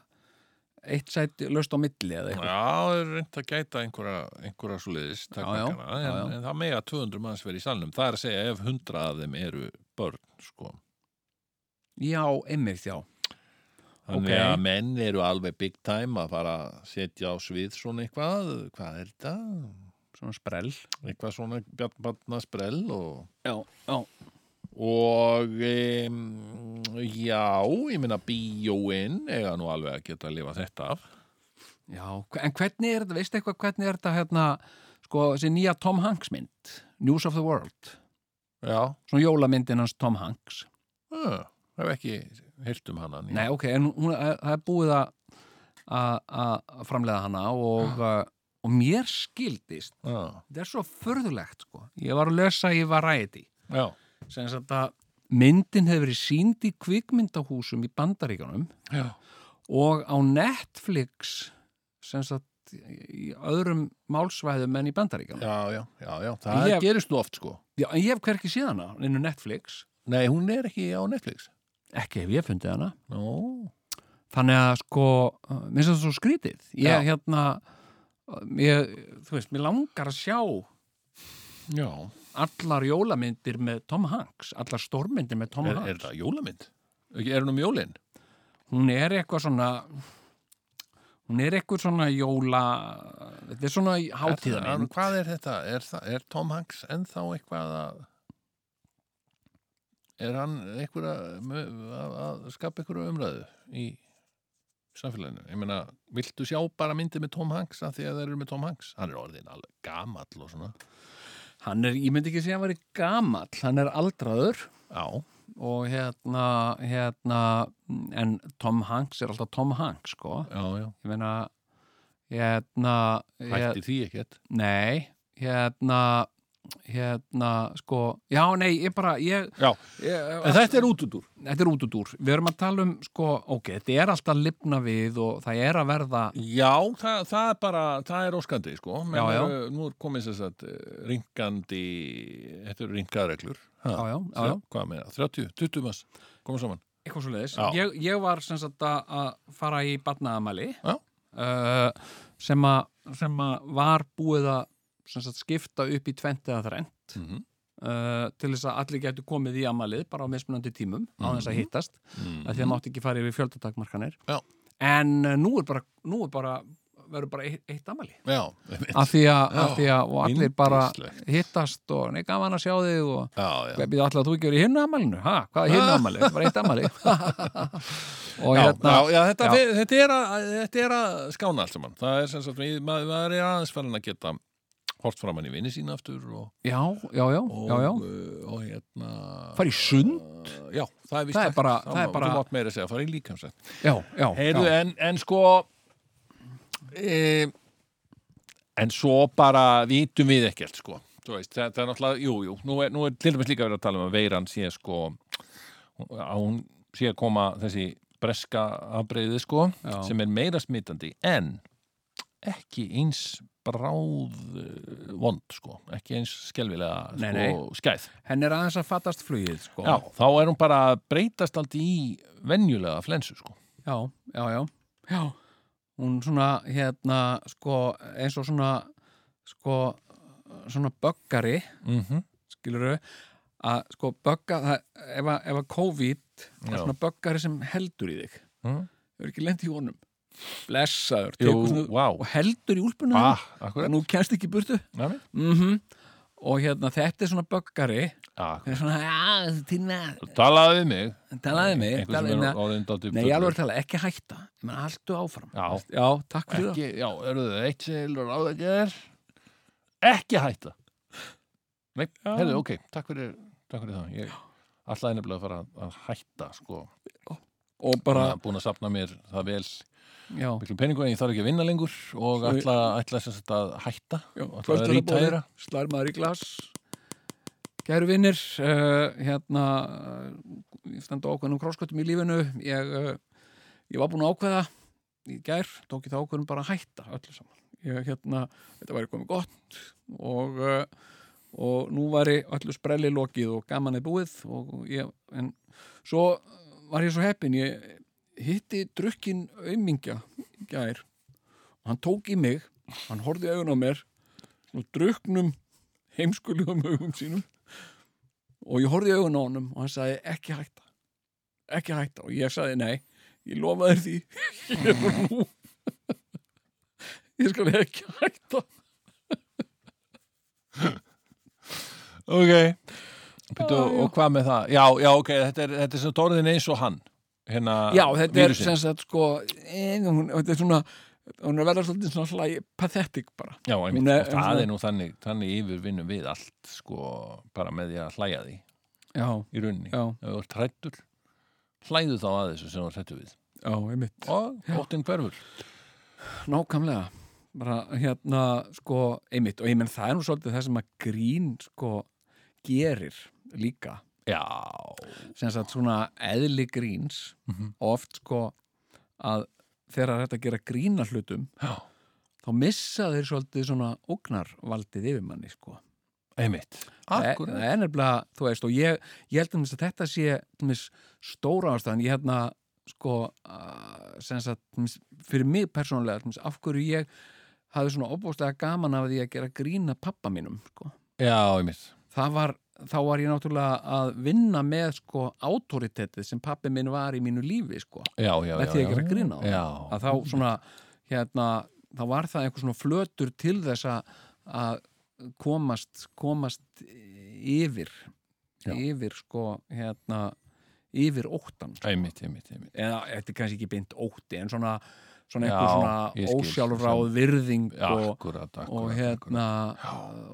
eitt sæti löst á milli eða
Já,
eitthvað
það er reynd að gæta einhverja, einhverja svo leiðis,
já, já,
en,
já.
en það mega 200 manns verið í salnum. Það er að segja ef 100 af þeim eru börn sko.
já, einmitt, já
Þannig
Ok.
að menn eru alveg big time að fara að setja á svið svona eitthvað, hvað er þetta?
svona sprell
Eitthvað svona batna sprell og...
já, já,
og um, já, ég minna bíóin eiga nú alveg að geta að lifa þetta af
já, hve- en hvernig er þetta veistu eitthvað hvernig er þetta hérna sko, þessi nýja Tom Hanks mynd News of the World,
já,
svona jólamyndin hans Tom Hanks
uh, hef ekki heyrt um hana
nei, ok, en hún, að- það er búið að að- að framlega hana og, uh, og mér skildist
uh,
þetta er svo förðulegt, sko ég var að lesa í Variety
já,
sem sagt að myndin hefur verið sínd í kvikmyndahúsum í Bandaríkanum
já,
og á Netflix sem sagt í öðrum málsvæðum en í Bandaríkjum
já, já, já, já. það
Ég-
gerist nú oft sko
Já, en ég hef hverki séð hana innu Netflix
nei, hún er ekki á Netflix
ekki hef ég fundið hana
Nú,
þannig að sko, uh, minnst það svo skrítið ég
Já.
hérna uh, ég, þú veist, mér langar að sjá
já,
allar jólamyndir með Tom Hanks allar stórmyndir með Tom
er,
Hanks
er það jólamynd? Ekki, er hún um jólin?
hún er eitthvað svona hún er eitthvað svona jóla þetta er svona
Er-
hátíðamynd
Hvað er þetta? Er, það, er Tom Hanks ennþá eitthvað að er hann eitthvað að, að, að skapa eitthvað umræðu í samfélaginu? Ég meina, viltu sjá bara myndið með Tom Hanks að því að þeir eru með Tom Hanks? Hann er orðin alveg gamall og svona.
hann er, ég myndi ekki segja að hann væri gamall hann er aldraður
Já,
og hérna, hérna en Tom Hanks er alltaf Tom Hanks sko,
já, já.
ég meina hérna
Hætti því ekkert.
nei, hérna hérna, sko já, nei, ég bara, ég,
Já,
ég
en þetta er útudúr.
þetta er út út úr, við erum að tala um sko, ok, þetta er alltaf að lifna við og það er að verða
Já, það, það er bara, það er óskandi, sko. Menn
Já, já.
Eru, nú er komið sér satt ringandi, þetta eru ringareglur. Já,
já, já, já, já,
Þrjá- hvað meira, 30, 20 manns koma saman,
eitthvað svo leiðis
Já.
ég, ég var sem sagt að- að fara í barnaðamæli
Já.
uh, sem að sem að var búið að sem sagt skipta upp í tvent eða þrennt
Mhm.
uh, til þess að allir getur komið í amalið bara á mismunandi tímum á þess
Mhm.
að hittast mm -hmm. að því að mátt ekki fara yfir fjöldatakmarkanir
Já.
en uh, nú er bara, nú er bara verður bara eitt, eitt amali
já,
af því að, af því að og allir bara
yndislegt.
hittast og nei, gaman að sjá þig og
já, já.
við allir að þú ekki verið í hinnu amalinu ha, hvað er hinnu amalinu, þetta var eitt amali og
Já,
hérna
já, já, þetta,
já.
fer- Þetta, er að, þetta er að skána allt saman það er sem sagt, við- maður, maður er aðeins farin að geta hort framann í vinni sína aftur og,
já, já, já,
og,
já, já.
uh, og hérna
fara í sund
já, það er vist
Það er
hægt.
bara-
Þá
það er
má-
bara-
þú mátt meira að segja, fara í líkamsrætt
já, já,
Heyrðu,
já,
en, en sko e, en svo bara vitum við ekkert sko Þú veist, þetta er náttúrulega, jú, jú nú er, nú er til dæmis líka verið að tala um að veiran sé sko að hún sé að koma þessi breska afbreyði sko
Já.
sem er meira smitandi en ekki eins bráð eh, vond sko, ekki eins skelfilega sko,
Nei, nei.
skæð
henn er aðeins að fattast flugið sko.
Já, þá er hún bara að breytast aldrei í venjulega flensu sko
já, já, já, já hún svona, hérna, sko eins og svona sko, svona böggari
mm -hmm.
skilur að sko bögga, það- ef að, ef að COVID er
Já.
svona böggari sem heldur í þig
Mhm.
hefur ekki lent í honum blessaður,
Jú,
tekur svona
vá
og heldur í úlpunum
Ah, akkurat
nú kemst ekki í burtu
Næmi?
mm og hérna, þetta er svona böggari
Ah,
þetta er svona, já, tíma
talaðu við mig
talaði mig,
Einhver
talaði
sem
mig
er orðin dálítið
Nei, ég alveg
fullur.
er að tala, ekki hætta menn haldu áfram
Já.
takk fyrir
ekki, Já, eru þau eitt seglur á það ger Ekki hætta Nei, heyrðu, ok, takk fyrir, takk fyrir það Ég ætlaði nefnilega að fara að- að hætta sko.
það og bara,
Bara búin að safna mér það vel
já,
miklu peningu en ég þarf ekki að vinna lengur og
Svo-
ætla, ætla sem sagt að hætta
já
og ætla að
kvöldverðarbóðir,
rítæra
slær maður í glas Gæru vinnir uh, hérna uh, ég standa ákveðnum krossköttum í lífinu ég, uh, ég var búin að ákveða í gær, tók ég það ákveðnum bara að hætta öllu saman ég, hérna, þetta væri komið gott og uh, og nú væri öllu sprelli lokið og gaman er búið og ég, en svo var ég svo heppin ég hitti drukkin aumingja í gær og hann tók í mig, hann horfði augun á mér og druknum heimskulegum augum sínum og ég horfði augun á honum og hann sagði ekki hætta ekki hætta og ég sagði nei ég lofa þér því ég er bara nú ég skal ekki hætta
Ok Pítu,
Já, já.
Og hvað með það? Já, já, ok, þetta er, þetta er sem dóriðin eins og hann hérna,
Já, þetta er
vírusinn.
sem sagt sko eh, hún, þetta er svona hún er að verða svolítið svona hlæ, pathetic bara
Já, einmitt,
Hún er-
og það
svona-
er nú þannig, þannig yfirvinnum við allt sko, bara með því að hlæja því
Já,
í rauninni,
já,
ef þú ert hrættur hlæðu þá að þessu sem þú ert hrættur við
já, einmitt
og óttinn hverfur
Nákvæmlega, bara hérna sko, einmitt, og ég menn það er nú svolítið það sem að grín sko gerir líka
Já,
sem sagt svona eðli gríns oft sko að þegar þetta gera grína hlutum
já,
þá missa þeir svolítið svona ógnarvaldið yfir manni sko
einmitt
Það er nefnilega, þú veist, og ég, ég held um þess að þetta sé tlumis, stóra ástæðan, ég hérna sko, uh, sem sagt tlumis, fyrir mig persónulega, tlumis, af hverju ég hafði svona opbóstlega gaman af því að gera grína pappa mínum, sko
Já, einmitt
það var, þá var ég náttúrulega að vinna með, sko, autoritetið sem pappi minn var í mínu lífi, sko
Já, já,
Með
já,
því að
já.
gera grín á það.
Já,
að þá svona, hérna þá var það einhver svona flötur til þess að- að komast komast yfir
Já.
yfir sko hérna, yfir óttan sko.
einmitt, einmitt, einmitt
eða þetta er kannski ekki beint ótti en svona, svona
Já,
einhver svona
ég skil,
ósjálfráð virðing
Já,
og,
Akkurat, akkurat,
og
akkurat.
hérna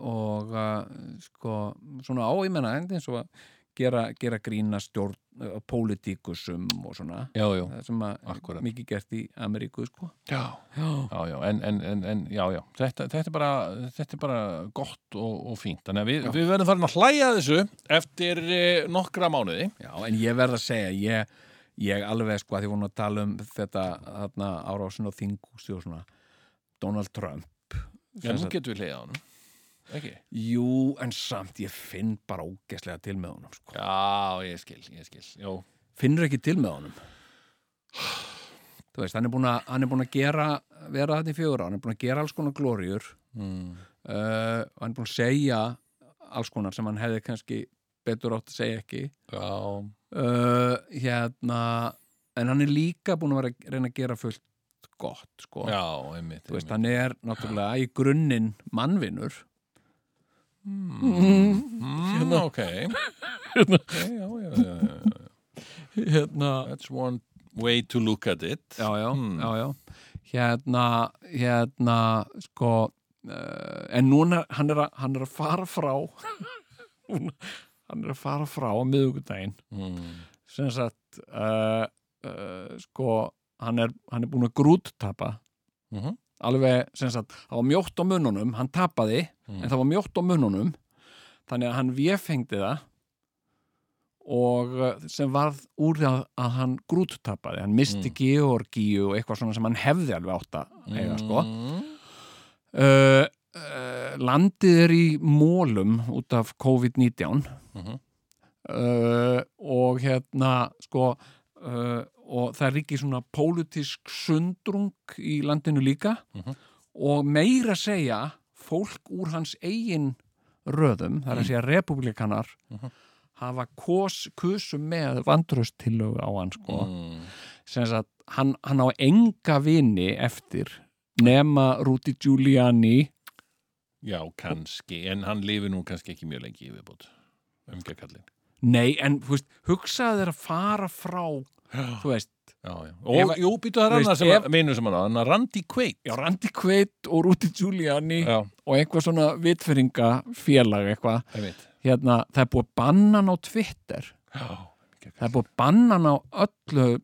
og uh, sko svona á, ég menna, eins og að gera, gera grína stjórn, uh, pólitíkusum og svona
Já, já,
Það sem að
Akkúrat.
mikið gert í Ameríku sko.
já
já,
Já, já, en, en, en, en já, já, þetta, þetta, er bara, þetta er bara gott og, og fínt. Þannig að við, við verðum farin að hlæja að þessu eftir eh, nokkra mánuði.
en ég verð að segja ég, ég alveg sko að því vorum að tala um þetta þarna, árásin og þingústi og svona Donald Trump
Já,
Sem
nú
sagt-
getum við hliðið á hann. Ekki?
Jú, en samt ég finn bara ógeslega til með honum sko.
Já, ég skil, ég skil. Jó,
Finnur ekki til með honum Þú veist, hann er búin að, hann er búin að gera vera þetta í fjögur á, hann er búin að gera alls konar glóriur
mm.
uh, hann er búin að segja alls konar sem hann hefði kannski betur átt að segja ekki
já,
uh, hérna en hann er líka búin að vera að reyna að gera fullt gott sko.
já, einmitt,
Þú veist,
einmitt.
hann er náttúrulega í grunninn mannvinnur
Mm, ok Ok, já, já, já, já, já.
hérna,
that's one way to look at it
já, já,
Mm.
já, já. Hérna, hérna, sko, uh, en núna, hann er, að, hann er að fara frá, hann er að fara frá á miðugudaginn,
mm.
sem sagt, uh, uh, sko, hann er, hann er búin að grúttapa,
Mhm.
alveg, sem sagt, það var mjótt á mununum, hann tapaði,
Mm.
en það var mjótt á mununum, þannig að hann véfengdi það, og uh, sem varð úr því að, að hann grúttapaði, hann misti
Mm.
Georgíu og eitthvað svona sem hann hefði alveg átt að eiga sko
Mm.
uh, uh, landið er í mólum út af COVID-19
Mhm.
uh, og hérna sko uh, og það ríkir svona pólitísk sundrung í landinu líka
Mhm.
og meira segja fólk úr hans eigin röðum, það er að segja republikanar
Mm. Mhm.
hafa kos, kusu með vandraustillögu á hann sko
Mm.
sem sagt, hann, hann á enga vini eftir nema Rudy Giuliani
já, kannski, en hann lifi nú kannski ekki mjög lengi í viðbútt umgjarkallin
nei, en þú veist, hugsaðu þér að fara frá þú veist,
Já, já.
Ef
Og,
að-
jú, býtu það
Þú
rannar
veist,
sem
ef-
að vinur sem hann á, hann að Randy Quaid.
já, Randy Quaid og Rudy Giuliani
Já,
og eitthvað svona vitfyrringafélag eitthvað,
einmitt.
hérna, það er búið að banna hann á Twitter
Já,
það er búið að banna hann á öllu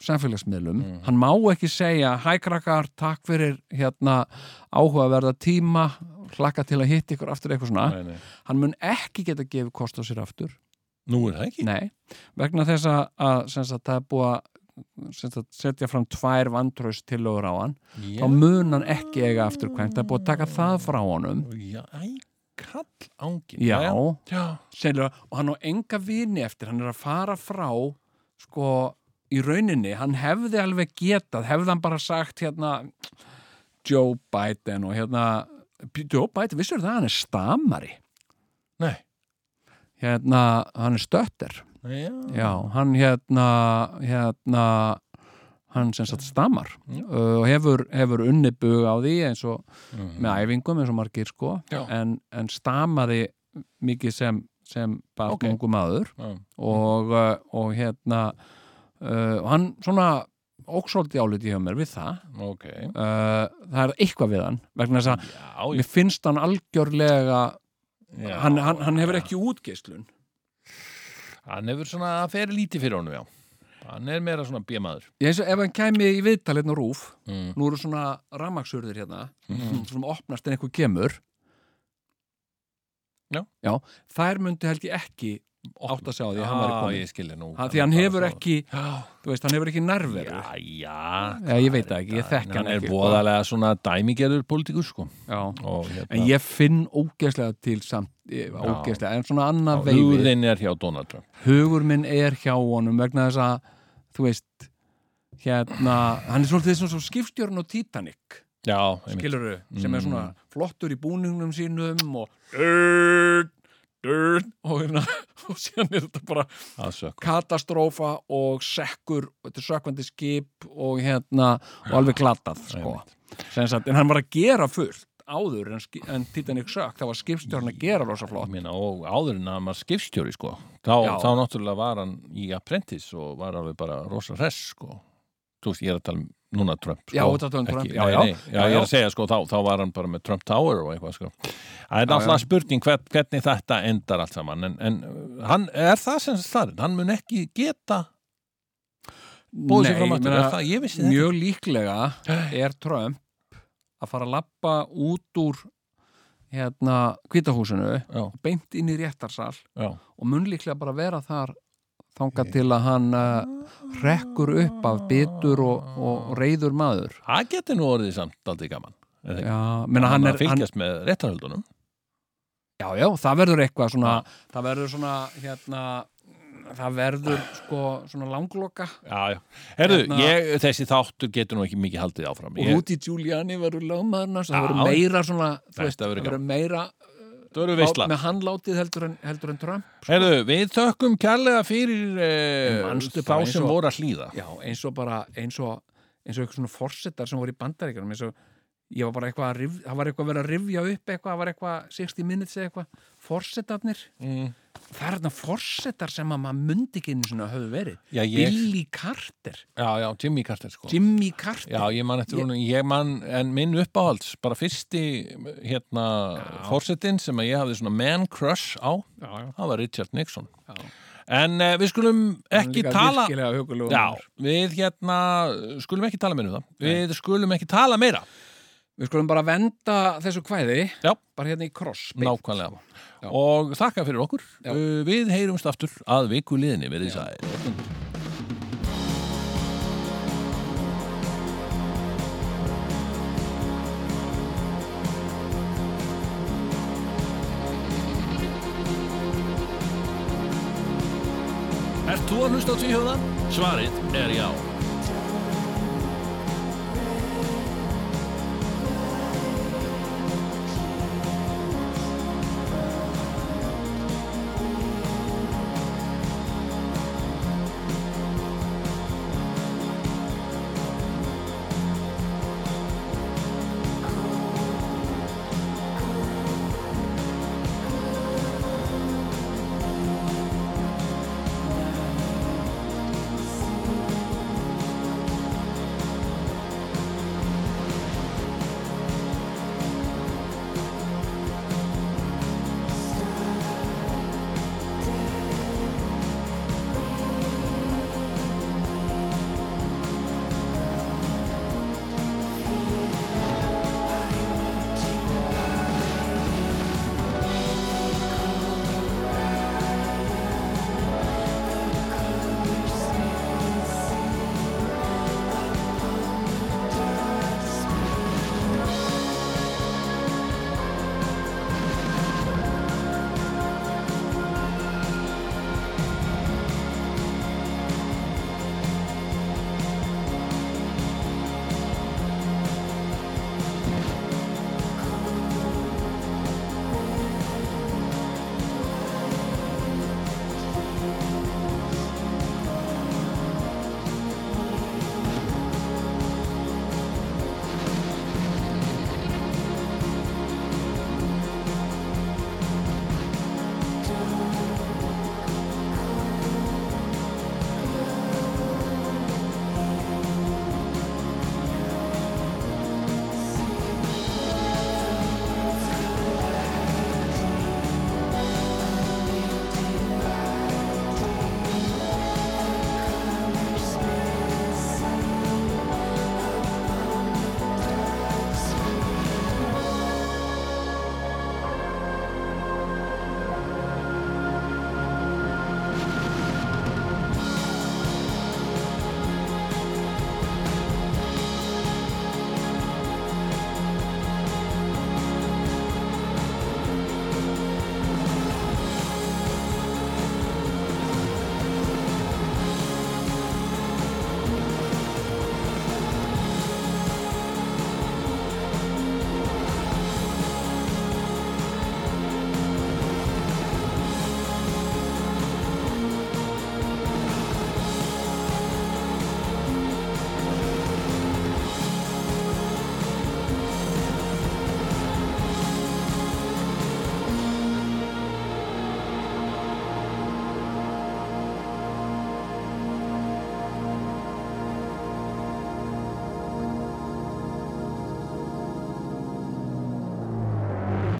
samfélagsmiðlum,
Mm.
hann má ekki segja hæ krakkar, takk fyrir hérna áhugaverða tíma hlakka til að hitta ykkur aftur eitthvað svona
nei, nei.
hann mun ekki geta gefið kost á sér aftur
Nú er það ekki.
Nei, vegna þess að, að sem sagt, það er búið að sem sagt, setja fram tvær vantraust tilögur á hann
Já,
þá mun hann ekki eiga aftur það er búið að taka það frá honum
já, æ, kall ángin.
Já,
Já,
selur, og hann á enga vini eftir hann er að fara frá sko, í rauninni, hann hefði alveg getað, hefði hann bara sagt hérna Joe Biden og hérna Joe Biden, vissur það, hann er stamari
nei.
hérna, hann er stötter
Já,
Já, hann hérna, hérna hann sem sagt stamar
Mm.
uh, og hefur, hefur unnibug á því eins og
Mhm.
með æfingum eins og margir sko
Já.
en, en stamaði mikið sem, sem bara
Ok. Mm.
okay. ungu maður
já.
og, uh, og hérna uh, og hann svona óksóldi áliti hjá mér við það
Mm, ok.
uh, það er eitthvað við hann vegna þess að
Já,
mér finnst hann algjörlega
já.
hann, hann, hann hefur ekki útgeislun
Hann hefur svona, það fer lítið fyrir honum, já. Hann er meira svona bjemaður.
ég eins og ef hann kæmi í viðtal hérna á rúf
Mm.
nú eru svona rammaksurðir hérna
Mm.
mm. svona opnast en eitthvað kemur
Já.
þær myndi held ég ekki átt að sjá því að hann var
Já,
komin
Ah, ég skilja nú.
hann, því hann
bara
hefur
svona-
ekki,
Já,
þú veist, hann hefur ekki nærveru
já, já.
Já, ég veit það ekki, ég þekki hann
Hann er
ekki, sko.
voðalega svona dæmigerður pólitíkur, sko.
Já.
Og, hérna,
en ég finn ógeðslega til samt, ég-
Já.
ógeðslega, en svona annað veifið,
hérna, Hugðin er hjá Donald Trump.
hugur minn er hjá honum vegna þess að, þú veist hérna, hann er svolítið svona svo skipstjörn og Titanic
Já, einmitt. Mm.
skiluru, sem er svona flottur í búningnum sínum og dörd, og, hérna, og síðan er þetta bara
að sökk.
katastrófa og sekkur og þetta er sökkvandi skip og hérna og alveg glatað sko. Sem sagt, en hann var að gera fullt áður en, ski- en Titanic sökk það var skipstjórn að gera rosa
Ég
flott
Meina, og áður en að maður skipstjóri sko. þá,
Já.
þá náttúrulega var hann í Apprentice og var alveg bara rosa hress sko. þú veist, ég er að tala um núna Trump sko.
Já, þú ert að tala um
Ekki-
Trump, já,
nei,
já.
nei, já,
Já,
ég er
já.
að segja sko, þá, þá var hann bara með Trump Tower og eitthvað sko. það er
Já,
náttúrulega spurning hvern, hvernig þetta endar allt saman en, en uh, hann, er það sem staðurinn hann mun ekki geta búið sér
Nei,
fram
ég
aftur
meina,
Er það, ég vissi þetta
mjög líklega er Trump að fara að lappa út úr hérna kvítahúsinu
já,
beint inn í réttarsal
já,
og mun líklega bara vera þar þangað til að hann uh, rekkur upp af bitur og, og reyður maður
það geti nú orðið samt aldrei gaman er það ekki?
já, menna hann
að
er hann,
fylgjast með réttarhöldunum
já, já, það verður eitthvað svona það verður svona hérna það verður sko svona langloka
Já, já. Herðu,
Hérna-
ég, þessi þáttur getur nú ekki mikið haldið
og
áfram. Ég,
Rúti Giuliani verður lögmaðurna það
Já.
verður meira svona þú
Þetta
veist, það
verður
verður meira
það eru
á,
veistla.
með hann látið heldur en, heldur en Trump
Herðu, við þökkum kærlega fyrir eh,
En manstu
þá
bara eins
sem
og-
voru að hlýða.
já, eins og bara eins og eins og eitthvað svona forsetar sem voru í bandaríkjunum eins og ég var bara eitthvað að rif, það var eitthvað verið að rifja upp eitthvað, það var eitthvað 60 minutes eða eitthvað, forsetarnir
Mm.
það er þarna forsetar sem að maður myndi ekki einu svona höfðu verið
Já, ég,
Billy Carter,
já, já, Jimmy Carter sko
Jimmy Carter
Já, ég man eftir hún, ég man, en minn uppáhalds, bara fyrsti, hérna, fórsetin sem að ég hafði svona man crush á,
já, já.
það var Richard Nixon.
Já.
En uh, við skulum
Hann er
ekki
líka
tala,
virkilega hugulegu
já, við hérna, skulum ekki tala meira um það, við skulum ekki tala meira,
Við skulum bara venda þessu kvæði
Já.
bara hérna í kross beint.
nákvæmlega.
Já.
Og þakka fyrir okkur,
Já.
uh, við heyrumst aftur að viku liðinni, verið sæl. Ert þú að hlusta á tvíhjóðan? Svarið er já.